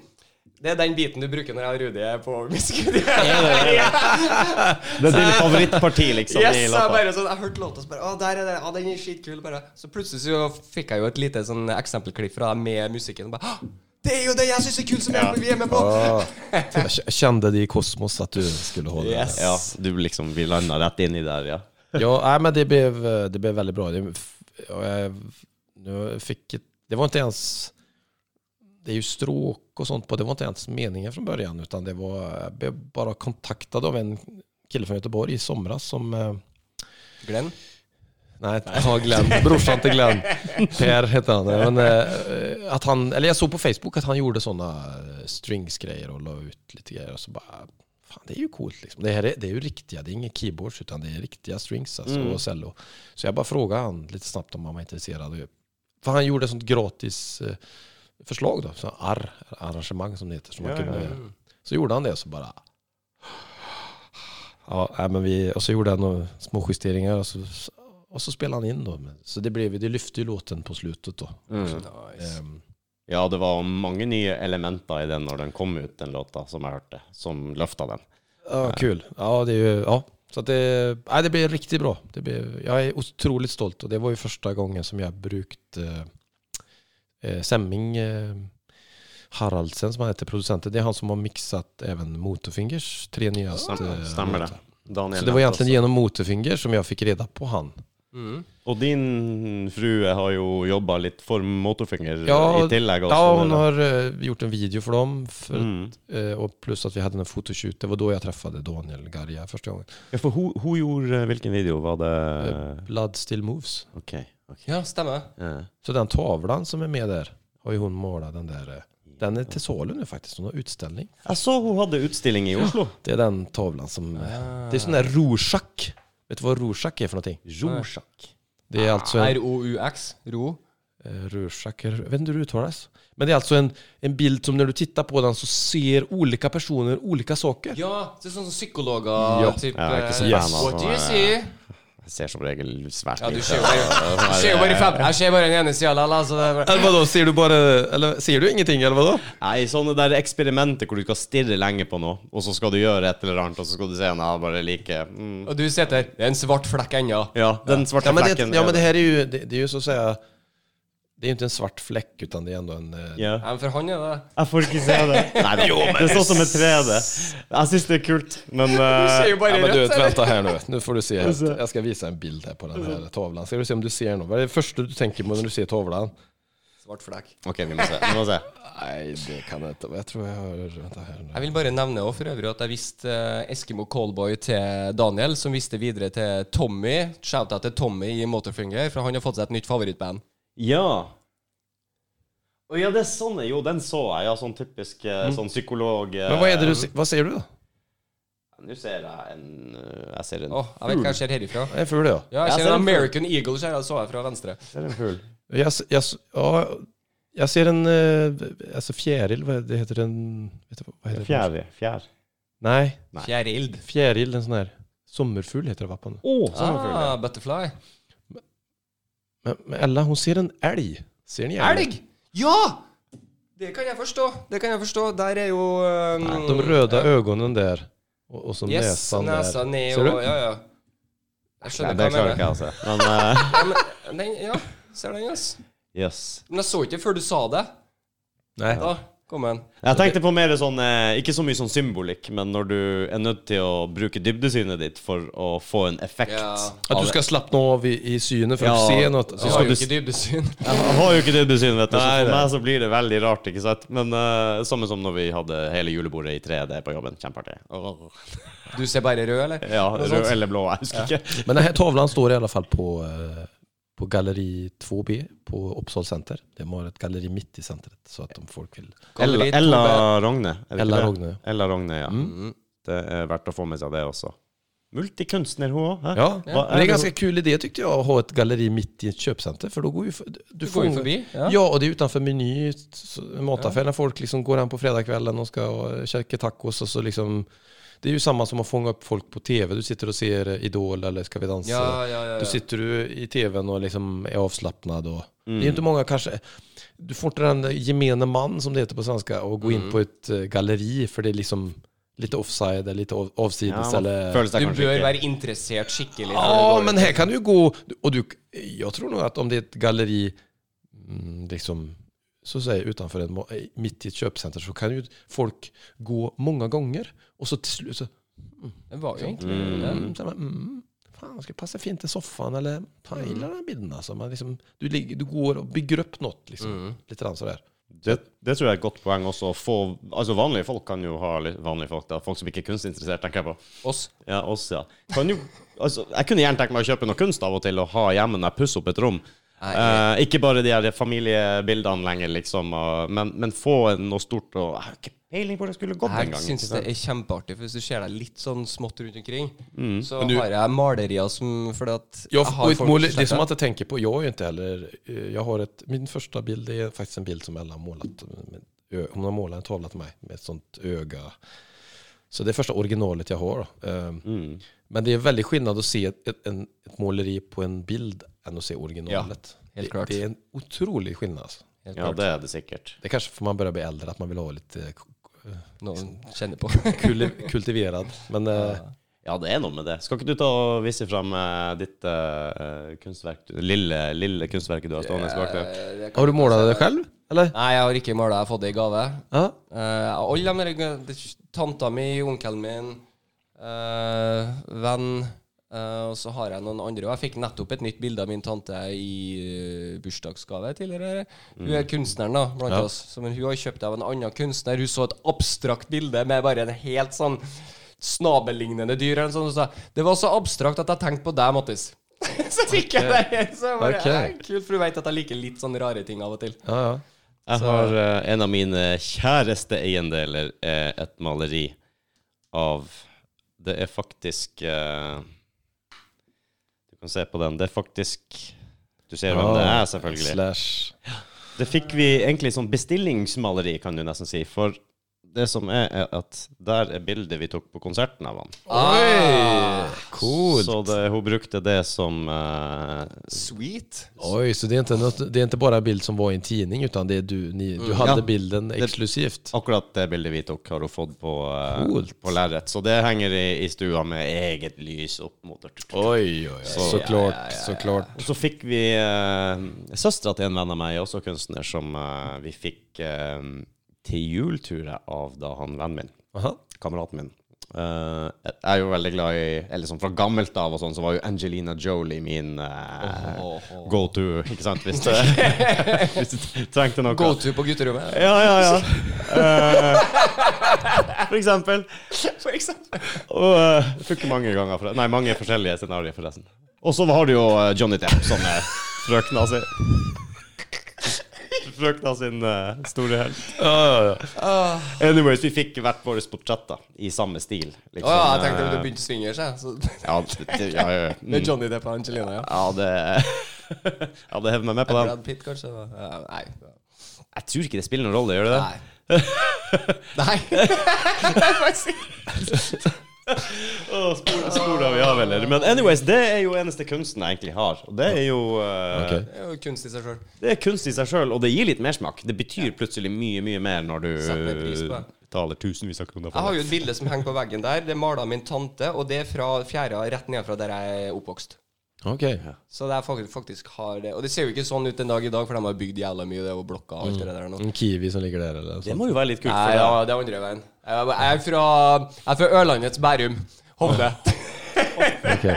B: det er den biten du bruker når jeg har Rudi er på overmiskudd.
A: Det er ditt favorittparti, liksom.
B: Yes,
A: i
B: jeg
A: låta.
B: bare sånn, jeg hørte låta, så bare Å, der er det, å, den er skitkul. Bare. Så plutselig så fikk jeg jo et lite sånn eksempelklipp fra deg med musikken. Og bare, «Hå! det er jo det jeg syns er kult, som jeg- vi er med på!
C: Jeg kj- kände det i kosmos at du skulle hålla det.
A: Ja, du liksom, vi landa rett inn i der, ja.
C: Ja, nej, men det blev, eh, det blev väldigt bra. Det, f- ja, jag, nu fick, ett- det var inte ens... Det är ju stråk och sånt på. Det var inte ens meningen från början. Utan det var, jag blev bara kontaktad av en kille från Göteborg i somras som... eh,
B: Glenn?
C: Nej, ja, Glenn. Brorsan till Glenn. Per heter han. Men, eh, att han. Eller jag såg på Facebook att han gjorde sådana stringsgrejer och la ut lite grejer. Och så bara, fan det är ju coolt liksom. Det här är, det är ju riktiga, det är inga keyboards utan det är riktiga strings alltså, och cello. Så jag bara frågade han lite snabbt om han var intresserad. För han gjorde sånt gratis eh, förslag då, så arr, arrangemang som det heter. Som man kunde, Så gjorde han det och så bara, Ja, nej, men vi, och så gjorde han några små justeringar och så, och så spelade han in då. Men- Så det, blev, det lyfte ju låten på slutet då.
A: Mm. Eh,
C: Ehm,
A: Ja, det var mange nye elementer i den når den kom ut, den låta, som jeg hørte, som løfta den.
C: ja, kul. Ja, det är ju, ja. Så att det, nej, det blev riktigt bra. Det blev, jag är otroligt stolt och det var ju första gången som jag brukt eh, eh, Semming eh, Haraldsen som han heter, producenten. Det är han som har mixat även Motorfingers tre nyaste.
A: Stemmer, stemmer det. Daniel
C: Så det var
A: Leftas.
C: egentligen genom Motorfinger som jag fick reda på han.
A: Og din frue har jo jobba litt for Motorfinger
C: Ja,
A: eh, i tillegg. og
C: Ja,
A: så
C: hon
A: videre.
C: har eh, gjort en video för dem. För,
A: Mm.
C: eh, och plus att vi hade en fotoshoot. Det var då jag träffade Daniel Garja första gången.
A: Ja, for hun, hun gjorde eh, Hvilken video var det?
C: Blood still moves.
A: OK. ok.
B: Ja, stemmer.
A: Ja.
C: Så den tavlan som är med där har ju hon målat den där. eh, Den är till salu nu faktiskt. Hon har utställning.
A: Jeg så hun hadde utstilling i Oslo.
C: Det är den tavlan som... eh, Det är sån där Rorschach. Vet du vad Rorschach är för någonting?
A: Rorsak.
C: Det är alltså en...
B: R-O-U-X. Ro.
C: Eh, Rorschach, jag vet inte hur det uttalas. Men det är alltså en, en bild som när du tittar på den så ser olika personer olika saker.
B: Ja, det er sånn som psykologer
C: Ja.
B: typ,
A: Ja, jeg er ikke så
B: eh,
A: fan av
B: What do you
A: sånne-
B: see?
A: Jeg ser som regel svært
B: Ja, du
A: lite.
B: ser jo bare, du ser jo bare fem. Jeg ser bare den ene sida, la la, så det er bare
C: Eller vadå, ser du bara... Eller ser du ingenting eller vadå?
A: Nei, sånne der eksperimenter hvor du skal stirre lenge på noe, og så skal du gjøre et eller annet, og så skal du se en jeg bare liker mm.
B: Og du sitter der. Det er en svart flekk ennå.
A: Ja, den svarte
C: Ja men, det,
A: flekken.
C: ja men det här är ju, det, det är ju så att säga, det är ju inte en svart fläck utan det är ändå en... eh,
A: Ja.
B: Ja, men for han er det.
A: Jeg får ikke se det. Nei, da. det er sånn som et 3D. Jeg syns det er kult, men
B: Du
A: eh,
B: ser jo
C: Ja,
B: bare
C: men du,
B: rødt. eller?
C: vänta här nu. Nu får du se. här. Jag ska visa en bild här på den här tavlan. Ska du se om du ser något? Vad är det första du tänker på när du ser tavlan?
B: Svart flekk.
A: OK, vi må se. Vi må se.
C: Nej, det kan jag inte. Jag tror jag har... Vänta här nu.
B: Jeg vil bare nevne også for øvrig at jeg viste eh, Eskimo Callboy til Daniel, som viste videre til Tommy. Shouta til Tommy i Motorfinger, for han har fått seg et nytt favorittband.
A: Ja. Å ja, det er sånn. Jo, den så jeg. Ja, sånn typisk
B: Mm.
A: eh, sånn psykolog eh,
C: Men vad är det du ser? Vad ser du då?
A: Nå ser jeg en eh, Jeg ser en,
B: Åh, jeg vet hva jeg ser herifra.
C: Det är ful ja.
B: Ja,
A: Jeg
B: jeg
A: ser en
B: ser en American Eagle, ser jeg, så jeg fra venstre.
A: ser en fugl.
C: Jag, s- jag, s- ja. Jag ser en... eh, Alltså fjäril, vad det heter en... Vet du, vad- vad heter det?
A: Fjær. Fjær.
C: Nej,
A: Nei.
B: Fjærild.
C: fjäril, en sån här... Sommerfugl heter det va? på den?
A: Oh,
B: Ah, butterfly.
C: Men, men Ella, hon ser en älg. Ser ni älgen?
B: Elg! Ja! Det kan jeg forstå. Det kan jeg forstå. Der er jo um,
C: De røde øynene der, og, og så
B: Yes,
C: nesen
B: nesa
C: der.
B: ned
C: Ser du?
B: og Ja, ja. Jeg
A: Nei,
B: skjønner
A: det
B: hva
A: klarer
B: jeg
A: ikke
B: mener.
A: jeg å se. Men eh,
B: Ja, men, den, ja, ser den, yes.
A: yes.
B: Men jeg så ikke før du sa det.
C: Nei.
B: Da kom den.
A: Jeg tenkte på mer sånn eh, Ikke så mye sånn symbolikk, men når du er nødt til å bruke dybdesynet ditt for å få en effekt.
B: Ja.
C: At du skal slappe av i, i synet for
A: Ja.
C: å se noe.
B: Så
C: Så
A: Ja.
C: skal,
B: har jo ikke dybdesyn.
A: Jeg har jo ikke dybdesyn, vet du, så
C: Nei,
A: for
C: det-
A: meg så blir det veldig rart. ikke sant? Men eh, samme som når vi hadde hele julebordet i 3D på jobben. Kjempeartig. Åh.
B: Du ser bare rød, eller?
A: Ja,
B: Noe
A: rød
B: sånt.
A: eller blå, jeg husker ikke.
C: men denne tavlan står i alle fall på, eh, på galleri 2B på Oppsal senter. De har et galleri midt i senteret, så at om folk vil
A: Ella,
B: Galleri
A: Ella
B: Tobe.
A: Rogne. er det ikke
C: Ella
A: det? Mm.
C: Rogne, ja. Mm.
A: Ella Rogne, ja. Det er verdt å få med seg det også. Multikunstner, hun òg.
C: Ja, men det är en ganske kul idé tyckte jag, att ha ett galleri mitt i ett köpcenter. För då går ju, f- du,
B: går ju förbi,
C: Ja.
B: ja.
C: och det är utanför meny, s- mataffär, när folk liksom går hem på fredagskvällen och ska och käka tacos och så liksom Det är ju samma som att fånga upp folk på tv. Du sitter och ser eh, Idol eller Ska vi dansa?
B: Ja, ja, ja, ja.
C: Då sitter du i tvn och liksom är avslappnad. Och, Det är ju inte många kanske... Du får inte den gemene man, som det heter på svenska, och gå
B: Mm.
C: in på ett eh, galleri, för det är liksom lite offside, eller lite av- avsides.
A: Ja,
C: eller...
A: føles det
B: Du
A: kanskje
B: bør
A: ikke.
B: være interessert skikkelig.
C: Ja, men här kan du ju gå... Och du, jag tror nog att om det är ett galleri mm, liksom, så att säga, utanför en, mo- mitt i ett köpcenter så kan ju folk gå många gånger och så till slut så...
B: Det var jo egentlig
C: Mm, så här, mm, fan, ska passa fint i soffan eller... Fan, jag gillar den här bilden alltså. Man liksom, du, ligger, du går och bygger upp något liksom. Lite grann sådär.
A: Det, det tror jeg er et godt poeng også. å Få, altså vanlige folk kan jo ha litt vanlige folk, da. Folk som ikke er kunstinteressert, tenker jeg på.
B: oss.
A: Ja, oss, ja. Kan jo, altså, jeg kunne gjerne tenkt meg å kjøpe noe kunst av og til og ha hjemme når jeg pusser opp et rom.
B: Nei,
A: Eh, ikke bare de her familiebildene lenger, liksom, og, men, men få noe stort og Jeg har ikke peiling på hvor det skulle gått
B: Jeg
A: engang.
B: syns det er kjempeartig, for hvis du ser deg litt sånn smått rundt omkring, så
C: du-
B: har jeg malerier som Fordi at
C: Jag,
B: har
C: och ett
B: folk
C: mål,
B: som
C: det som
B: slett-
C: man inte tänker på, jag är ju inte heller... eh, Jag har ett, min första bild är faktiskt en bild som Ella har målat. med ö- Hon har målat en tavla till mig med ett sånt öga. Så det är första originalet jag har. då. Eh,
A: Mm.
C: Men det är väldigt skillnad att se ett, ett, en, ett måleri på en bild än att se originalet.
B: helt
C: det,
B: klart.
C: det är en otrolig skillnad. Alltså.
B: Helt
A: Ja,
B: klart.
A: det er det sikkert.
C: Det är kanske för man börjar bli äldre, att man vill ha lite
B: Noen kjenner på.
C: kul, kultiverad. Men eh,
A: Ja, det er noe med det. Skal ikke du ta og vise fram eh, ditt eh, kunstverk, du- lille, lille kunstverket du har stående bak deg?
C: har du målat det själv? Eller?
B: Nei, jeg har ikke malt, jeg har fått det i gave.
C: Ja.
B: Eh, alle de der det- Tanta mi, onkelen min, eh, venn eh, Og så har jeg noen andre. Og jeg fikk nettopp et nytt bilde av min tante i eh, bursdagsgave tidligere. Hun er kunstneren da, blant
C: Mm. Ja.
B: oss. Så, men hun har kjøpt det av en annen kunstner. Hun så et abstrakt bilde med bare en helt sånn snabellignende dyr. Eller noe sånt, og sa det var så abstrakt at jeg tenkte på deg, Mattis. så fikk jeg det. Så jeg bare,
C: Ok.
B: "Eh, Kult, for du vet at jeg liker litt sånne rare ting av og til.
C: Ja, ja.
A: Jeg har eh, en av mine kjæreste eiendeler er et maleri av Det er faktisk eh, Du kan se på den. Det er faktisk Du ser hvem det
C: Ah,
A: er, selvfølgelig.
C: Slash.
A: Det fikk vi egentlig som bestillingsmaleri, kan du nesten si. For det som er, er at der er bildet vi tok på konserten av han.
B: Ah,
A: Så det, hun brukte det som eh,
B: sweet.
C: Oj, så det är, inte något, det är inte bara en bild som var i en tidning utan det är du, ni, du hade
A: Mm. Ja.
C: bilden exklusivt?
A: Akkurat det bildet vi tok, har hun fått på, eh,
C: Coolt.
A: på lerret. Så det henger i, i stua med eget lys opp mot det.
C: Oj, oj, oj. Såklart, såklart.
A: Og så fikk vi eh, Søstera til en venn av meg, også kunstner, som eh, vi fikk eh, til jul, tror jeg, av da han vennen min,
C: Aha.
A: kameraten min. Eh, jeg er jo veldig glad i Eller sånn fra gammelt av og sånn, så var jo Angelina Jolie min eh, go to, ikke sant? Hvis du, hvis du trengte noe.
B: Go to på gutterommet.
A: Ja, ja, ja. Eh, for eksempel.
B: For eksempel.
A: Og eh, jeg fikk mange ganger fra, Nei, mange forskjellige scenarioer, forresten. Og så har du jo eh, Johnny Depp som er frøkna si. Frøkna sin eh, store helt. Ah. Anyways, vi fikk hvert vårt portrett da, i samme stil. Liksom. Eh,
B: Å ja, jeg tenkte at du begynte swingers, jeg. Så det
A: ja, det, det- ja, ja,
B: er
A: mm.
B: Johnny Depp og Angelina, ja.
A: ja, det Ja, det hever meg med på den.
B: Brad Pitt, kanskje? da? Ja, nei.
A: Jeg tror ikke det spiller noen rolle, gjør det det?
B: Nei. Nei. Nei, faktisk ikke.
A: Å, Spor, spor av vi av, eller? Men anyways, det er jo eneste kunsten jeg egentlig har. Og det er jo eh,
C: Okej.
B: Det er jo kunst i seg sjøl.
A: Det er kunst i seg sjøl, og det gir litt mersmak. Det betyr plutselig mye, mye mer når du
B: Setter pris på det.
A: betaler tusenvis av kroner
B: Jeg
A: for
B: har
A: det.
B: jo et bilde som henger på veggen der. Det er malt av min tante, og det er fra fjæra rett nedenfra der jeg er oppvokst.
C: Okej.
B: Så det er faktisk, faktisk har det Og det ser jo ikke sånn ut en dag i dag, for de har bygd jævla mye, det er jo blokka og alt det der nå.
C: En kiwi som ligger där eller
A: Det
C: så.
A: må jo være litt kult
B: Nei,
A: for
B: Mm. ja,
A: deg.
B: det er andre veien. Jeg jeg er fra, jeg er fra Ørlandets Bærum. Hovde.
C: Okej.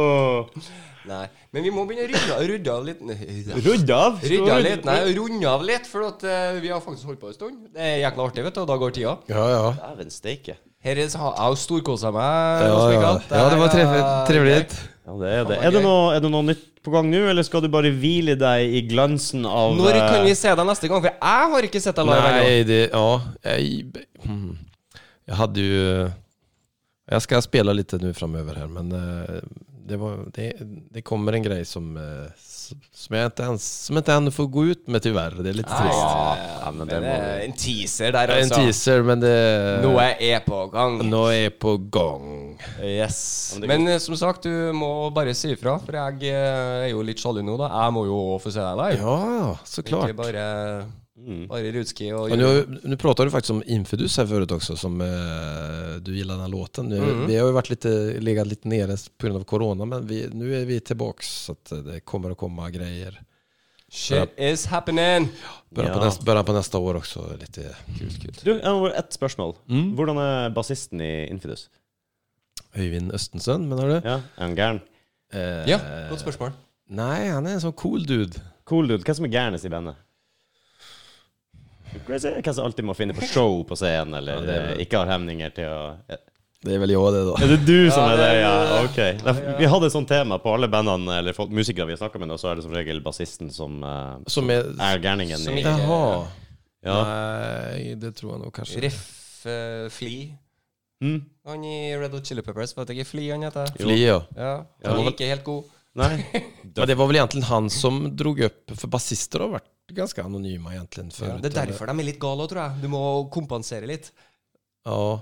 A: Åh.
B: Nei. Men vi må begynne å rydde, rydde av litt. Nei.
A: Rudd av!
B: Rydde av litt, nei, runde av litt, for at, eh, vi har faktisk holdt på en stund. Det er jækla artig, vet du, og da går tida.
C: Ja, ja.
A: Dæven steike.
B: Her er, har jeg har storkosa meg. Eh,
C: Ja,
B: Rasmus
C: ja.
B: Mikael.
C: ja, det var
B: er-
C: trevligt. trevligt.
A: Ja, det er jo det.
B: Faen,
A: Er det,
B: gøy.
A: noe, er det noe nytt på gang nå, eller skal du bare hvile deg i glansen av
B: Når kan vi
A: eh,
B: se deg neste gang? For jeg har ikke sett deg live ennå.
C: Nej, det, ja. Jag, mm. jag hade ju... Jag ska spela lite nu framöver här men eh, det, var, det, det kommer en grej som, eh, s- som jag inte ens som jag inte ännu får gå ut med tyvärr. Det är lite trist.
A: Ah, Ja, ja, men det
B: Men det
A: må
B: er en teaser der,
C: En
B: altså.
C: teaser, men det
B: Noe er på gang.
C: Noe er på gång.
B: Yes.
A: Ja, men det
B: Men eh, som sagt, du må bare si ifra, for jeg eh, er jo litt sjalu nå, da. Jeg må jo òg få se deg live.
C: Ja, såklart.
B: Ikke bare,
A: Mm.
B: bare rutski og
C: Och nu, nu pratade du faktiskt om Infidus här förut också, som eh, du gillar den här låten. Nu, Vi har ju varit lite, legat lite nere på grund av corona, men vi, nu är vi tillbaks så att eh, det kommer att komma grejer.
B: Shit is happening!
C: Början, på,
A: Ja.
C: nästa, början på nästa år också. Lite.
A: Du, jeg har ett spørsmål. Hvordan er bassisten i Infidus?
C: Øyvind Østensen, menar du?
A: Ja, er han gæren?
C: Eh,
B: Ja, godt spørsmål.
C: Nej, han är en sån cool dude.
A: Cool dude. Hvem som er gærnest i bandet? Crazy? Hvem som alltid må finne på show på scenen, eller eh, ikke har hemninger til å
C: Det är väl jag det då.
A: Er det du som
B: Ja,
A: er
B: det
A: det?
B: er
A: Ja,
B: det.
A: ok. Da- Vi hadde et sånt tema på alle bandene, eller folk, musikere vi har snakka med, da, så er det som regel bassisten som eh,
C: Som är...
A: er gærningen.
B: Som
A: i-
B: ikke-
C: Jaha.
A: Ja.
C: Nej, det tror jag nog kanske.
B: Riff eh, Flea.
A: Mm.
B: Han i Red Hot Chili Peppers, vet ikke Flea han heter?
C: Fli, ja.
B: Ja,
A: Ja.
B: han er ikke helt god.
A: Nei.
C: Men det var väl egentligen han som drog upp, för basister har varit ganska anonyma egentligen förut.
B: Det er
C: eller?
B: derfor de er litt gale òg, tror jeg. Du må kompensere litt.
C: Ja.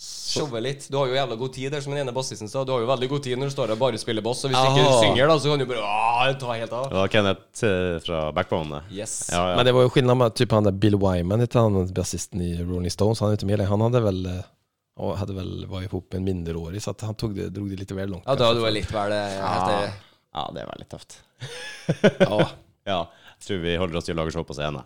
B: Showe litt. Du har jo jævla god tid der, som den ene bassisten sa. Du har jo veldig god tid når du står der og bare spiller bass, og hvis du ikke
C: Aha.
B: synger, da, så kan du bare ah, ta helt av.
A: Det var Kenneth eh, fra Backbone. det.
B: Yes.
A: Ja, ja.
C: Men det var ju skillnad med typ han där Bill Wyman hette han, basisten i Rolling Stones, han är inte med längre. Han hade väl, eh, ja, hade väl varit ihop med en minderårig så att han tog det, drog det lite väl långt.
B: Ja, da er du er litt vel eh,
A: ja.
B: etter
A: ja, det var litt tøft.
C: Ja.
A: Ja. Jeg tror vi holder oss til å lage show på scenen.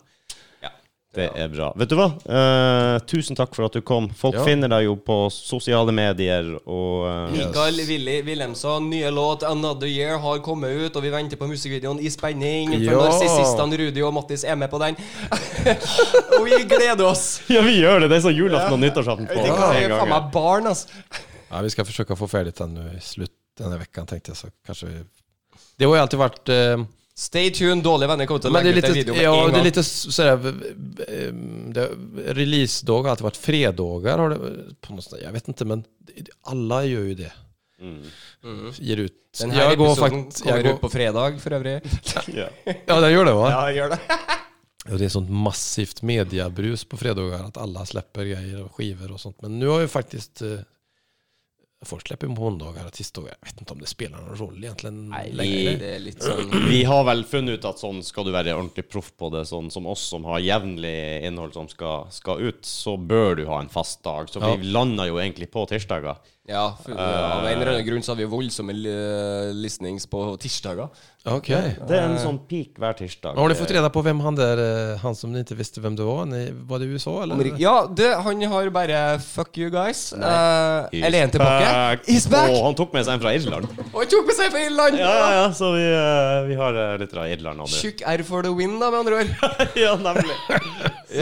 B: Ja.
A: Det er bra. Vet du hva? Eh, tusen takk for at du kom. Folk
C: Ja.
A: finner deg jo på sosiale medier og eh,
B: Mikael Willy Wilhelmsson, nye låt 'Another Year' har kommet ut, og vi venter på musikkvideoen i spenning. For
C: Ja.
B: narsissistene Rudi og Mattis er med på den. og vi gleder oss!
A: Ja, vi gjør det! Det er sånn julaften og nyttårsaften på
B: Det er
A: en
B: faen
A: gang.
B: meg barn, altså.
C: ja, vi ska försöka få färdigt den nu i slutet den här veckan tänkte jag så kanske vi... Det har ju alltid varit... Eh,
B: Stay tuned, dårlige venner kommer til å
C: men det är
B: legge ut en
C: lite,
B: video med
C: ja,
B: en
C: det är
B: gang.
C: lite s- sådär... eh, det- Releasedagar har alltid varit fredagar har det, på något sätt. Jag vet inte men det- alla gör ju det. Ger ut.
B: Mm. Den her episoden
C: fakt- jag
B: kommer
C: går-
B: ut på fredag, for øvrig.
A: Ja.
C: Ja, den gör det va?
B: Ja, gjør det.
C: Ja, det är sånt massivt mediabrus på fredagar att alla släpper grejer och skivor och sånt. Men nu har ju faktiskt eh, folk släpper på måndagar och tisdagar. Jag vet inte om det spelar någon roll egentligen längre.
B: Det er litt sånn
A: Vi har vel funnet ut at sånn skal du være ordentlig proff på det, sånn som oss som har jevnlig innhold som skal, skal ut, så bør du ha en fast dag. Så vi landa jo egentlig på tirsdager.
B: Ja, for, av en eller annen grunn så har vi voldsomme li- listnings på tirsdager.
C: Okej.
A: Det er en sånn peak hver tirsdag.
C: Har ni fått reda på vem han där, eh, han som ni inte visste vem det var? Ni, var det i USA eller?
B: Amerik- Ja, det, han har bare 'fuck you guys'. eh,
A: He's
B: eller er han tilbake?
A: back.
B: He's back!
A: Og han tok med seg en fra Irland.
B: Og han tok med seg fra Irland!
A: Ja, ja, ja, så vi, eh, vi har eh, litt fra Irland nå. du.
B: Tjukk R for the win, da, med andre ord.
A: ja, nemlig.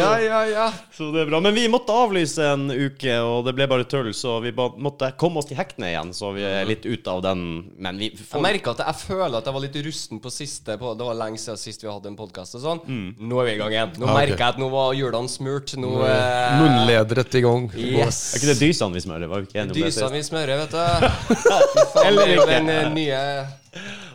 B: Ja, ja, ja.
A: Så det er bra. Men vi måtte avlyse en uke, og det ble bare tull, så vi ba- måtte komme oss til hektene igjen, så vi er litt ute av den. Men vi
B: Jeg
A: får
B: merker at jeg føler at jeg var litt rusten på siste på, Det var lenge siden sist vi hadde en podkast og sånn. Nå er vi i gang igjen. Nå
C: Ja, ok.
B: merker jeg at nå var hjulene smurt. Nå eh,
C: Munlädret igång.
B: Yes.
A: Er ikke det dysene vi smører? Var vi ikke enige om det? sist?
B: Dysene vi smører, vet du. Fy faen,
A: Eller
B: det er jo
A: ikke.
B: Den eh, nye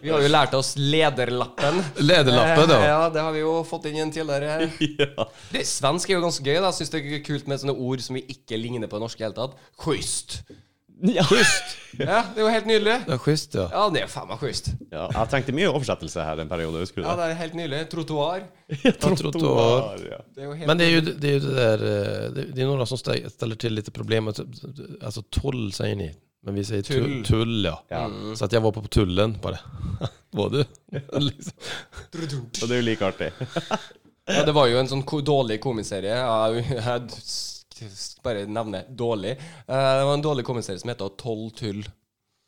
B: Vi har jo lært oss lederlappen.
C: Lederlappen, ja.
B: Eh, Ja, det har vi jo fått inn i en tidligere her.
A: Ja.
B: Det, svensk er jo ganske gøy. da Jeg synes det er kult med sånne ord som vi ikke ligner på norsk i det hele tatt. Schysst.
A: Schysst!
B: Ja, det er jo helt nydelig.
C: Ja, schysst ja.
B: Ja, det er faen meg schysst.
A: Ja, jeg trengte mye oversettelse her en periode, husker du det?
B: Ja, det er helt nydelig. Trottoar.
C: Trottoar.
A: ja.
B: Det er jo helt
C: Men det är ju det, är ju det där, eh, det, det är några som stä- ställer till lite problem. Alltså altså, tull säger ni. Men vi säger tull,
B: Tull.
C: tull, ja. Så att jag var på tullen bara. Var du? liksom.
A: Og det er jo like artig.
B: Ja, det var jo en sånn ko dårlig komiserie. Ja, Jeg s- s- bare nevner dårlig. Eh, Det var en dårlig komiserie som heter Tolv tull.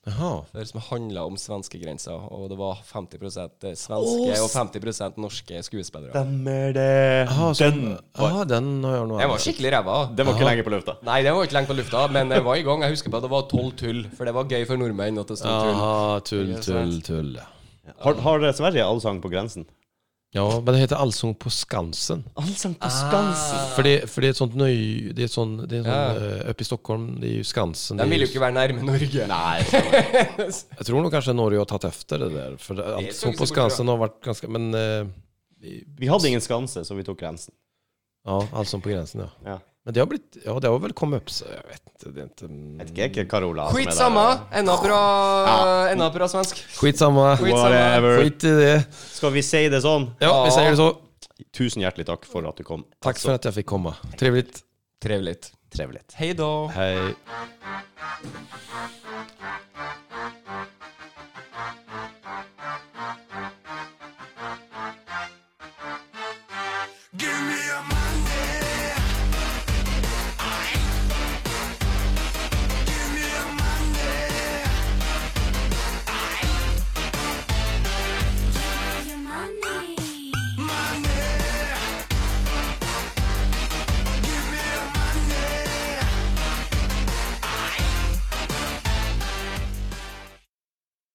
C: Jaha.
B: Det som handla om svenskegrensa, og det var 50 svenske og 50 norske skuespillere.
A: Stemmer det.
C: Jaha, så, den, aha, den har jag nog
B: Jeg var
C: aldrig sett.
B: skikkelig ræva.
A: Den var ikke lenge på lufta.
B: Nei, det var ikke lenge på lufta, men jeg var i gang. Jeg husker på at det var tolv tull, for det var gøy for nordmenn at det sto sånn tull.
C: Jaha, tull, tull, tull. ja.
A: Har, har Sverige allsang på grensen?
C: Ja, men det heter Allsång på Skansen.
A: Allsang på Skansen.
C: För det, för det är ett sånt nöj... Det är ett sån, det är en sån,
B: Ja.
C: eh, Uppe i Stockholm, det är ju Skansen. Det
B: De
C: är
B: vil
C: ju,
B: jo ikke være nærme Norge. Nei.
C: jag tror nog kanske Norge har tagit efter det där. För Allsång på
B: så bra.
C: Skansen har varit ganska... Men... eh,
A: Vi hadde ingen skanse, så vi tok grensen.
C: Ja, Allsång på gränsen ja.
A: Ja.
C: Men det har blivit... Ja, det har väl kommit upp så jag vet inte. Det är inte...
A: Vet ikke, er ikke Carola
B: Skit samme. Enda bra,
A: Ja.
B: enda bra svensk.
C: Skitsamma.
B: Skit-
A: Whatever.
C: Skit i det.
A: Skal vi si det sånn?
C: Ja, vi säger så.
A: Tusen hjertelig takk for at du kom.
C: Tack för att jag fick komma. Trevligt.
B: Trevelig.
A: Trevelig.
B: Hei da.
A: Hei.